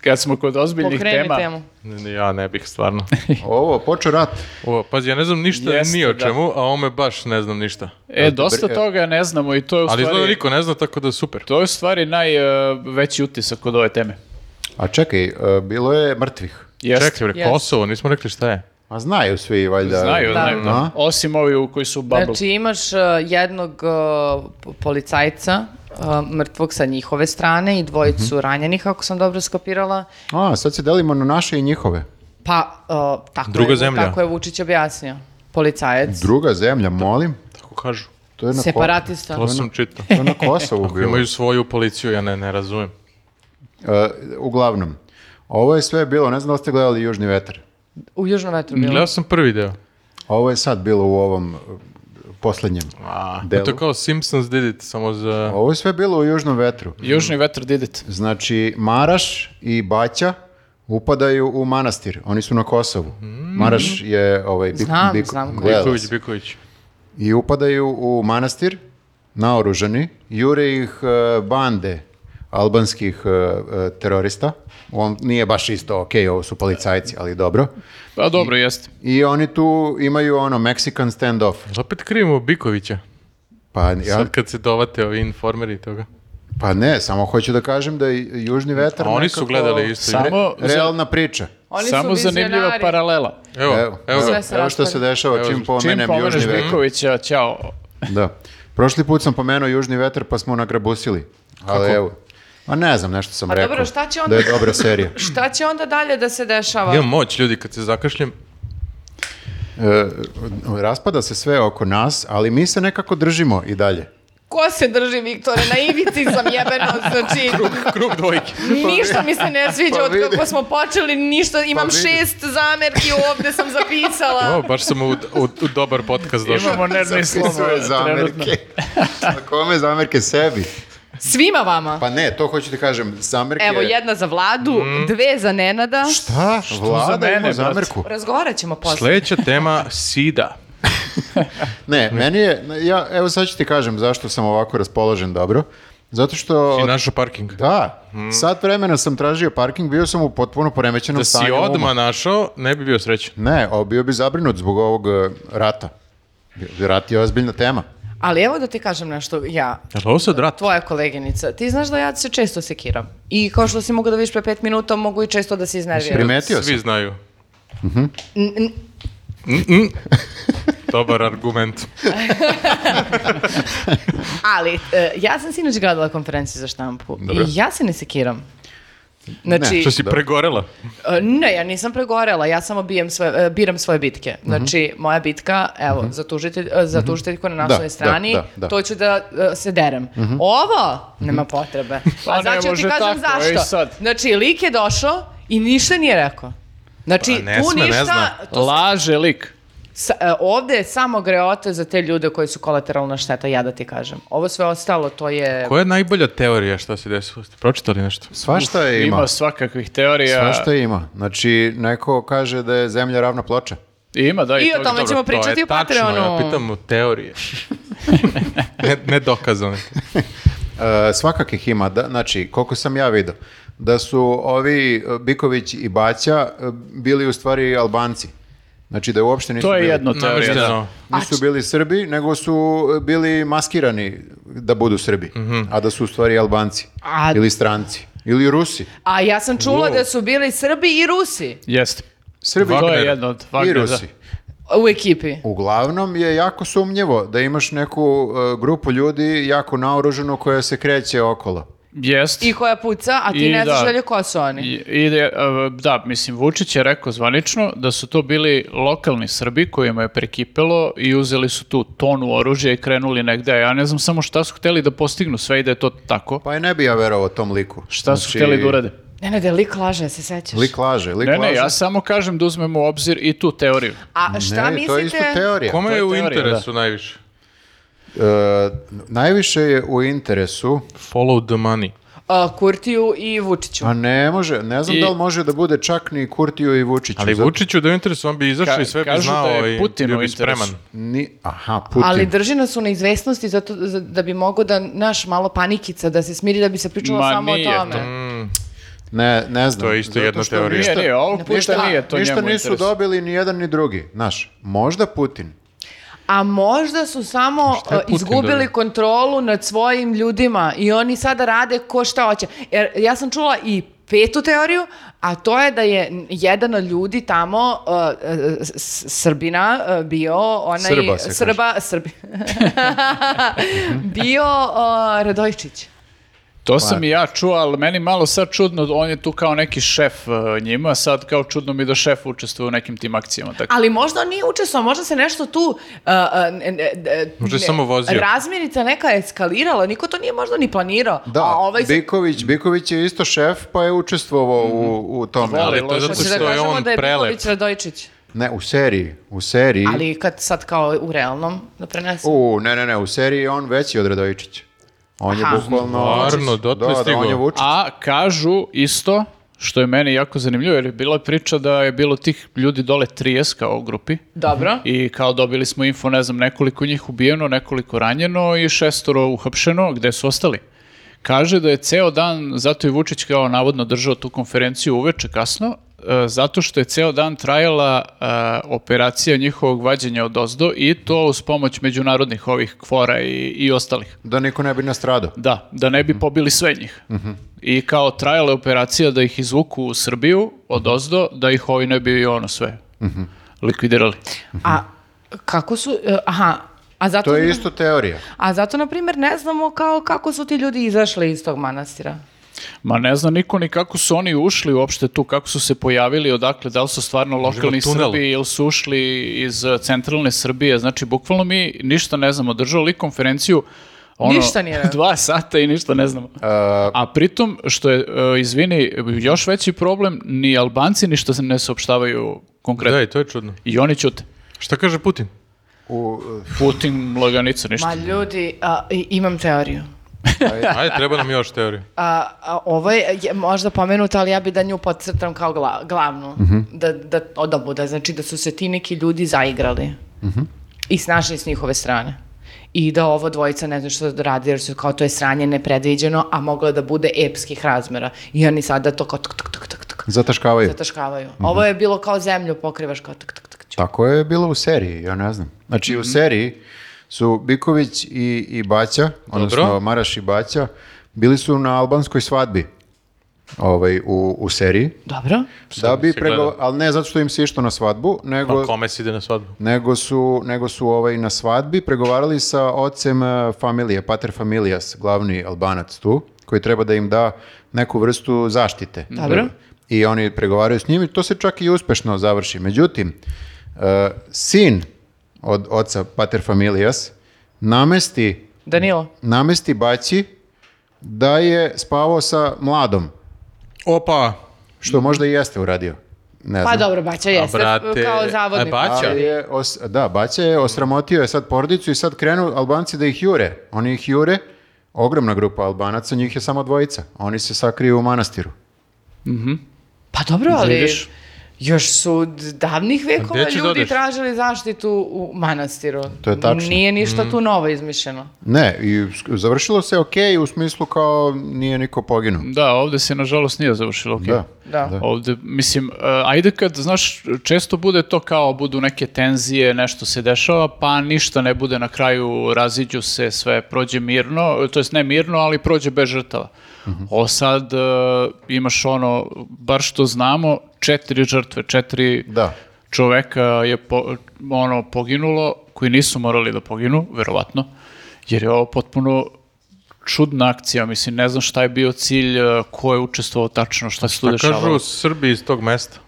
Speaker 4: Kad smo kod ozbiljnih
Speaker 1: Pokreni
Speaker 4: tema,
Speaker 1: temu.
Speaker 2: Ne, Ja ne bih stvarno.
Speaker 3: Ovo, počeo rat.
Speaker 2: O, pazi, ja ne znam ništa
Speaker 4: Jeste,
Speaker 2: ni o
Speaker 4: da.
Speaker 2: čemu, a ome baš ne znam ništa.
Speaker 4: e, dosta toga ne znamo i to je u
Speaker 2: Ali izgleda
Speaker 4: stvari,
Speaker 2: niko ne zna, tako da super.
Speaker 4: to je u stvari najveći utisak kod ove teme.
Speaker 3: A čekaj, e, bilo je mrtvih.
Speaker 4: Jeste.
Speaker 2: Čekaj, bre,
Speaker 1: Jeste.
Speaker 2: Kosovo, nismo rekli šta je.
Speaker 3: A znaju svi, valjda.
Speaker 4: Znaju,
Speaker 1: Da.
Speaker 4: znaju, da.
Speaker 3: Aha.
Speaker 4: Osim ovi u koji su u bubble.
Speaker 1: Znači imaš uh, jednog uh, p- policajca uh, mrtvog sa njihove strane i dvojicu ranjenih, ako sam dobro skopirala.
Speaker 3: A, sad se delimo na naše i njihove.
Speaker 1: Pa, uh, tako,
Speaker 2: Druga
Speaker 1: je,
Speaker 2: zemlja.
Speaker 1: tako je Vučić objasnio. Policajac,
Speaker 3: Druga zemlja, molim.
Speaker 2: Tako kažu.
Speaker 3: To je na, Ko-
Speaker 1: separatista.
Speaker 2: To sam čitao.
Speaker 3: to je na Kosovu bilo.
Speaker 2: Imaju svoju policiju, ja ne, ne razumem.
Speaker 3: E, uglavnom, ovo je sve bilo, ne znam da li ste gledali Južni vetar.
Speaker 1: U Južnom vetru bilo.
Speaker 2: Gledao sam prvi deo.
Speaker 3: Ovo je sad bilo u ovom e, poslednjem
Speaker 2: Pa
Speaker 3: delu.
Speaker 2: To je kao Simpsons did it, samo za...
Speaker 3: Ovo je sve bilo u Južnom vetru.
Speaker 4: Južni vetar didet.
Speaker 3: Znači, Maraš i Baća upadaju u manastir. Oni su na Kosovu. Maraš je ovaj... Bik,
Speaker 1: Znam, znam ko je.
Speaker 3: gledala
Speaker 2: Mm. Biković,
Speaker 3: sam.
Speaker 2: Biković.
Speaker 3: I upadaju u manastir, naoružani, jure ih e, bande albanskih e, e, terorista. On nije baš isto, ok, ovo su policajci, ali dobro.
Speaker 4: Pa dobro, jeste.
Speaker 3: I oni tu imaju ono Mexican standoff.
Speaker 2: Opet krivimo Bikovića.
Speaker 3: Pa, ja,
Speaker 2: Sad kad se dovate ovi informeri i toga.
Speaker 3: pa ne, samo hoću da kažem da je Južni vetar
Speaker 2: A oni
Speaker 3: nekako
Speaker 2: su gledali isto.
Speaker 4: Samo-
Speaker 3: re- realna priča.
Speaker 1: Oni
Speaker 4: Samo
Speaker 1: su
Speaker 4: zanimljiva
Speaker 1: vizionari.
Speaker 4: paralela.
Speaker 2: Evo, evo,
Speaker 3: Evo, evo,
Speaker 2: ga.
Speaker 1: Sve se
Speaker 3: evo što
Speaker 1: raspada.
Speaker 3: se dešava čim
Speaker 4: Čim
Speaker 3: pomenem
Speaker 4: pomeneš
Speaker 3: Južni vetar.
Speaker 4: Bikovića, ćao.
Speaker 3: Da. Prošli put sam pomenuo Južni vetar pa smo nagrabusili. Ali evo. Ma ne znam, nešto sam
Speaker 1: A
Speaker 3: rekao.
Speaker 1: dobro, šta će onda-
Speaker 3: Da je dobra serija.
Speaker 1: Šta će onda dalje da se dešava?
Speaker 2: Imam moć, ljudi, kad se zakašljem,
Speaker 3: E, raspada se sve oko nas, ali mi se nekako držimo i dalje.
Speaker 1: Ko se drži, Viktore? Na ivici sam jebeno, znači...
Speaker 2: krug dvojke.
Speaker 1: Ništa mi se ne sviđa
Speaker 3: Pa
Speaker 1: od
Speaker 3: vidi.
Speaker 1: kako smo počeli, ništa, imam
Speaker 3: vidi.
Speaker 1: šest zamerki ovde sam
Speaker 2: O,
Speaker 1: zapisala.
Speaker 2: baš sam u, u, u dobar podcast došao.
Speaker 4: Imamo nervni slovo.
Speaker 3: Svoje zamerke. Na kome zamerke sebi?
Speaker 1: Svima vama.
Speaker 3: Pa ne, to hoću ti kažem, zamerke...
Speaker 1: Evo, jedna za vladu,
Speaker 2: Mm.
Speaker 1: dve za Nenada.
Speaker 3: Šta? Vlada
Speaker 4: mene,
Speaker 3: ima
Speaker 4: brate?
Speaker 3: zamerku.
Speaker 1: Razgovarat ćemo posle.
Speaker 2: Sljedeća tema, sida.
Speaker 3: Ne, meni je, ja, evo sad ću ti kažem zašto sam ovako raspoložen dobro. Zato što...
Speaker 2: I našao parking.
Speaker 3: Da, sat vremena sam tražio parking, bio sam u potpuno poremećenom
Speaker 2: Hmm. Da si
Speaker 3: stanju. uma.
Speaker 2: odma našao, ne bi bio srećan.
Speaker 3: Ne, o, bio bi zabrinut zbog ovog e, rata. Rat je ozbiljna tema.
Speaker 1: Ali evo da ti kažem nešto, ja,
Speaker 2: Jel ovo sad rat?
Speaker 1: tvoja koleginica, ti znaš da ja se često sekiram. I kao što si mogu da vidiš pre pet minuta, mogu i često da se iznerviram.
Speaker 3: Primetio
Speaker 2: Svi
Speaker 3: sam.
Speaker 2: znaju. Mhm.
Speaker 1: N- n-
Speaker 2: Mm-mm. Dobar argument.
Speaker 1: Ali, e, ja sam sinoć gledala konferenciju za štampu
Speaker 2: Dobro.
Speaker 1: i ja se ne sekiram. Znači,
Speaker 2: Što si pregorela?
Speaker 1: e, ne, ja nisam pregorela, ja samo bijem svoje, e, biram svoje bitke. Znači, moja bitka, evo, za, tužitelj, e, za tužiteljku na
Speaker 3: Da,
Speaker 1: naslovnoj
Speaker 3: da,
Speaker 1: strani,
Speaker 3: da, da.
Speaker 1: to ću da e, se derem. Ovo, nema potrebe.
Speaker 4: Pa
Speaker 1: A
Speaker 4: ne
Speaker 1: sad ću ti
Speaker 4: može
Speaker 1: kažem
Speaker 4: tako, ej
Speaker 1: zašto.
Speaker 4: sad.
Speaker 1: Znači, lik je došao i ništa nije rekao. Znači,
Speaker 2: Pa ne
Speaker 1: tu
Speaker 2: sme, ne zna.
Speaker 1: ništa, tu
Speaker 4: Laže lik.
Speaker 1: Sa, e, ovde je samo greota za te ljude koji su kolateralna šteta, ja da ti kažem. Ovo sve ostalo, to je...
Speaker 2: Koja je najbolja teorija šta se desilo? Ste pročitali nešto?
Speaker 3: Svašta je E, ima.
Speaker 4: Ima svakakvih teorija.
Speaker 3: Svašta je ima. Znači, neko kaže da je zemlja ravna ploča.
Speaker 4: Ima, da, i,
Speaker 1: I o
Speaker 4: toga.
Speaker 1: tome ćemo
Speaker 2: to je
Speaker 1: pričati u
Speaker 2: tačno,
Speaker 1: Patreonu.
Speaker 2: ja pitam u teorije. ne, ne dokazane.
Speaker 3: E, svakakih ima, da, znači, koliko sam ja vidio, da su ovi e, Biković i Baća e, bili u stvari Albanci. Znači da uopšte nisu
Speaker 4: To je
Speaker 3: bili,
Speaker 4: jedno teorija. da.
Speaker 2: Namešteno.
Speaker 3: nisu bili Srbi, nego su e, bili maskirani da budu Srbi,
Speaker 4: Mhm.
Speaker 3: a da su u stvari Albanci
Speaker 1: A-
Speaker 3: ili stranci ili Rusi.
Speaker 1: A ja sam čula da su bili Srbi i Rusi
Speaker 4: Jeste.
Speaker 3: Srbi
Speaker 4: To je
Speaker 2: Wagner.
Speaker 4: jedno od
Speaker 3: i
Speaker 4: Wagnera.
Speaker 3: Rusi.
Speaker 1: u ekipi.
Speaker 3: Uglavnom je jako sumnjivo da imaš neku e, grupu ljudi jako naoruženu koja se kreće okolo.
Speaker 4: Jeste.
Speaker 1: I koja puca, a ti
Speaker 4: I
Speaker 1: ne znaš
Speaker 4: da.
Speaker 1: dalje ko su oni.
Speaker 4: I- i da je, e, da, mislim, Vučić je rekao zvanično da su to bili lokalni Srbi kojima je prekipelo i uzeli su tu tonu oružja i krenuli negde. Ja ne znam samo šta su hteli da postignu sve i da je to tako.
Speaker 3: Pa i ne bi ja verovao tom liku.
Speaker 4: Šta su
Speaker 3: Znači,
Speaker 4: hteli da urade?
Speaker 1: Ne, ne, da je lik laže, se sećaš.
Speaker 3: Lik laže, lik
Speaker 4: Ne, ne,
Speaker 3: laže.
Speaker 4: ja samo kažem da uzmemo u obzir i tu teoriju.
Speaker 1: A
Speaker 3: Ne,
Speaker 1: šta
Speaker 3: to je isto
Speaker 1: mislite?
Speaker 3: teorija.
Speaker 2: Kome
Speaker 4: To je
Speaker 2: je u
Speaker 4: teorija,
Speaker 2: interesu najviše?
Speaker 3: E, najviše je u interesu,
Speaker 2: Follow the money.
Speaker 4: Znači,
Speaker 1: A, Kurtiju i Vučiću.
Speaker 3: a ne može, ne znam
Speaker 4: I-
Speaker 3: da li može da bude čak ni Kurtiju i Vučiću.
Speaker 2: Ali
Speaker 3: zato-
Speaker 2: Vučiću da je u interesu, on bi izašao
Speaker 4: Ka-
Speaker 2: i sve bi
Speaker 4: kažu
Speaker 2: znao
Speaker 4: da je
Speaker 2: i
Speaker 4: Putin
Speaker 2: bio
Speaker 4: u
Speaker 2: bi
Speaker 4: interesu.
Speaker 2: spreman.
Speaker 3: Ni, aha, Putin.
Speaker 1: Ali drži nas u neizvestnosti zato, za- da bi mogo da naš malo panikica da se smiri da bi se pričalo
Speaker 4: Ma,
Speaker 1: samo o
Speaker 4: nije
Speaker 1: tome.
Speaker 4: to.
Speaker 3: Ne, ne znam.
Speaker 2: To je isto
Speaker 3: zato
Speaker 2: jedna
Speaker 3: što
Speaker 2: teorija.
Speaker 3: ništa-
Speaker 4: Nije, nije, ovog puta
Speaker 3: ništa-
Speaker 4: nije to
Speaker 3: ništa
Speaker 4: njemu
Speaker 3: nisu
Speaker 4: interes.
Speaker 3: dobili ni jedan ni drugi, znaš. Možda Putin.
Speaker 1: A možda su samo
Speaker 2: je
Speaker 1: uh,
Speaker 2: Putin
Speaker 1: izgubili
Speaker 2: dobio?
Speaker 1: kontrolu nad svojim ljudima i oni sada rade ko šta hoće. Jer ja sam čula i petu teoriju, a to je da je n- jedan od ljudi tamo uh, uh, s- s- Srbina uh, bio onaj
Speaker 3: Srba se kaže.
Speaker 1: Srba Srbi bio uh, Radojčić.
Speaker 4: To sam i ja čuo, ali meni malo sad čudno, on je tu kao neki šef e, njima, sad kao čudno mi da šef učestvuje u nekim tim akcijama. Tako.
Speaker 1: Ali možda on nije učestvovao, možda se nešto tu uh, uh, ne- ne- ne-
Speaker 2: Možda je
Speaker 1: ne-
Speaker 2: samo vozio.
Speaker 1: Razmirica neka je eskalirala, niko to nije možda ni planirao.
Speaker 3: Da,
Speaker 1: a ovaj se
Speaker 3: Biković, Biković je isto šef, pa je učestvovao u, u tome.
Speaker 2: Ali to je zato
Speaker 1: Hoćeš
Speaker 2: što je
Speaker 1: kažemo
Speaker 2: on
Speaker 1: da je
Speaker 2: prelep.
Speaker 1: Biković Radojčić.
Speaker 3: Ne, u seriji, u seriji.
Speaker 1: Ali kad sad kao u realnom da prenesem.
Speaker 3: U, ne, ne, ne, u seriji je on veći od Radojičića. On
Speaker 1: Aha.
Speaker 3: je bukvalno...
Speaker 2: Varno, dotle
Speaker 3: da, da,
Speaker 2: stigao.
Speaker 3: on je Vučić.
Speaker 4: A kažu isto, što je meni jako zanimljivo, jer je bila priča da je bilo tih ljudi dole 30 kao u grupi
Speaker 1: Dobro.
Speaker 4: i kao dobili smo info, ne znam, nekoliko njih ubijeno, nekoliko ranjeno i šestoro uhapšeno, gde su ostali. Kaže da je ceo dan, zato je Vučić kao navodno držao tu konferenciju uveče kasno, e, zato što je ceo dan trajala e, operacija njihovog vađenja od ozdo i to uz pomoć međunarodnih ovih kvora i, i ostalih.
Speaker 3: Da niko ne bi nastradao.
Speaker 4: Da, da ne bi pobili sve njih. I kao trajala je operacija da ih izvuku u Srbiju od ozdo, da ih ovi ne bi ono sve likvidirali.
Speaker 1: A kako su, e, aha, a zato,
Speaker 3: To je isto teorija.
Speaker 1: a zato, na primjer, ne znamo kao kako su ti ljudi izašli iz tog manastira.
Speaker 4: Ma ne zna niko ni kako su oni ušli uopšte tu, kako su se pojavili, odakle, da li su stvarno lokalni
Speaker 2: tunel.
Speaker 4: Srbi ili su ušli iz eh, centralne Srbije. Znači, bukvalno mi ništa ne znamo. Držao li konferenciju ono,
Speaker 1: Ništa nije rekao.
Speaker 4: dva sata i ništa ne znamo.
Speaker 2: Eh,
Speaker 4: A pritom, što je, eh, izvini, još veći problem, ni Albanci ništa se ne saopštavaju konkretno.
Speaker 2: Da, i to je čudno.
Speaker 4: I oni ćute.
Speaker 2: Šta kaže Putin?
Speaker 3: U,
Speaker 4: Putin, laganica, ništa.
Speaker 1: Ma ljudi, a, i- imam teoriju.
Speaker 2: Ajde, treba nam još teorije.
Speaker 1: A, a, ovo je, je možda pomenuta, ali ja bi da nju podcrtam kao gla- glavnu. da, da, o, da bude, znači da su se ti neki ljudi zaigrali. i snažni s njihove strane. I da ovo dvojica ne zna što da radi, jer su kao to je sranje nepredviđeno, a moglo je da bude epskih razmera. I oni sada to kao tuk, tuk, tuk, tuk, tuk,
Speaker 3: Zataškavaju.
Speaker 1: zataškavaju. Ovo je bilo kao zemlju pokrivaš kao tuk, tuk, tuk, tuk.
Speaker 3: Tako je bilo u seriji, ja ne znam. Znači u seriji su Biković i, i Baća, odnosno Maraš i Baća, bili su na albanskoj svadbi ovaj, u, u seriji.
Speaker 2: Pa-
Speaker 1: Dobro.
Speaker 3: Da bi
Speaker 2: si gledao?
Speaker 3: prego, ali ne zato što im se išlo na svadbu, nego,
Speaker 2: Pa kome si ide na svadbu?
Speaker 3: nego su, nego su ovaj, na svadbi pregovarali sa ocem e, familije, pater familias, glavni albanac tu, koji treba da im da neku vrstu zaštite.
Speaker 1: Mhm. Dobro.
Speaker 3: I oni pregovaraju s njim i to se čak i uspešno završi. Međutim, e, sin od oca pater familias namesti,
Speaker 1: Danilo.
Speaker 3: namesti baći da je spavao sa mladom,
Speaker 2: Opa!
Speaker 3: što možda i jeste uradio. Ne
Speaker 1: Mhm. Pa
Speaker 3: znam.
Speaker 1: dobro, Baća jeste
Speaker 2: brate,
Speaker 1: kao
Speaker 2: a
Speaker 1: zavodnik.
Speaker 2: Baća?
Speaker 3: Ali je os- da, Baća je osramotio je sad porodicu i sad krenu Albanci da ih jure. Oni ih jure, ogromna grupa Albanaca, njih je samo dvojica. Oni se sakriju u manastiru.
Speaker 1: Pa dobro, ali
Speaker 4: Vidiš?
Speaker 1: još su d- davnih vekova
Speaker 2: gde će da
Speaker 1: ljudi
Speaker 2: odeš?
Speaker 1: tražili zaštitu u manastiru.
Speaker 3: To je tačno.
Speaker 1: Nije ništa tu novo izmišljeno.
Speaker 3: Ne, i sk- završilo se ok u smislu kao nije niko poginuo.
Speaker 4: Da, ovde se nažalost nije završilo. okej.
Speaker 3: Da.
Speaker 1: Da.
Speaker 4: Ovde, mislim, e, ajde kad, znaš, često bude to kao budu neke tenzije, nešto se dešava, pa ništa ne bude na kraju, raziđu se, sve prođe mirno, to jest ne mirno, ali prođe bez žrtava. O sad e, imaš ono, bar što znamo, četiri žrtve, četiri
Speaker 3: Da.
Speaker 4: čoveka je po- ono, poginulo, koji nisu morali da poginu, verovatno, jer je ovo potpuno čudna akcija, mislim, ne znam šta je bio cilj, e, ko je učestvovao tačno, šta se tu
Speaker 2: Šta
Speaker 4: dešavalo.
Speaker 2: kažu Srbi iz tog mesta?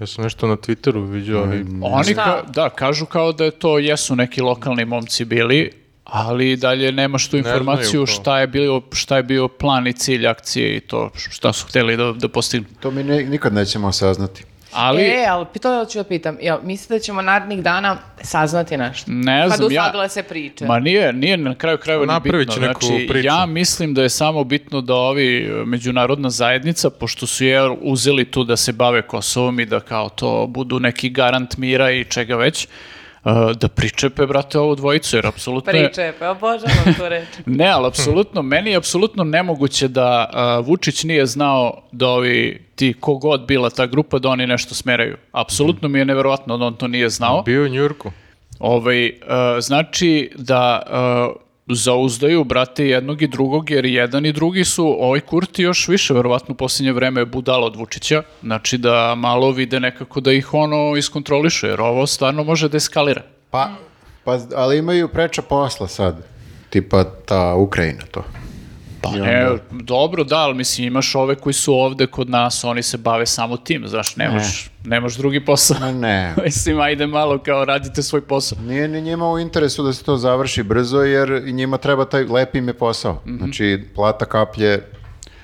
Speaker 2: Ja sam nešto na Twitteru vidio. ali-
Speaker 4: Oni
Speaker 1: Šta?
Speaker 4: ka- da, kažu kao da je to jesu neki lokalni momci bili, ali dalje nemaš tu
Speaker 2: znaju
Speaker 4: informaciju
Speaker 2: kao.
Speaker 4: šta je, bio, šta je bio plan i cilj akcije i to šta su hteli da, da postignu.
Speaker 3: To mi ne- nikad nećemo saznati.
Speaker 4: Ali,
Speaker 1: E, ali to ću da pitam. Jel, mislite da ćemo narednih dana saznati nešto?
Speaker 4: ne
Speaker 1: Kad
Speaker 4: znam ja...
Speaker 1: usagle se priče.
Speaker 4: Ma nije, nije na kraju krajeva ni
Speaker 2: Napravit
Speaker 4: bitno.
Speaker 2: će neku
Speaker 4: Znači,
Speaker 2: priču.
Speaker 4: ja mislim da je samo bitno da ovi e, međunarodna zajednica, pošto su je uzeli tu da se bave Kosovom i da kao to budu neki garant mira i čega već, e, da pričepe, brate, ovu dvojicu, jer apsolutno je...
Speaker 1: Priče, pa obožavam tu reč.
Speaker 4: Ne, ali apsolutno, meni je apsolutno nemoguće da a, Vučić nije znao da ovi ti kogod bila ta grupa da oni nešto smeraju. Apsolutno mi je neverovatno da on to nije znao.
Speaker 2: Bio je u Njurku.
Speaker 4: Ovaj, e, znači da e, zauzdaju brate jednog i drugog, jer jedan i drugi su, ovaj Kurti još više, verovatno u posljednje vreme je budala od Vučića, znači da malo vide nekako da ih ono iskontroliše, jer ovo stvarno može da eskalira.
Speaker 3: Pa, pa, ali imaju preča posla sad. Tipa ta Ukrajina to.
Speaker 4: Pa ne, dobro, da, ali mislim imaš ove koji su ovde kod nas, oni se bave samo tim, znaš,
Speaker 3: E.
Speaker 4: nemaš, nemaš drugi posao.
Speaker 3: Ma ne.
Speaker 4: mislim, ajde malo kao radite svoj posao.
Speaker 3: Nije ni njima u interesu da se to završi brzo, jer i njima treba taj lepi im je posao.
Speaker 4: Mhm.
Speaker 3: Znači, plata kaplje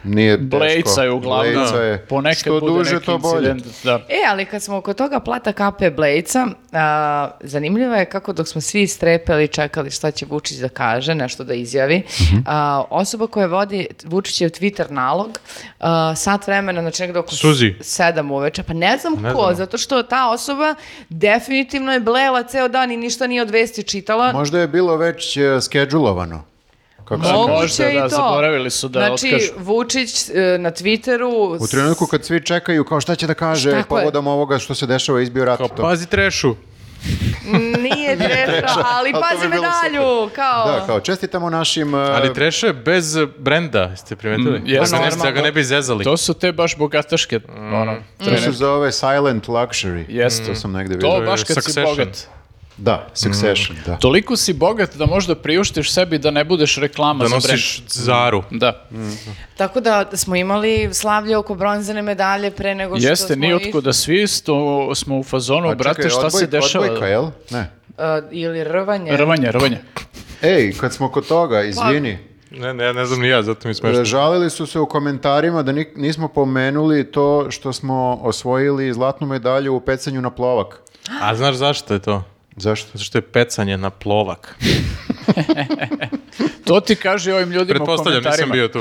Speaker 3: nije teško.
Speaker 4: Blejca je uglavnom,
Speaker 3: Blejca je.
Speaker 4: ponekad
Speaker 3: Što
Speaker 4: bude
Speaker 3: duže,
Speaker 4: neki
Speaker 3: to bolje.
Speaker 4: incident, da.
Speaker 1: E, ali kad smo oko toga plata kape Blejca, a, zanimljivo je kako dok smo svi strepeli i čekali šta će Vučić da kaže, nešto da izjavi, a, osoba koja vodi Vučićev Twitter nalog, a, sat vremena, znači negdje oko
Speaker 2: Suzi.
Speaker 1: sedam uveče, pa ne znam
Speaker 2: Ne
Speaker 1: ko,
Speaker 2: znam.
Speaker 1: zato što ta osoba definitivno je blejala ceo dan i ništa nije od vesti čitala.
Speaker 3: Možda je bilo već e, skedžulovano. Kako se
Speaker 1: Moguće
Speaker 3: kaže.
Speaker 4: Možda,
Speaker 1: i
Speaker 4: da,
Speaker 1: to.
Speaker 4: zaboravili su da
Speaker 1: znači,
Speaker 4: otkažu.
Speaker 1: Vučić e, na Twitteru...
Speaker 3: U trenutku kad svi čekaju kao šta će da kaže
Speaker 1: Tako je.
Speaker 3: povodom ovoga što se dešava izbio rat.
Speaker 2: Kao,
Speaker 3: i to.
Speaker 2: pazi trešu.
Speaker 1: Nije treša, ali
Speaker 3: ali to
Speaker 1: pazi
Speaker 3: bi bilo
Speaker 1: medalju, kao...
Speaker 4: pa-
Speaker 3: Da, kao čestitamo našim... e,
Speaker 2: Ali treša je bez eh, brenda, jeste primetili?
Speaker 4: Mm, jeste.
Speaker 2: Da ga ne- da ga ne bi zezali.
Speaker 4: To su te baš bogataške,
Speaker 3: Mm.
Speaker 4: ono,
Speaker 3: To se zove silent luxury.
Speaker 4: Jeste. Mhm.
Speaker 3: To sam negde
Speaker 4: to
Speaker 3: vidio.
Speaker 4: baš kad si
Speaker 2: Succession.
Speaker 4: bogat.
Speaker 3: Da, succession, da.
Speaker 4: Toliko si bogat da možda priuštiš sebi da ne budeš reklama
Speaker 2: Da
Speaker 4: za brend.
Speaker 2: nosiš zaru.
Speaker 4: Da,
Speaker 1: Tako da smo imali slavlje oko bronzane medalje pre nego što
Speaker 4: jeste,
Speaker 1: smo
Speaker 4: ni otko da svi sto, smo u fazonu,
Speaker 3: Pa
Speaker 4: brate,
Speaker 3: čekaj,
Speaker 4: šta se
Speaker 3: odboj-
Speaker 4: dešava?
Speaker 3: Odbojka, jel? Ne.
Speaker 1: E, ili rvanje.
Speaker 4: Rvanje, rvanje.
Speaker 3: Ej, kad smo kod toga,
Speaker 1: Pa-
Speaker 3: izvini.
Speaker 2: Ne, ne, ne znam ni ja, zato mi je smešno.
Speaker 3: E, Žalili su se u komentarima da ni- nismo pomenuli to što smo osvojili zlatnu medalju u pecanju na plovak.
Speaker 2: A znaš zašto je to?
Speaker 3: Zašto?
Speaker 2: Zato što je pecanje na plovak.
Speaker 4: To ti kaže ovim ljudima u
Speaker 2: Pretpostavljam, nisam
Speaker 4: komentarima.
Speaker 2: bio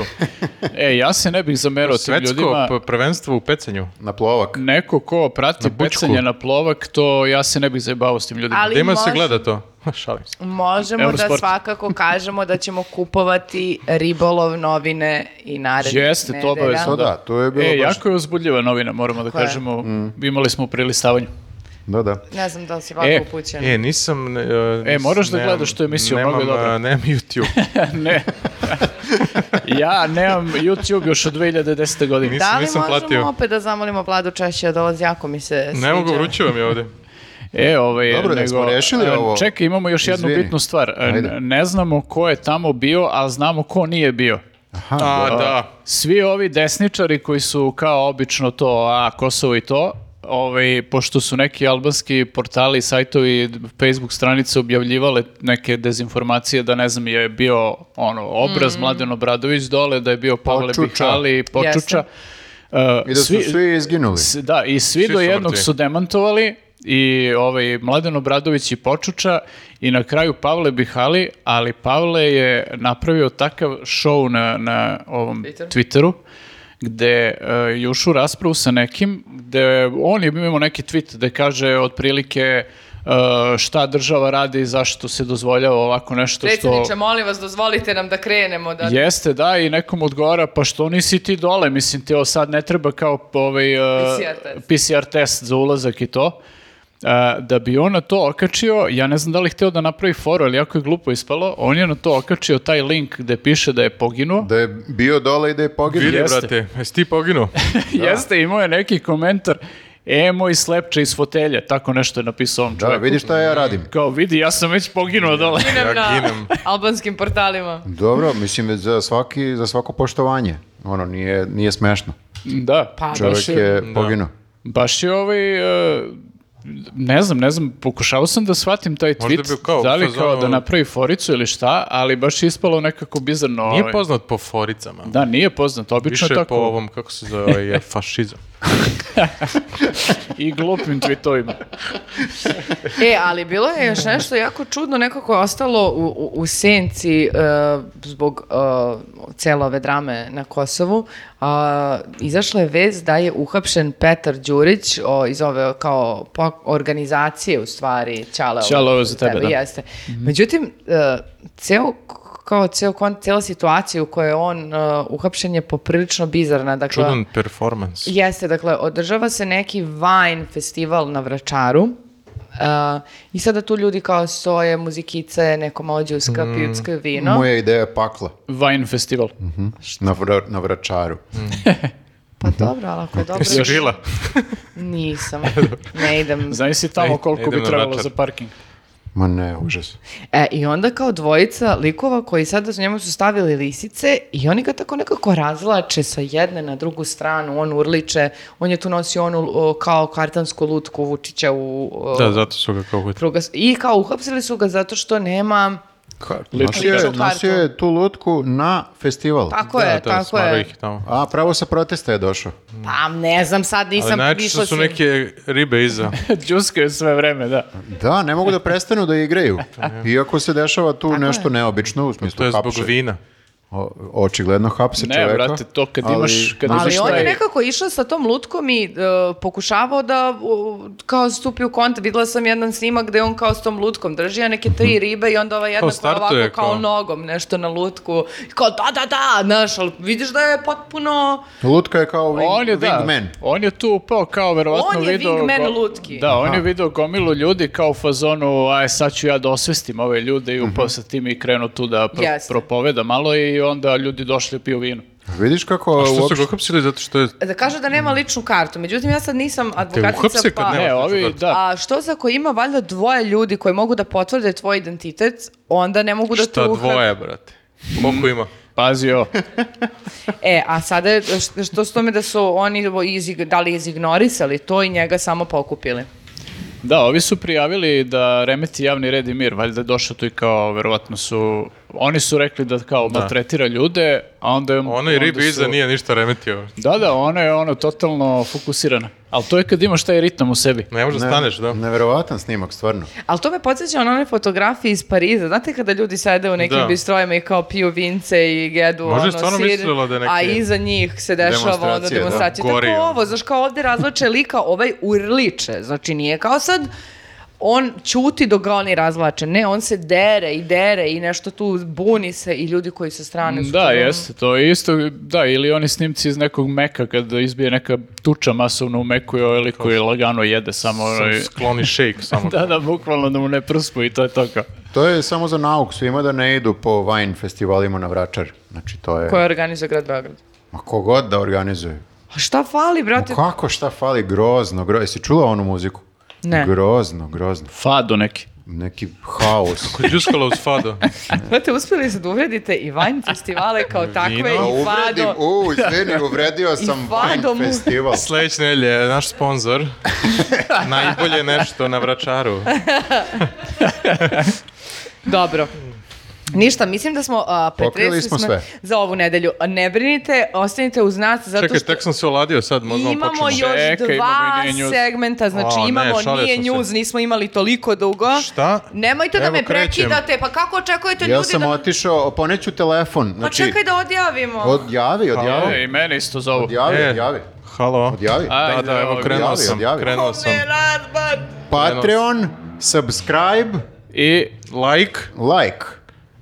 Speaker 2: tu.
Speaker 4: E, ja se ne bih zamerao tim
Speaker 2: Svetsko
Speaker 4: ljudima.
Speaker 2: p- prvenstvo u pecanju.
Speaker 3: Na plovak.
Speaker 4: Neko ko prati
Speaker 2: Na bučku.
Speaker 4: pecanje na plovak, to ja se ne bih zajebao s tim ljudima.
Speaker 1: Ali
Speaker 2: Gde ima da se
Speaker 1: može-
Speaker 2: gleda to? Šalim se.
Speaker 1: Možemo da
Speaker 4: Eurosport.
Speaker 1: svakako kažemo da ćemo kupovati ribolov novine i narednih
Speaker 4: Jeste, to
Speaker 1: nedelja.
Speaker 4: obavezno.
Speaker 3: Pa da, to je bilo
Speaker 4: e,
Speaker 3: baš... Mm.
Speaker 4: jako je uzbudljiva novina, moramo da
Speaker 1: Koja je?
Speaker 4: kažemo. Imali smo u prilistavanju.
Speaker 3: Da, da.
Speaker 1: Ne znam da li si ovako
Speaker 4: E,
Speaker 1: upućen.
Speaker 2: E, nisam... ne, e,
Speaker 4: E, moraš da
Speaker 2: nemam-
Speaker 4: gledaš tu emisiju,
Speaker 2: nemam,
Speaker 4: mnogo je dobra.
Speaker 2: e, Nemam YouTube.
Speaker 4: ne. ja nemam YouTube još od 2010. godine.
Speaker 2: Nisam-
Speaker 1: da li
Speaker 2: nisam
Speaker 1: možemo
Speaker 2: platio.
Speaker 1: opet da zamolimo Vladu češće da dolazi, jako mi se sviđa.
Speaker 2: ne mogu, vruće vam je ovde.
Speaker 4: E, ovaj,
Speaker 3: Dobro,
Speaker 4: nego,
Speaker 3: nek smo rešili
Speaker 4: e,
Speaker 3: ovo.
Speaker 4: Čekaj, imamo još jednu
Speaker 3: Izvini.
Speaker 4: bitnu stvar. E,
Speaker 3: Ajde.
Speaker 4: n- Ne znamo ko je tamo bio, a znamo ko nije bio.
Speaker 2: A, da.
Speaker 4: Svi ovi desničari koji su kao obično to, a Kosovo i to, ovaj, pošto su neki albanski portali, sajtovi, Facebook stranice objavljivale neke dezinformacije da ne znam je bio ono obraz Mladen Obradović dole, da je bio Pavle
Speaker 3: Počuča.
Speaker 4: Bihali, Počuča. Uh,
Speaker 3: I da su svi, izginuli.
Speaker 4: S- Da, i svi,
Speaker 2: Svi
Speaker 4: do
Speaker 2: su
Speaker 4: jednog
Speaker 2: mrtvi.
Speaker 4: su demantovali i ovaj Mladen Obradović i Počuča i na kraju Pavle Bihali, ali Pavle je napravio takav show na, na ovom
Speaker 1: Twitter.
Speaker 4: Twitteru gde e, je ušao u raspravu sa nekim, gde on je imao neki tweet gde kaže otprilike e, šta država radi i zašto se dozvoljava ovako nešto što...
Speaker 1: Predsjedniče, molim vas, dozvolite nam da krenemo. Da...
Speaker 4: Jeste, da, i nekom odgovara, pa što nisi ti dole, mislim, ti sad ne treba kao ovaj, uh,
Speaker 1: PCR test.
Speaker 4: PCR test za ulazak i to. Uh, da bi on na to okačio, ja ne znam da li je hteo da napravi foru, ali jako je glupo ispalo, on je na to okačio taj link gde piše da je poginuo.
Speaker 3: Da je bio dole i da je poginuo.
Speaker 2: Vidi,
Speaker 4: Jeste.
Speaker 2: brate, jesi ti poginuo?
Speaker 4: Jeste, imao je neki komentar, e, moj slepče iz fotelje, tako nešto je napisao on
Speaker 3: Da,
Speaker 4: čovjek.
Speaker 3: vidi šta ja radim.
Speaker 4: Kao, vidi, ja sam već poginuo dole.
Speaker 1: Ginem
Speaker 2: Ja
Speaker 1: na
Speaker 2: ginem.
Speaker 1: albanskim portalima.
Speaker 3: Dobro, mislim za svaki za svako poštovanje. Ono nije nije smešno.
Speaker 4: da,
Speaker 1: Pa,
Speaker 4: baš
Speaker 3: Čovjek je
Speaker 2: Da.
Speaker 3: poginuo.
Speaker 4: Baš je ovaj... e, ne znam, ne znam, pokušao sam da shvatim taj
Speaker 2: Možda
Speaker 4: tweet,
Speaker 2: bi kao u
Speaker 4: da li
Speaker 2: fazonu-
Speaker 4: kao da napravi foricu ili šta, ali baš je ispalo nekako bizarno.
Speaker 2: Nije
Speaker 4: ovaj.
Speaker 2: poznat po foricama.
Speaker 4: Da, nije poznat, obično je
Speaker 2: Više
Speaker 4: tako
Speaker 2: po ovom, kako se zove, je fašizam.
Speaker 4: i glupim tweetovima.
Speaker 1: E, ali bilo je još nešto jako čudno, nekako je ostalo u, u, u senci e, zbog e, cele ove drame na Kosovu. A, izašla je vez da je uhapšen Petar Đurić o, iz ove kao po- organizacije u stvari Ćale ovo
Speaker 4: Ćale ovo za tebe, da.
Speaker 1: Jeste. Međutim, e, ceo kao ceo kon, cela situacija u kojoj je on e, uhapšen je poprilično bizarna. Dakle,
Speaker 2: Čudan performans.
Speaker 1: Jeste, dakle, održava se neki Vine festival na Vračaru. Uh, I sada tu ljudi kao stoje, muzikice, neko malo džuska,
Speaker 2: Mm,
Speaker 1: pijuckaju vino.
Speaker 3: Moja ideja je pakla
Speaker 4: Vine festival.
Speaker 2: Mhm.
Speaker 3: na, vra, na vračaru.
Speaker 1: Pa dobro, ali ako je dobro...
Speaker 2: Jesi E, žila?
Speaker 1: Nisam, ne idem.
Speaker 4: Znaš si tamo
Speaker 2: Ej,
Speaker 4: koliko
Speaker 2: idem
Speaker 4: bi
Speaker 2: na
Speaker 4: trebalo
Speaker 2: večer.
Speaker 4: za parking.
Speaker 3: Ma ne, užas.
Speaker 1: E, I onda kao dvojica likova koji sada su njemu su stavili lisice i oni ga tako nekako razlače sa jedne na drugu stranu, on urliče, on je tu nosio onu o, kao kartansku lutku Vučića u... o,
Speaker 2: Da, zato su ga kao hvatili.
Speaker 1: prugas- I kao uhapsili su ga zato što nema...
Speaker 3: Nosio je,
Speaker 1: Ličnu
Speaker 3: nosio je tu lutku na festival.
Speaker 1: Tako
Speaker 2: Da,
Speaker 1: je,
Speaker 2: da,
Speaker 1: tako
Speaker 2: smarao
Speaker 1: je.
Speaker 2: ih tamo.
Speaker 3: A pravo sa protesta je došao.
Speaker 1: Pa ne znam, sad
Speaker 2: Ali
Speaker 1: nisam
Speaker 2: najčešće
Speaker 1: išla
Speaker 2: su
Speaker 1: sam-
Speaker 2: neke ribe iza.
Speaker 4: Džuskaju sve vreme, da.
Speaker 3: Da, ne mogu da prestanu da igraju. Iako se dešava tu nešto neobično, u smislu
Speaker 2: Pa To je zbog
Speaker 3: hapše.
Speaker 2: vina.
Speaker 3: O- očigledno hapse
Speaker 4: Ne,
Speaker 3: čoveka.
Speaker 4: brate, to kad imaš- kad
Speaker 3: ali-
Speaker 4: imaš-
Speaker 1: Ali
Speaker 4: Zašto
Speaker 1: on je
Speaker 4: je-
Speaker 1: nekako išao sa tom lutkom i e, pokušavao da u, kao stupi u kontakt. Videla sam jedan snimak gde on kao s tom lutkom drži a neke tri ribe i onda ova jedna koja ovako
Speaker 2: startuje,
Speaker 1: kao,
Speaker 2: Hm. kao-
Speaker 1: nogom nešto na lutku. I Kao da, da, da, znaš, ali vidiš da je potpuno...
Speaker 3: Lutka je kao wing,
Speaker 4: On je, da,
Speaker 3: wingman.
Speaker 4: on je tu upao kao verovatno
Speaker 1: On je
Speaker 4: video...
Speaker 1: wingman lutki.
Speaker 4: Da, on je video gomilu ljudi kao u fazonu, aj sad ću ja da osvestim ove ljude i upao sa tim i krenuo tu da pro-
Speaker 1: Jeste.
Speaker 4: propoveda malo i onda ljudi došli piju vino.
Speaker 3: Vidiš kako
Speaker 2: A što su
Speaker 3: Pa uopšte...
Speaker 2: ga hapsili? Zato što je...
Speaker 1: Da kaže da nema ličnu kartu. Međutim, ja sad nisam advokatica
Speaker 2: uhapse Hm. kad
Speaker 1: pa...
Speaker 2: nema
Speaker 4: Ne,
Speaker 2: što
Speaker 4: ovi,
Speaker 2: četvrti.
Speaker 4: da,
Speaker 1: A što za ako ima valjda dvoje ljudi koji mogu da potvrde tvoj identitet, onda ne mogu da te
Speaker 2: Šta
Speaker 1: uhap-
Speaker 2: dvoje, brate? Koliko ima?
Speaker 4: pazio.
Speaker 1: E, a sada je š- što s tome da su oni izig, da li izignorisali to i njega samo pokupili.
Speaker 4: Da, ovi su prijavili da remeti javni red i mir, valjda je došao tu i kao, verovatno su Oni su rekli da kao maltretira ljude, a onda je...
Speaker 2: Ono i
Speaker 4: onda
Speaker 2: ribi iza
Speaker 4: su-
Speaker 2: nije ništa remetio.
Speaker 4: Da, da, ona je ono totalno fokusirana. Ali to je kad imaš taj ritam u sebi.
Speaker 2: Ne možeš da staneš, da.
Speaker 3: Neverovatan snimak, stvarno.
Speaker 1: Ali to me podsjeća na one fotografije iz Pariza. Znate kada ljudi sede u nekim
Speaker 2: Da.
Speaker 1: bistrojima i kao piju vince i jedu
Speaker 2: Možda je
Speaker 1: ono
Speaker 2: stvarno
Speaker 1: sir,
Speaker 2: mislila da je neki-
Speaker 1: a iza njih se dešava ono
Speaker 3: Demonstracije, da.
Speaker 1: demonstracija. Tako
Speaker 2: Gori, ono.
Speaker 1: ovo, znaš kao ovdje razvlače lika, ovaj urliče. Znači nije kao sad on ćuti dok ga oni razvlače. Ne, on se dere i dere i nešto tu buni se i ljudi koji sa strane su. ono.
Speaker 4: Da,
Speaker 1: tu-
Speaker 4: jeste, to je isto, da, ili oni snimci iz nekog meka kad izbije neka tuča masovno u meku i ovaj lik koji lagano jede samo onaj...
Speaker 2: Sam Ono, skloni shake samo.
Speaker 4: Ovaj- Da, da, bukvalno da mu ne prspu i to je to kao.
Speaker 3: To je samo za nauk svima da ne idu po Vine festivalima na Vračar. Znači, to je...
Speaker 1: Koja organizuje grad Beograd.
Speaker 3: Ma kogod da organizuje.
Speaker 1: A šta fali,
Speaker 3: Ma
Speaker 1: brate?
Speaker 3: kako, šta fali? Grozno, grozno. Jesi čula onu muziku?
Speaker 1: Ne.
Speaker 3: Grozno, grozno.
Speaker 4: Fado neki.
Speaker 3: Neki haos.
Speaker 2: Đuskala uz fado.
Speaker 1: Znate, Pa uspjeli se da uvredite i Vine festivale kao takve i
Speaker 2: Vino.
Speaker 1: Fado.
Speaker 3: Uvredim, u, izvini, uvredio sam
Speaker 1: Fado
Speaker 3: Vine
Speaker 1: mu-
Speaker 3: festival.
Speaker 2: Sljedeće nelje je naš sponsor. Najbolje nešto na vračaru.
Speaker 1: Dobro. Ništa, mislim da smo a,
Speaker 3: Pokrili
Speaker 1: pretresli
Speaker 3: smo
Speaker 1: smo,
Speaker 3: sve.
Speaker 1: za ovu nedelju. A Ne brinite, ostanite uz nas zato
Speaker 2: Čekaj,
Speaker 1: što
Speaker 2: tek sam se oladio sad, možda
Speaker 1: imamo
Speaker 2: počnemo.
Speaker 1: još dva
Speaker 4: Čekaj, imamo i nije news.
Speaker 1: segmenta, znači
Speaker 2: A, ne,
Speaker 1: imamo
Speaker 2: šalio
Speaker 1: nije
Speaker 2: sam se.
Speaker 1: news, nismo imali toliko dugo.
Speaker 2: Šta?
Speaker 1: Nemojte da
Speaker 2: Evo,
Speaker 1: me
Speaker 2: krećem.
Speaker 1: prekidate, pa kako očekujete
Speaker 3: Ja
Speaker 1: ljudi
Speaker 3: sam
Speaker 1: da...
Speaker 3: otišao, poneću telefon.
Speaker 1: Pa
Speaker 3: Znači,
Speaker 1: čekaj da odjavimo.
Speaker 3: odjavi,
Speaker 4: E,
Speaker 3: odjavi.
Speaker 4: I mene isto zovu.
Speaker 3: Odjavi,
Speaker 2: E.
Speaker 3: odjavi.
Speaker 2: Halo.
Speaker 3: Odjavi.
Speaker 4: Ajde,
Speaker 2: Da, da, evo
Speaker 4: evo,
Speaker 2: krenuo
Speaker 3: objavi,
Speaker 2: sam,
Speaker 3: objavi.
Speaker 2: krenuo sam.
Speaker 1: Ne, razbad.
Speaker 3: Patreon, subscribe,
Speaker 4: I,
Speaker 2: Like
Speaker 3: like.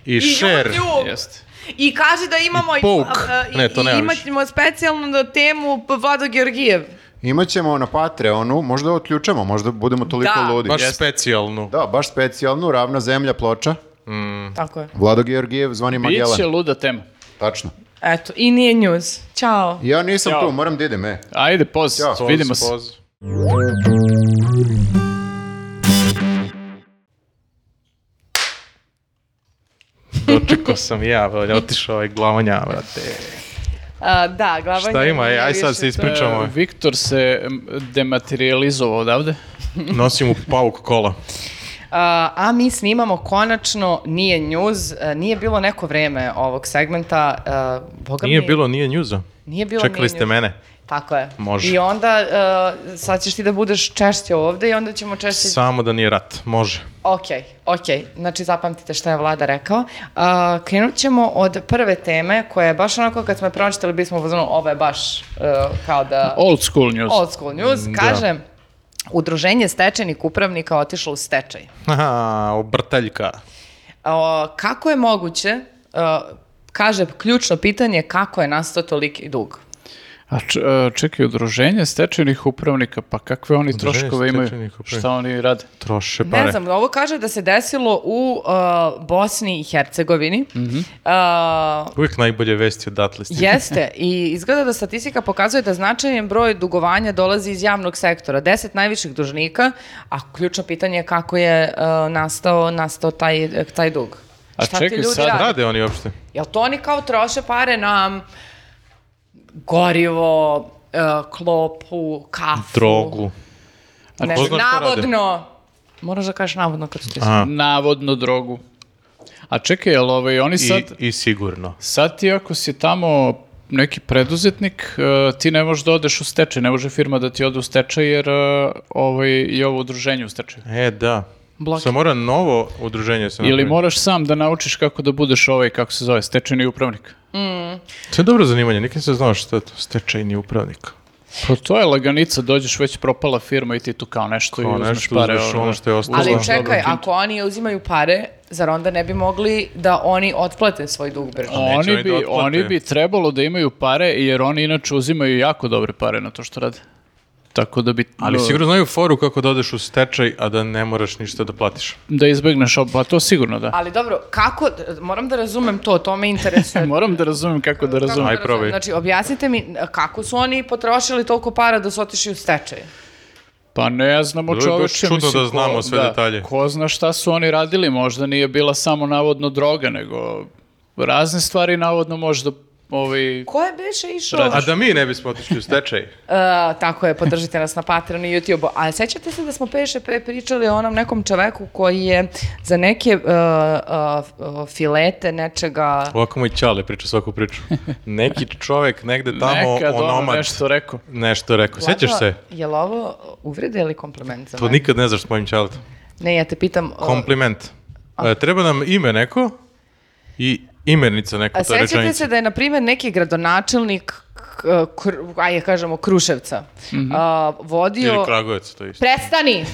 Speaker 2: i
Speaker 1: I
Speaker 2: share.
Speaker 1: YouTube.
Speaker 4: jeste.
Speaker 1: I kaže da imamo...
Speaker 2: I poke.
Speaker 1: a, a, i-
Speaker 2: Ne, to
Speaker 1: i
Speaker 2: nema više.
Speaker 1: Imamo specijalnu temu Vlado Georgijev.
Speaker 3: Imaćemo na Patreonu, možda otključamo, možda budemo toliko
Speaker 1: Da.
Speaker 3: ludi.
Speaker 2: Baš
Speaker 4: Jeste.
Speaker 2: specijalnu.
Speaker 3: Da, baš specijalnu, ravna zemlja, ploča.
Speaker 1: Tako je.
Speaker 3: Vlado Georgijev, zvani Magellan.
Speaker 4: Biće luda tema.
Speaker 3: Tačno.
Speaker 1: Eto, i nije news. Ćao.
Speaker 3: Ja nisam
Speaker 4: Ćao.
Speaker 3: tu, moram da idem, e.
Speaker 4: Ajde, poz,
Speaker 3: Ja,
Speaker 2: Poz,
Speaker 4: vidimo se.
Speaker 2: poz. Dočekao sam ja, velja, otišao je glavanja, brate.
Speaker 1: A, Uh, da, glavanje.
Speaker 2: Šta ima, e, aj sad se
Speaker 4: E,
Speaker 2: ispričamo.
Speaker 4: Viktor se m, dematerializovao odavde.
Speaker 2: Nosim u pauk kola.
Speaker 1: A, Uh, a mi snimamo konačno Nije news. E, Nije bilo neko vreme ovog segmenta. e, Boga
Speaker 2: Nije
Speaker 1: mi,
Speaker 2: bilo, nije njuza.
Speaker 1: Nije bilo
Speaker 2: Čekali
Speaker 1: nije
Speaker 2: ste
Speaker 1: news.
Speaker 2: mene.
Speaker 1: Tako je.
Speaker 2: Može.
Speaker 1: I onda e, sad ćeš ti da budeš češće ovde i onda ćemo češće...
Speaker 2: Samo da nije rat, može.
Speaker 1: Ok, ok. Znači zapamtite šta je vlada rekao. A, krenut ćemo od prve teme koja je baš onako kad smo je pročitali bismo uznali ovo je baš e, kao da...
Speaker 4: Old school news.
Speaker 1: Old school news.
Speaker 4: Mm,
Speaker 1: Kaže, udruženje stečajnih upravnika otišlo u stečaj.
Speaker 2: Aha, obrtaljka.
Speaker 1: O, kako je moguće, o, kaže ključno pitanje kako je nastao toliki dug?
Speaker 4: A č- e, čekaj, udruženje stečajnih upravnika, pa kakve oni
Speaker 2: Udruženje
Speaker 4: troškove imaju?
Speaker 2: stečajnih upravnika.
Speaker 4: Šta oni rade?
Speaker 2: Troše pare.
Speaker 1: Ne znam, ovo kaže da se desilo u o, Bosni i Hercegovini.
Speaker 4: Mhm.
Speaker 1: O,
Speaker 2: Uvijek najbolje vesti odatle stižu.
Speaker 1: Jeste, i izgleda da statistika pokazuje da značajan broj dugovanja dolazi iz javnog sektora, 10 najviših dužnika, a ključno pitanje je kako je o, nastao, nastao taj, taj dug.
Speaker 4: A
Speaker 1: Šta ti
Speaker 4: čekaj,
Speaker 1: ljudi
Speaker 4: sad
Speaker 1: rade?
Speaker 2: Rade oni uopšte.
Speaker 1: Jel to oni kao troše pare na gorivo, e, klopu, kafu?
Speaker 2: Drogu. Znači,
Speaker 1: Ne,
Speaker 2: ko zna šta rade?
Speaker 1: navodno. Moraš da kažeš navodno kad su ti
Speaker 2: Aha.
Speaker 4: Navodno drogu. A čekaj, jel ovaj, oni
Speaker 2: I,
Speaker 4: sad...
Speaker 2: I sigurno.
Speaker 4: Sad ti ako si tamo neki preduzetnik, e, ti ne možeš da odeš u stečaj, ne može firma da ti ode u stečaj jer e, ovaj, je ovo udruženje u stečaju.
Speaker 2: E, da.
Speaker 1: Blok.
Speaker 2: Sad mora novo udruženje se
Speaker 4: Ili
Speaker 2: napraviti.
Speaker 4: moraš sam da naučiš kako da budeš ovaj, kako se zove, stečajni upravnik.
Speaker 2: To je dobro zanimanje, nikad se znao što je to stečajni upravnik.
Speaker 4: Pa to je laganica, dođeš već propala firma i ti tu kao nešto i
Speaker 2: Kao
Speaker 4: uzmeš
Speaker 2: nešto,
Speaker 4: pare.
Speaker 2: uzmeš
Speaker 4: ono,
Speaker 2: ono što je ostalo.
Speaker 1: Ali
Speaker 2: Dobro,
Speaker 4: uzmeš
Speaker 1: čekaj,
Speaker 4: dobro.
Speaker 1: ako oni uzimaju pare, zar onda ne bi mogli da oni otplate svoj dug brže?
Speaker 2: neće oni
Speaker 4: Oni bi,
Speaker 2: da otplate.
Speaker 4: oni bi trebalo da imaju pare jer oni inače uzimaju jako dobre pare na to što rade. Tako da bi
Speaker 2: Ali
Speaker 4: no,
Speaker 2: sigurno znaju foru kako da odeš u stečaj, a da ne moraš ništa da platiš.
Speaker 4: da izbegneš, ob- pa to sigurno da.
Speaker 1: Ali dobro, kako, moram da razumem to, to me interesuje.
Speaker 4: E, Moram da razumem kako da razumem.
Speaker 1: Kako da
Speaker 2: Aj,
Speaker 1: razumem?
Speaker 2: probaj.
Speaker 1: Znači, objasnite mi kako su oni potrošili toliko para da su otišli u stečaj.
Speaker 4: Pa ne znamo
Speaker 2: Bilo je baš
Speaker 4: čoveče.
Speaker 2: čudno
Speaker 4: mislim,
Speaker 2: da znamo
Speaker 4: ko-
Speaker 2: sve detalje.
Speaker 4: Ko zna šta su oni radili, možda nije bila samo navodno droga, nego razne stvari navodno možda ovaj,
Speaker 1: Ko je beše išao?
Speaker 2: A da mi ne bismo otišli u stečaj.
Speaker 1: E, tako je, podržite nas na Patreonu i YouTube-u. A sećate se da smo peše pre pričali o onom nekom čoveku koji je za neke e, e, e, filete nečega...
Speaker 2: Ovako moj Ćale priča svaku priču. Neki čovek negde tamo
Speaker 4: nekad ono
Speaker 2: onomad
Speaker 4: nešto rekao.
Speaker 2: nešto je rekao. Sećaš se?
Speaker 1: Je li ovo uvrede ili kompliment za
Speaker 2: To
Speaker 1: mene?
Speaker 2: nikad ne znaš s mojim Ćaletom.
Speaker 1: Ne, ja te pitam... e,
Speaker 2: Kompliment. E, treba nam ime neko i imenica neko
Speaker 1: A
Speaker 2: u toj
Speaker 1: sećate
Speaker 2: rečenici.
Speaker 1: se da je, na primjer, neki gradonačelnik k- kr, ajde kažemo Kruševca a, vodio...
Speaker 2: Ili Kragujevac, to je isto.
Speaker 1: Prestani!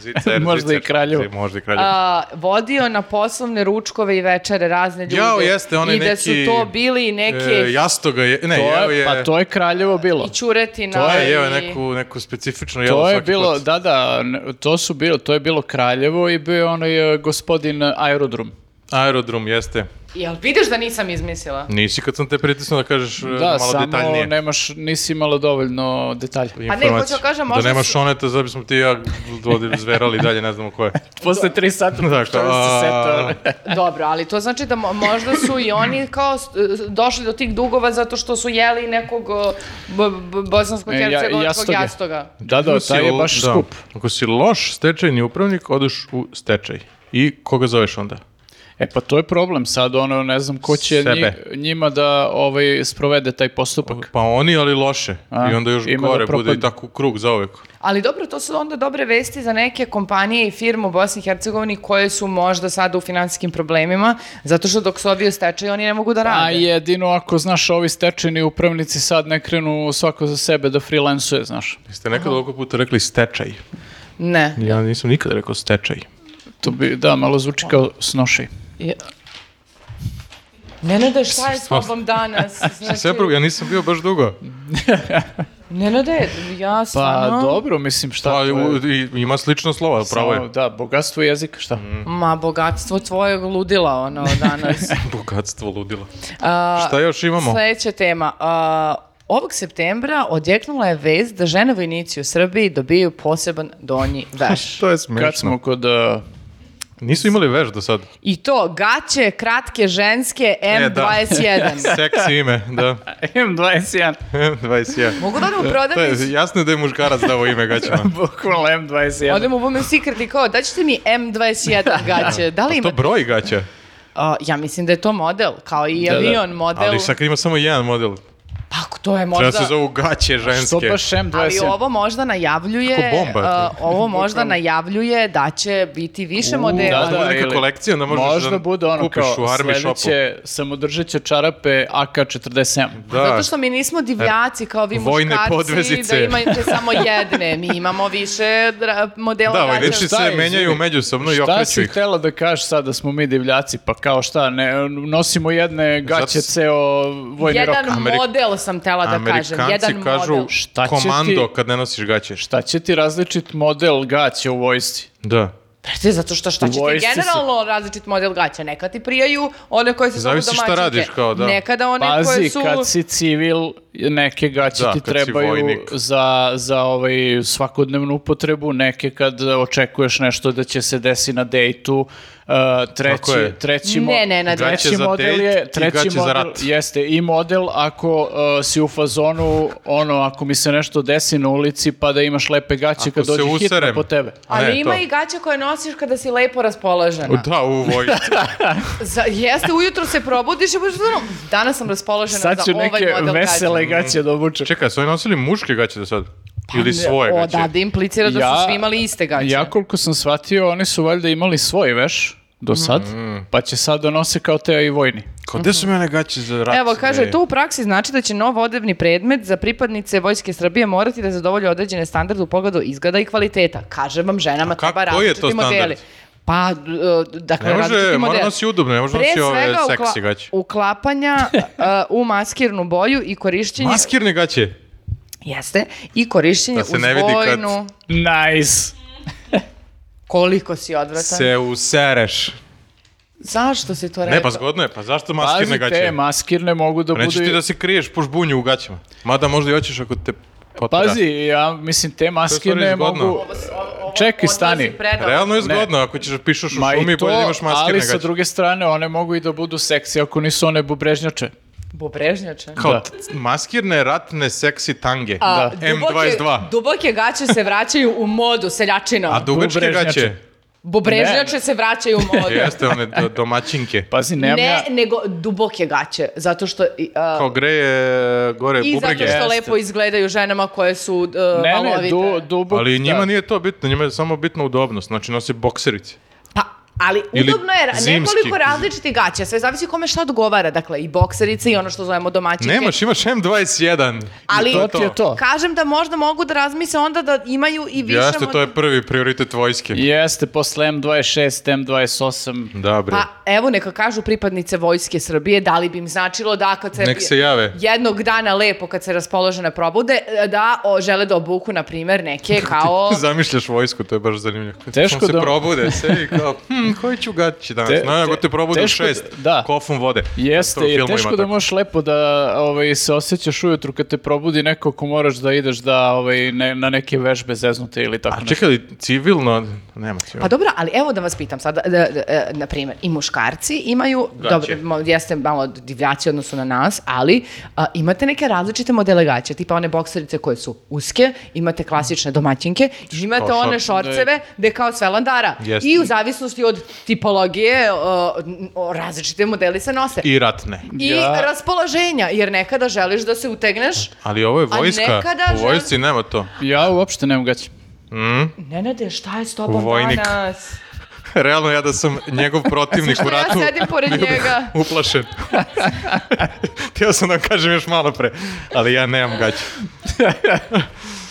Speaker 2: Zicer,
Speaker 4: Možda i
Speaker 2: zicer.
Speaker 4: Kraljevo.
Speaker 2: Zi- Možda i Kraljevo.
Speaker 1: A, vodio na poslovne ručkove i večere razne ljude.
Speaker 2: Jao, jeste, onaj
Speaker 1: I da su
Speaker 2: neki,
Speaker 1: to bili neke...
Speaker 2: E, jastoga je, ne,
Speaker 4: To
Speaker 2: jeo
Speaker 4: je,
Speaker 2: je,
Speaker 4: pa to je kraljevo bilo.
Speaker 1: I čuretina.
Speaker 2: to je, jeo je
Speaker 1: i-
Speaker 2: neku, neku specifično jelo
Speaker 4: To je
Speaker 2: svaki
Speaker 4: bilo,
Speaker 2: put.
Speaker 4: da, da, n- to su bilo, to je bilo kraljevo i bio je onaj e, gospodin aerodrom.
Speaker 2: Aerodrom, jeste.
Speaker 1: Jel vidiš da nisam izmislila?
Speaker 2: Nisi kad sam te pritisnuo da kažeš e,
Speaker 4: Da,
Speaker 2: malo
Speaker 4: samo
Speaker 2: detaljnije.
Speaker 4: nemaš, nisi imalo dovoljno detalja.
Speaker 1: Pa ne, hoću da kažem, možda
Speaker 2: Da nema
Speaker 1: su-
Speaker 2: šoneta, da bismo ti i ja vodili zverali dalje, ne znamo ko je.
Speaker 4: Posle tri sata
Speaker 2: Da, kao, a-
Speaker 1: Dobro, ali to znači da mo- možda su i oni kao s- došli do tih dugova zato što su jeli nekog b- b-
Speaker 4: E, ja-
Speaker 1: bosansko-hercegovačkog
Speaker 4: jastoge.
Speaker 1: jastoga.
Speaker 4: Da, da,
Speaker 2: Ako si
Speaker 4: taj je
Speaker 2: lo-
Speaker 4: baš
Speaker 2: da.
Speaker 4: skup.
Speaker 2: Ako si loš stečajni upravnik, odeš u stečaj. I koga zoveš onda?
Speaker 4: E pa to je problem, sad ono ne znam ko će
Speaker 2: Sebe.
Speaker 4: nji- njima da ovaj, sprovede taj postupak.
Speaker 2: Pa oni, ali loše.
Speaker 4: A,
Speaker 2: I onda još
Speaker 4: ima da
Speaker 2: gore bude
Speaker 4: propadne.
Speaker 2: i tako krug za uvek.
Speaker 1: Ali dobro, to su onda dobre vesti za neke kompanije i firme u Bosni i Hercegovini koje su možda sada u finansijskim problemima, zato što dok su ovi u stečaju oni ne mogu
Speaker 2: Pa
Speaker 1: da
Speaker 4: A
Speaker 1: rade.
Speaker 4: jedino ako, znaš, ovi stečeni upravnici sad ne krenu svako za sebe da freelancuje, znaš.
Speaker 2: Jeste nekad ovoliko puta rekli stečaj.
Speaker 1: Ne.
Speaker 2: Ja nisam nikad rekao stečaj.
Speaker 1: Znači-
Speaker 4: To bi, da, malo zvuči kao snoši. Pa
Speaker 1: Je... Nenade, šta je s tobom danas? Znači,
Speaker 2: Sve problem, ja nisam bio baš dugo.
Speaker 1: Nenade, ja
Speaker 4: Pa
Speaker 1: stvarno...
Speaker 4: dobro, mislim, šta
Speaker 2: Pa,
Speaker 4: to je?
Speaker 2: u- i- ima slično slova, pravo je. Mm,
Speaker 4: Samo, Da, bogatstvo jezika, šta?
Speaker 1: Ma, bogatstvo tvojeg ludila, ono, danas.
Speaker 2: Bogatstvo ludilo.
Speaker 1: A,
Speaker 2: Šta još imamo?
Speaker 1: Sledeća tema. A, ovog septembra odjeknula je vez da žene vojnici u Srbiji dobiju poseban donji veš.
Speaker 2: To je
Speaker 4: Kad
Speaker 2: smiješno.
Speaker 4: smo kod... uh,
Speaker 2: Nisu imali veš do sad.
Speaker 1: I to gaće kratke ženske
Speaker 2: E,
Speaker 1: M21.
Speaker 2: Seksi ime, da.
Speaker 4: M21,
Speaker 2: 21.
Speaker 1: Mogu da odem u
Speaker 2: To je,
Speaker 1: prodavnicu?
Speaker 2: jasno je da je muškarac davo ime gaćama.
Speaker 4: bukvalno M21.
Speaker 1: Odem u Women's Secret i kao, daćete mi M21 gaće. Da li ima?
Speaker 2: Pa To broj gaća,
Speaker 1: A, ja mislim da je to model, kao i
Speaker 4: da.
Speaker 1: avion model.
Speaker 2: ali sad kad ima samo jedan model.
Speaker 1: Pa ako to je možda...
Speaker 2: Treba se zovu gaće ženske.
Speaker 4: Što baš M21?
Speaker 1: Ali ovo možda najavljuje,
Speaker 2: Kako bomba je to.
Speaker 1: a, ovo možda najavljuje da će biti više modela.
Speaker 4: da, da,
Speaker 2: Bude neka
Speaker 4: ili-
Speaker 2: kolekcija, onda možeš
Speaker 4: Možda
Speaker 2: da
Speaker 4: bude ono
Speaker 2: kupiš
Speaker 4: kao
Speaker 2: u Army shopu.
Speaker 4: sledeće, samodržat će čarape AK-47.
Speaker 2: Da.
Speaker 1: Pa Zato što mi nismo divljaci kao vi
Speaker 2: Vojne
Speaker 1: muškarci
Speaker 2: podvezice.
Speaker 1: da imate samo jedne. Mi imamo više dra- modela
Speaker 2: Da, ovaj
Speaker 1: gaća.
Speaker 2: veći
Speaker 4: Šta
Speaker 2: se
Speaker 4: je,
Speaker 2: menjaju
Speaker 4: izvini?
Speaker 2: međusobno i
Speaker 4: šta
Speaker 2: okreću
Speaker 4: si
Speaker 2: ih.
Speaker 4: htela da kažeš sad da smo mi divljaci? Pa kao šta, ne, nosimo jedne gaće
Speaker 2: s-
Speaker 4: ceo vojni
Speaker 1: Jedan
Speaker 4: rok.
Speaker 2: Ameri-
Speaker 1: model sam
Speaker 4: pa
Speaker 1: tela da kažem. Jedan
Speaker 2: Amerikanci kažu
Speaker 1: model.
Speaker 4: Šta će
Speaker 2: komando
Speaker 4: ti-
Speaker 2: kad ne nosiš gaće. Šta?
Speaker 4: Šta će ti različit model gaće u vojsci?
Speaker 2: Da.
Speaker 1: Prate, zato što šta
Speaker 4: U
Speaker 1: ćete
Speaker 4: vojsci si.
Speaker 1: generalno različit model gaća. Neka ti prijaju one koje se zovu
Speaker 2: Zavisi šta
Speaker 1: domaćinke.
Speaker 2: radiš, kao da.
Speaker 1: Nekada one koje
Speaker 4: Pazi,
Speaker 1: su...
Speaker 4: kad si civil, neke gaće
Speaker 2: Da,
Speaker 4: ti
Speaker 2: kad si
Speaker 4: trebaju
Speaker 2: vojnik.
Speaker 4: za, za ovaj svakodnevnu upotrebu, neke kad očekuješ nešto da će se desi na dejtu, uh, treći,
Speaker 2: Tako je.
Speaker 4: treći, mo-
Speaker 1: Ne, ne, na
Speaker 2: Gaće
Speaker 4: treći
Speaker 2: za
Speaker 4: model
Speaker 2: dejt
Speaker 4: je,
Speaker 2: i
Speaker 4: treći
Speaker 2: gaće za
Speaker 4: model
Speaker 2: rat.
Speaker 4: jeste i model ako uh, si u fazonu, ono, ako mi se nešto desi na ulici, pa da imaš lepe gaće
Speaker 2: Ako
Speaker 4: kad
Speaker 2: se
Speaker 4: dođe hitno
Speaker 2: userem.
Speaker 4: po tebe.
Speaker 1: Ali
Speaker 2: Ne,
Speaker 1: ima
Speaker 2: to.
Speaker 1: i gaće koje nosiš kada si lepo raspoložena.
Speaker 2: Da, u vojsci.
Speaker 1: Za, jeste, ujutro se probudiš i budeš ono, danas sam raspoložena
Speaker 4: Sad
Speaker 1: za
Speaker 4: ću
Speaker 1: ovaj
Speaker 4: neke
Speaker 1: model
Speaker 4: vesele gaće da obučem.
Speaker 2: Čekaj, su oni nosili muške gaće do sad?
Speaker 1: Pa
Speaker 2: Ili svoje
Speaker 1: o,
Speaker 2: gaće?
Speaker 1: da, da implicira da su
Speaker 4: Ja-
Speaker 1: svi imali iste gaće.
Speaker 4: Ja koliko sam shvatio, oni su valjda imali svoj veš do sad,
Speaker 2: Mm.
Speaker 4: pa će sad da nose kao te i vojni.
Speaker 2: Kao, gde su mene gaće za rat?
Speaker 1: Evo, kaže,
Speaker 2: E,
Speaker 1: to u praksi znači da će nov odevni predmet za pripadnice Vojske Srbije morati da zadovolje određene standarde u pogledu izgleda i kvaliteta. Kaže vam, ženama
Speaker 2: kako-
Speaker 1: treba
Speaker 2: koji je
Speaker 1: različiti
Speaker 2: to standard?
Speaker 1: modeli. Pa, d- e, dakle,
Speaker 2: Ne može,
Speaker 1: različiti
Speaker 2: mora
Speaker 1: modeli.
Speaker 2: nosi udobno, ne može nosi ove
Speaker 1: ukla-
Speaker 2: seksi gaće.
Speaker 1: uklapanja e, u maskirnu boju i korišćenje...
Speaker 2: Maskirne gaće.
Speaker 1: Jeste. I korišćenje
Speaker 2: Da se
Speaker 1: uz
Speaker 2: ne vidi kad-
Speaker 1: vojnu...
Speaker 4: Nice!
Speaker 1: Koliko si odvratan.
Speaker 2: Se usereš.
Speaker 1: Zašto si to rekao?
Speaker 2: Ne, pa zgodno je, pa zašto maskirne
Speaker 4: Pazi,
Speaker 2: gaće?
Speaker 4: te maskirne mogu da
Speaker 2: Pa Nećeš
Speaker 4: budu...
Speaker 2: ti da se kriješ po žbunju u gaćama. Mada možda i hoćeš ako te potera.
Speaker 4: Pazi, ja mislim, te maskirne
Speaker 2: izgodno.
Speaker 4: mogu... Čekaj, stani.
Speaker 2: Realno je
Speaker 4: Ne.
Speaker 2: zgodno, ako ćeš pišeš u
Speaker 4: Ma
Speaker 2: šumi,
Speaker 4: i
Speaker 2: bolje da
Speaker 4: to,
Speaker 2: imaš maskirne
Speaker 4: ali
Speaker 2: gaće.
Speaker 4: sa druge strane, one mogu i da budu seksi ako nisu one bubrežnjače.
Speaker 1: Bobrežnjače.
Speaker 2: Kao
Speaker 4: Da.
Speaker 2: t- maskirne ratne seksi tange.
Speaker 1: A,
Speaker 2: da.
Speaker 1: duboke-
Speaker 2: M22.
Speaker 1: Duboke gaće se vraćaju u modu, seljačino.
Speaker 2: A dugačke
Speaker 4: Bubrežnjače.
Speaker 2: gaće.
Speaker 1: Bobrežnjače
Speaker 4: Ne.
Speaker 1: se vraćaju u modu.
Speaker 2: Jeste one do- domaćinke.
Speaker 4: Pazi, nemam
Speaker 1: ne,
Speaker 4: ja...
Speaker 1: nego duboke gaće, zato što... i, a,
Speaker 2: Kao greje gore
Speaker 1: I zato Pa. što
Speaker 2: bubrege.
Speaker 4: Jeste.
Speaker 1: lepo izgledaju ženama koje su uh,
Speaker 4: Ne, ne,
Speaker 1: valovite.
Speaker 4: du, dubok...
Speaker 2: Ali njima
Speaker 4: da.
Speaker 2: nije to bitno, njima je samo bitna udobnost. Znači nose bokserice.
Speaker 1: Pa, ali
Speaker 2: Ili
Speaker 1: udobno je ra-
Speaker 2: zimski.
Speaker 1: nekoliko različitih gaća, sve zavisi kome šta odgovara, dakle i bokserice i ono što zovemo domaćinke.
Speaker 2: Nemaš, imaš M21. I
Speaker 1: Ali-
Speaker 2: je
Speaker 4: To ti je to.
Speaker 1: Kažem da možda mogu da razmise onda da imaju i više...
Speaker 2: Jeste,
Speaker 1: mod-
Speaker 2: to je prvi prioritet vojske.
Speaker 4: Jeste, posle M26, M28...
Speaker 2: Da, bre.
Speaker 1: Pa evo neka kažu pripadnice vojske Srbije da li bi im značilo da kad se,
Speaker 2: Nek se jave.
Speaker 1: jednog dana lepo kad se raspoložene probude e, da o, žele da obuku na primer neke kao
Speaker 2: Zamišljaš vojsku, to je baš zanimljivo. Kad
Speaker 4: Teško
Speaker 2: on se
Speaker 4: da-
Speaker 2: probude se i kao, hm, koji ću gaći danas?
Speaker 4: Te-
Speaker 2: no, nego
Speaker 4: te-
Speaker 2: te probude u
Speaker 4: teško da-
Speaker 2: šest,
Speaker 4: da.
Speaker 2: kofom vode. To
Speaker 4: Jeste,
Speaker 2: u
Speaker 4: je
Speaker 2: filmu ima
Speaker 4: teško da
Speaker 2: tako.
Speaker 4: možeš lepo da ovaj, se osjećaš ujutru kad te probudi neko ko moraš da ideš da ovaj, ne, na neke vežbe zeznute ili tako
Speaker 2: A
Speaker 4: nešto.
Speaker 2: čekaj, civilno, nema civilno.
Speaker 1: Pa dobro, ali evo da vas pitam sada, da, da, e, na primjer, i muškarci imaju, dobro, mo- jeste malo divljaci u odnosu na nas, ali a, imate neke različite modele gaća, tipa one bokserice koje su uske, imate klasične domaćinke, i imate
Speaker 2: Kao
Speaker 1: one
Speaker 2: šor-
Speaker 1: šorceve gde je kao sve landara.
Speaker 2: Jeste.
Speaker 1: I u zavisnosti od tipologije a, n- o, različite modeli se nose. I,
Speaker 2: I ratne.
Speaker 4: Ja-
Speaker 1: raspoloženja, jer nekada želiš da se utegneš.
Speaker 2: Ali ovo je
Speaker 1: A
Speaker 2: vojska.
Speaker 1: nekada
Speaker 2: U vojsci nema to.
Speaker 4: Ja uopšte nemam gaće.
Speaker 1: Nenade, šta je s tobom
Speaker 2: Vojnik.
Speaker 1: danas?
Speaker 2: Realno ja da sam njegov protivnik u
Speaker 1: Što ja
Speaker 2: ratu.
Speaker 1: sedim pored
Speaker 2: bio bih
Speaker 1: njega?
Speaker 2: Uplašen. Htio sam da vam kažem još malo pre, ali ja nemam gaće.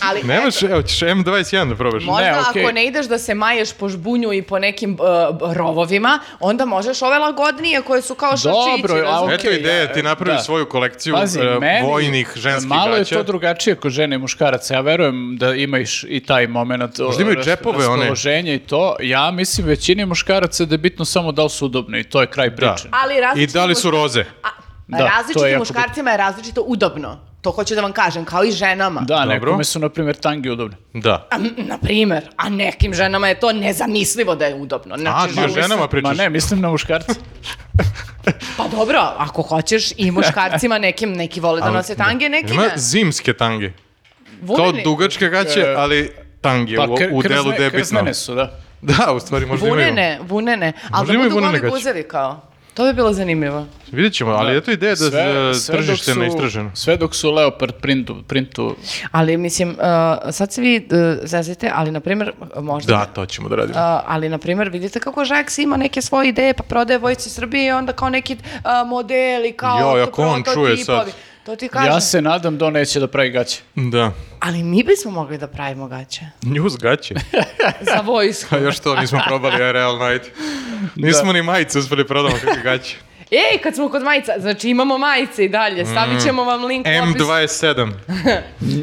Speaker 1: Ali,
Speaker 2: Nemaš, evo ćeš M21 da probaš.
Speaker 1: Možda
Speaker 4: okej.
Speaker 1: ako ne ideš da se maješ po žbunju i po nekim uh, b- rovovima, onda možeš ove lagodnije koje su kao šačići.
Speaker 4: Dobro, a
Speaker 1: razumeš?
Speaker 2: Eto
Speaker 4: okej,
Speaker 2: ideja,
Speaker 4: ja-
Speaker 2: ti napravi
Speaker 4: da.
Speaker 2: svoju kolekciju
Speaker 4: Pazi,
Speaker 2: e,
Speaker 4: meni
Speaker 2: vojnih ženskih
Speaker 4: malo
Speaker 2: gaća.
Speaker 4: je to drugačije kod žene i muškaraca. Ja verujem da imaš i taj moment
Speaker 2: Možda imaju
Speaker 4: ras-
Speaker 2: džepove one.
Speaker 4: raspoloženja i to. Ja mislim većini muškaraca je da je bitno samo da li su udobni i to je kraj
Speaker 2: Da.
Speaker 4: priče.
Speaker 1: Ali
Speaker 2: I
Speaker 1: različiti
Speaker 2: da li su
Speaker 1: muš-
Speaker 2: roze?
Speaker 1: A,
Speaker 4: Da, to je
Speaker 1: različitim
Speaker 4: jako
Speaker 1: muškarcima je različito udobno. To hoću da vam kažem, kao i ženama.
Speaker 4: Da,
Speaker 2: Dobro.
Speaker 4: nekome su, na primjer, tangi udobni.
Speaker 2: Da.
Speaker 1: A, m, na primer, a nekim ženama je to nezamislivo da je udobno.
Speaker 2: A,
Speaker 1: Znači,
Speaker 2: ti o ženama
Speaker 4: Ma
Speaker 2: pričaš?
Speaker 4: ne, mislim na muškarce.
Speaker 1: pa dobro, ako hoćeš i muškarcima nekim, neki vole da nose tange, neki
Speaker 2: Ima
Speaker 1: ne.
Speaker 2: zimske tange. Kao
Speaker 1: Vuneni,
Speaker 2: dugačke gaće,
Speaker 4: E,
Speaker 2: ali tange
Speaker 4: Pa
Speaker 2: u,
Speaker 4: kr-
Speaker 2: u delu
Speaker 4: krzne-
Speaker 2: gde je bitno.
Speaker 4: krznene su, da.
Speaker 2: Da, u stvari možda imaju.
Speaker 1: vunene, vunene. Ali
Speaker 2: Možda
Speaker 1: da
Speaker 2: imaju
Speaker 1: budu
Speaker 2: vunene
Speaker 1: goli
Speaker 2: gaće.
Speaker 1: guzevi kao. To bi bilo zanimljivo.
Speaker 2: Vidjet ćemo, ali
Speaker 4: Da.
Speaker 2: eto Pa ideja da
Speaker 4: Sve-
Speaker 2: sve,
Speaker 4: sve dok
Speaker 2: tržište
Speaker 4: su-
Speaker 2: neistraženo.
Speaker 4: Sve dok su leopard printu, printu
Speaker 1: Ali mislim, uh, sad se vi uh, zezite, ali na primjer, možda...
Speaker 2: Da, to ćemo da radimo.
Speaker 1: Uh, ali, na primjer, vidite kako Žaks ima neke svoje ideje, pa prodaje Vojci Srbije i onda kao neki uh, modeli, kao
Speaker 2: Joj,
Speaker 1: to-
Speaker 2: ako on
Speaker 1: prototipovi.
Speaker 2: čuje sad.
Speaker 1: To ti kažem.
Speaker 4: Ja se nadam da on neće da pravi gaće.
Speaker 2: Da.
Speaker 1: Ali mi bismo mogli da pravimo gaće.
Speaker 2: Njuz gaće.
Speaker 1: Za vojsku.
Speaker 2: Pa još to nismo probali, ja realno, ajde. Nismo ni majice uspeli prodamo kakve gaće.
Speaker 1: Ej, kad smo kod majica, znači imamo majice i dalje, stavit
Speaker 2: Mm.
Speaker 1: ćemo vam link u opisu.
Speaker 2: M27.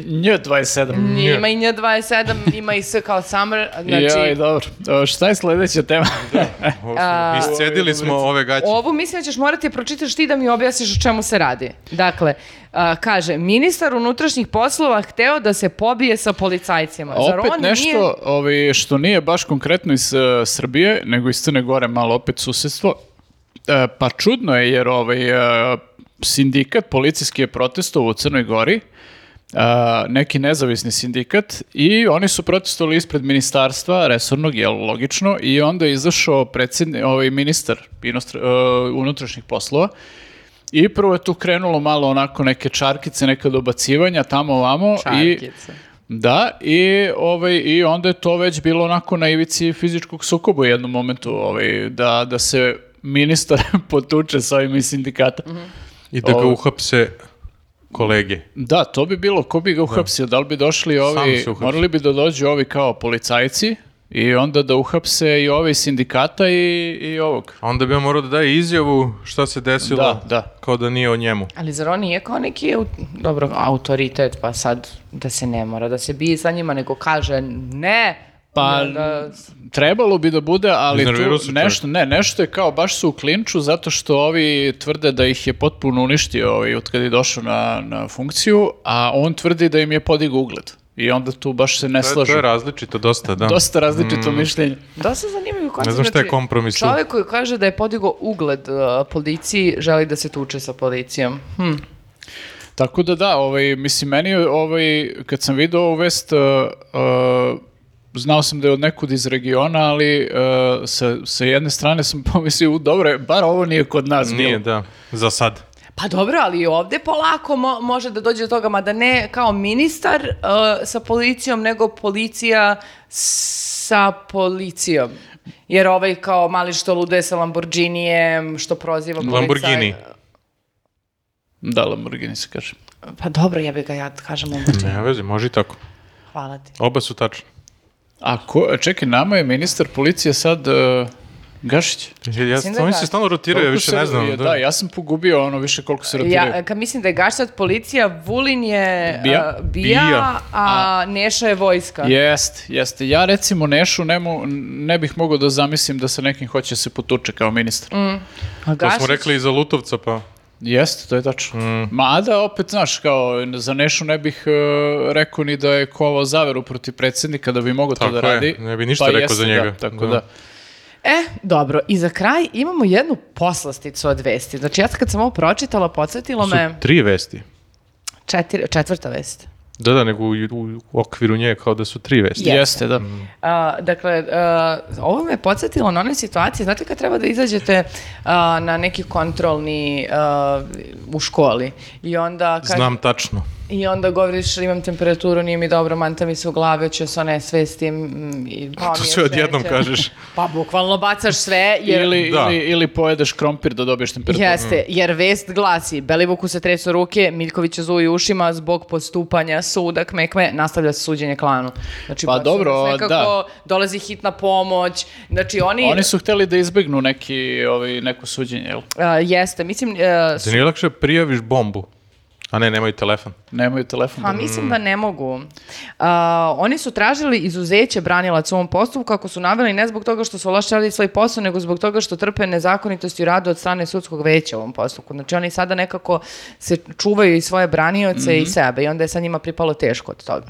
Speaker 4: Nje 27.
Speaker 1: Nije, Ima i nja 27, ima i sve kao summer, znači...
Speaker 4: Joj, dobro. O, šta je sledeća tema?
Speaker 2: Ovo smo- Iscedili smo ove gaće.
Speaker 1: Ovo mislim da ćeš morati da pročitaš ti da mi objasniš o čemu se radi. Dakle, a, kaže, ministar unutrašnjih poslova hteo da se pobije sa policajcima. Zar
Speaker 4: opet
Speaker 1: on
Speaker 4: nešto
Speaker 1: nije-
Speaker 4: ovaj, što nije baš konkretno iz e, Srbije, nego iz Crne Gore, malo opet susjedstvo. E, pa čudno je jer ovaj, e, sindikat policijski je protestovao u Crnoj Gori, e, neki nezavisni sindikat i oni su protestovali ispred ministarstva resornog, jel logično, i onda je izašao predsjedni, ovaj ministar inostra- e, unutrašnjih poslova i prvo je tu krenulo malo onako neke čarkice, neka dobacivanja tamo ovamo i
Speaker 1: Čarkice.
Speaker 4: da, i, ovaj, i onda je to već bilo onako na ivici fizičkog sukoba u jednom momentu, ovaj, da, da se ministar potuče sa ovim iz sindikata.
Speaker 2: I da ga
Speaker 4: Ovo-
Speaker 2: uhapse kolege.
Speaker 4: Da, to bi bilo, ko bi ga uhapsio, da li bi došli ovi,
Speaker 2: se uhapsi.
Speaker 4: morali bi da dođu ovi kao policajci i onda da uhapse i ovi iz sindikata i, i ovog.
Speaker 2: A onda bi on morao da daje izjavu šta se desilo,
Speaker 4: Da, da.
Speaker 2: kao da nije o njemu.
Speaker 1: Ali zar on nije kao neki, au- dobro, autoritet, pa sad da se ne mora, da se bije sa njima, nego kaže ne,
Speaker 4: Pa,
Speaker 1: da-
Speaker 4: Trebalo bi da bude, ali
Speaker 2: Iznervirao se
Speaker 4: tu
Speaker 2: čovjek.
Speaker 4: nešto, ne, nešto je kao baš su u klinču zato što ovi tvrde da ih je potpuno uništio ovi od kada je došao na, na funkciju, a on tvrdi da im je podigao ugled. I onda tu baš se ne
Speaker 2: To je, Mm. to je
Speaker 4: slažu.
Speaker 2: različito dosta, da.
Speaker 4: Dosta različito mišljenje.
Speaker 1: Dosta zanimljivo koncept,
Speaker 2: Ne znam šta je kompromis tu.
Speaker 1: znači Čovjek koji kaže da je podigao ugled uh, policiji, želi da se tuče sa policijom. Hm.
Speaker 4: Tako da da, ovaj, mislim, meni je, ovaj, kad sam vidio ovu vest, uh, uh, znao sam da je od nekud iz regiona, ali uh, sa, sa jedne strane sam pomislio, "U, dobro, je, bar ovo nije kod nas
Speaker 2: Nije,
Speaker 4: bilo.
Speaker 2: da, za sad.
Speaker 1: Pa dobro, ali i ovdje polako mo- može da dođe do toga, mada ne kao ministar uh, sa policijom, nego policija sa policijom. Jer ovaj kao mali što luduje sa Lamborghinijem, što proziva policaj.
Speaker 2: Lamborghini.
Speaker 4: Da, Lamborghini se kaže.
Speaker 1: Pa dobro, ja bih ga ja kažem Lamborghini.
Speaker 2: Ne veze, može i tako.
Speaker 1: Hvala ti.
Speaker 2: Oba su tačne.
Speaker 4: A ko, čekaj, nama je ministar policije sad uh, Gašić.
Speaker 2: Ja,
Speaker 1: Mislim da
Speaker 2: oni
Speaker 1: da.
Speaker 2: se stalno rotiraju, ja
Speaker 4: Koliko
Speaker 2: više
Speaker 4: se-
Speaker 2: ne znam.
Speaker 4: je,
Speaker 2: da.
Speaker 4: da. ja sam pogubio ono više koliko se rotiraju.
Speaker 1: Ja, e, kad mislim da je Gaš sad policija, Vulin je uh,
Speaker 4: Bija.
Speaker 1: bija,
Speaker 2: Bija.
Speaker 1: a Neša je vojska.
Speaker 4: Jest, jeste. Ja recimo Nešu ne, mo- ne bih mogao da zamislim da se nekim hoće se potuče kao ministar.
Speaker 1: Mm. A
Speaker 2: To
Speaker 1: Gašić-
Speaker 2: smo rekli i za Lutovca, pa...
Speaker 4: Jeste, to je tačno.
Speaker 2: Mm.
Speaker 4: Mada opet, znaš, kao za Nešu ne bih e, rekao ni da je kovao zaveru protiv predsjednika da bi mogao
Speaker 2: Tako
Speaker 4: to da
Speaker 2: je,
Speaker 4: radi.
Speaker 2: ne bi ništa
Speaker 4: Pa
Speaker 2: rekao
Speaker 4: jeste,
Speaker 2: za njega.
Speaker 4: da, tako
Speaker 2: Da.
Speaker 4: da.
Speaker 1: E, dobro, i za kraj imamo jednu poslasticu od vesti. Znači, ja kad sam ovo pročitala, podsjetilo me
Speaker 2: tri vesti.
Speaker 1: četiri, četvrta vest.
Speaker 2: Da, da, nego u, u okviru nje kao da su tri vesti.
Speaker 1: Jeste.
Speaker 4: Jeste, da.
Speaker 1: A, dakle, a, ovo me podsjetilo na one situacije, znate kad treba da izađete a, na neki kontrolni a, u školi i onda... Kad,
Speaker 2: Znam tačno.
Speaker 1: I onda govoriš imam temperaturu, nije mi dobro, manta mi se u glavi, ću se one svestim. mm, I pao
Speaker 2: To
Speaker 1: mi je
Speaker 2: sve odjednom
Speaker 1: cveće.
Speaker 2: kažeš.
Speaker 1: Pa bukvalno bacaš sve jer...
Speaker 4: Ili,
Speaker 2: Da.
Speaker 4: ili, ili pojedeš krompir da dobiješ temperaturu.
Speaker 1: Jeste, jer vest glasi, Belivuku se tresu ruke, Miljković zuji ušima zbog postupanja suda kmekme, nastavlja se suđenje klanu. Znači,
Speaker 4: Pa
Speaker 1: baš
Speaker 4: dobro,
Speaker 1: ono nekako
Speaker 4: da.
Speaker 1: Dolazi hitna pomoć, znači oni...
Speaker 4: Oni su hteli da izbegnu neki, ovaj, neko suđenje, jel?
Speaker 1: a, jeste, mislim... a,
Speaker 2: Da nije lakše prijaviš bombu? A ne, nemoj telefon.
Speaker 4: Nemaju telefon.
Speaker 1: Pa mislim da ne mogu. A, oni su tražili izuzeće branilaca u ovom postupku kako su naveli ne zbog toga što su loše radili svoj posao, nego zbog toga što trpe nezakonitosti u radu od strane sudskog veća u ovom postupku. Znači oni sada nekako se čuvaju i svoje branioce i sebe i onda je sad njima pripalo teško od toga.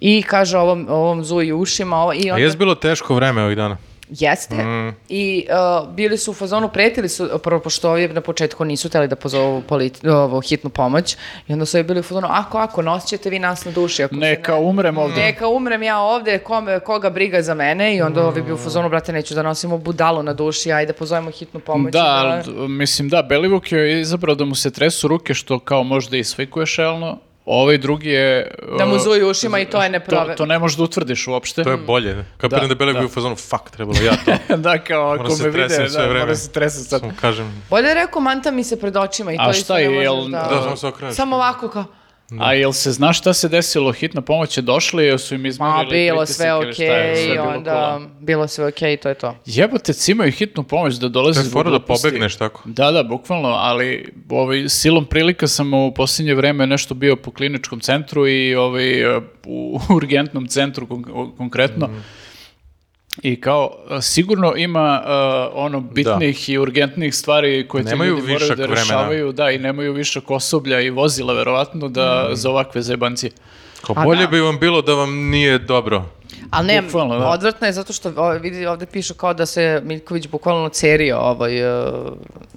Speaker 1: I kaže ovom, ovom zuji ušima. Ovo, i
Speaker 2: A
Speaker 1: onda...
Speaker 2: jes bilo teško vreme ovih dana?
Speaker 1: Jeste.
Speaker 4: Mm.
Speaker 1: I uh, bili su u fazonu, pretili su, prvo pošto ovi na početku nisu hteli da pozovu polit, ovo, hitnu pomoć, i onda su ovi bili u fazonu, ako, ako, nosit ćete vi nas na duši. Ako se
Speaker 4: Neka umrem ovdje.
Speaker 1: Neka umrem ja ovde, kome, koga briga za mene i onda ovi bi u fazonu, brate, neću da nosimo budalu na duši, ajde pozovemo hitnu pomoć.
Speaker 4: Da, ali, d- mislim da, Belivuk je izabrao da mu se tresu ruke, što kao možda i slikuje šelno. Ovaj drugi je...
Speaker 1: Da mu
Speaker 4: e,
Speaker 1: zuji ušima i to je neprove.
Speaker 4: To, to ne možeš da utvrdiš uopšte.
Speaker 2: To je bolje. ne? Kad da, da Belek
Speaker 4: da.
Speaker 2: bio u fazonu, fuck, trebalo ja to.
Speaker 4: da, kao
Speaker 2: Moram
Speaker 4: ako
Speaker 2: se
Speaker 4: me vide,
Speaker 2: tresem sve
Speaker 4: da,
Speaker 2: vreme.
Speaker 4: moram se tresem sad.
Speaker 2: Samo kažem.
Speaker 1: Bolje je rekao, manta mi se pred očima i
Speaker 4: A
Speaker 1: to
Speaker 4: šta
Speaker 1: isto ne
Speaker 4: je,
Speaker 1: možeš
Speaker 4: jel-
Speaker 1: da-
Speaker 2: Da, samo se okreneš.
Speaker 1: Samo ovako kao,
Speaker 4: A jel se zna šta se desilo? Hitna pomoć je došla i jel su im izmerili
Speaker 1: ma bilo
Speaker 4: pritisak
Speaker 1: sve
Speaker 4: ili šta
Speaker 1: okej,
Speaker 4: je, sve bilo
Speaker 1: onda
Speaker 4: cool.
Speaker 1: bilo sve okej i to je to.
Speaker 4: Jebote, cimaju hitnu pomoć da dolazi
Speaker 2: To je fora da pobegneš tako.
Speaker 4: Da, da, bukvalno, ali ovaj, silom prilika sam u posljednje vreme nešto bio po kliničkom centru i ovaj, e, u urgentnom centru kon- o- konkretno.
Speaker 2: Mhm.
Speaker 4: I kao, e, sigurno ima e, ono bitnih i urgentnih stvari koje ti
Speaker 2: Nemaju
Speaker 4: ljudi moraju
Speaker 2: višak
Speaker 4: da
Speaker 2: vremena.
Speaker 4: rešavaju, da, i nemaju višak osoblja i vozila, verovatno, da
Speaker 2: Mhm.
Speaker 4: za ovakve zajebancije.
Speaker 2: Kao
Speaker 1: A
Speaker 2: bolje
Speaker 1: da.
Speaker 2: bi vam bilo da vam nije dobro.
Speaker 1: Ali ne,
Speaker 4: Bukvalno, da.
Speaker 1: odvratno je zato što o, vidi, ovde pišu kao da se Miljković bukvalno cerio ovoj e,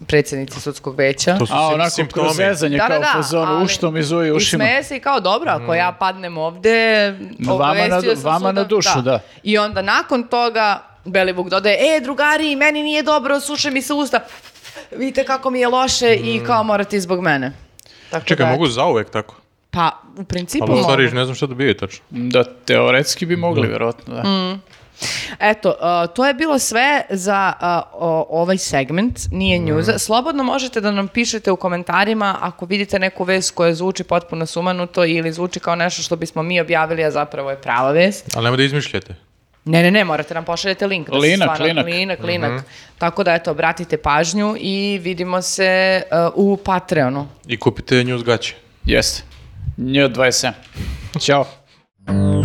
Speaker 1: predsjednici sudskog veća.
Speaker 2: To su
Speaker 4: A
Speaker 2: sim-
Speaker 4: onako
Speaker 2: simptomi.
Speaker 4: kroz zezanje, kao po zonu,
Speaker 1: ali-
Speaker 4: ušto mi zuji ušima. Mm.
Speaker 1: I smeje se i kao dobro, ako ja padnem ovde,
Speaker 4: Vama na du-
Speaker 1: obavestio sam
Speaker 4: vama na
Speaker 1: suda-
Speaker 4: dušu, da.
Speaker 1: I onda nakon toga Belivuk dodaje, e drugari, meni nije dobro, suše mi se usta, vidite kako mi je loše
Speaker 4: Mm.
Speaker 1: i kao morate i zbog mene. Tako
Speaker 2: Čekaj,
Speaker 1: da-
Speaker 2: mogu zauvek tako?
Speaker 1: Pa, u principu
Speaker 2: Ali u stvari
Speaker 1: mogu.
Speaker 2: ne znam šta dobijaju tačno.
Speaker 4: Da, teoretski bi mogli, verovatno, da.
Speaker 1: Mhm. Eto, uh, to je bilo sve za uh, o- ovaj segment, nije
Speaker 4: Mhm.
Speaker 1: njuza. Slobodno možete da nam pišete u komentarima ako vidite neku vest koja zvuči potpuno sumanuto ili zvuči kao nešto što bismo mi objavili, a zapravo je prava vest.
Speaker 2: Ali nemoj da izmišljate.
Speaker 1: Ne, ne, ne, morate nam pošaljete link. Da se
Speaker 4: Linak,
Speaker 1: stvarno-
Speaker 4: linak. Mhm.
Speaker 1: Linak, linak. Tako da, eto, obratite pažnju i vidimo se uh, u Patreonu.
Speaker 2: I kupite nju gaće.
Speaker 4: Jeste. Nj27. Ćao.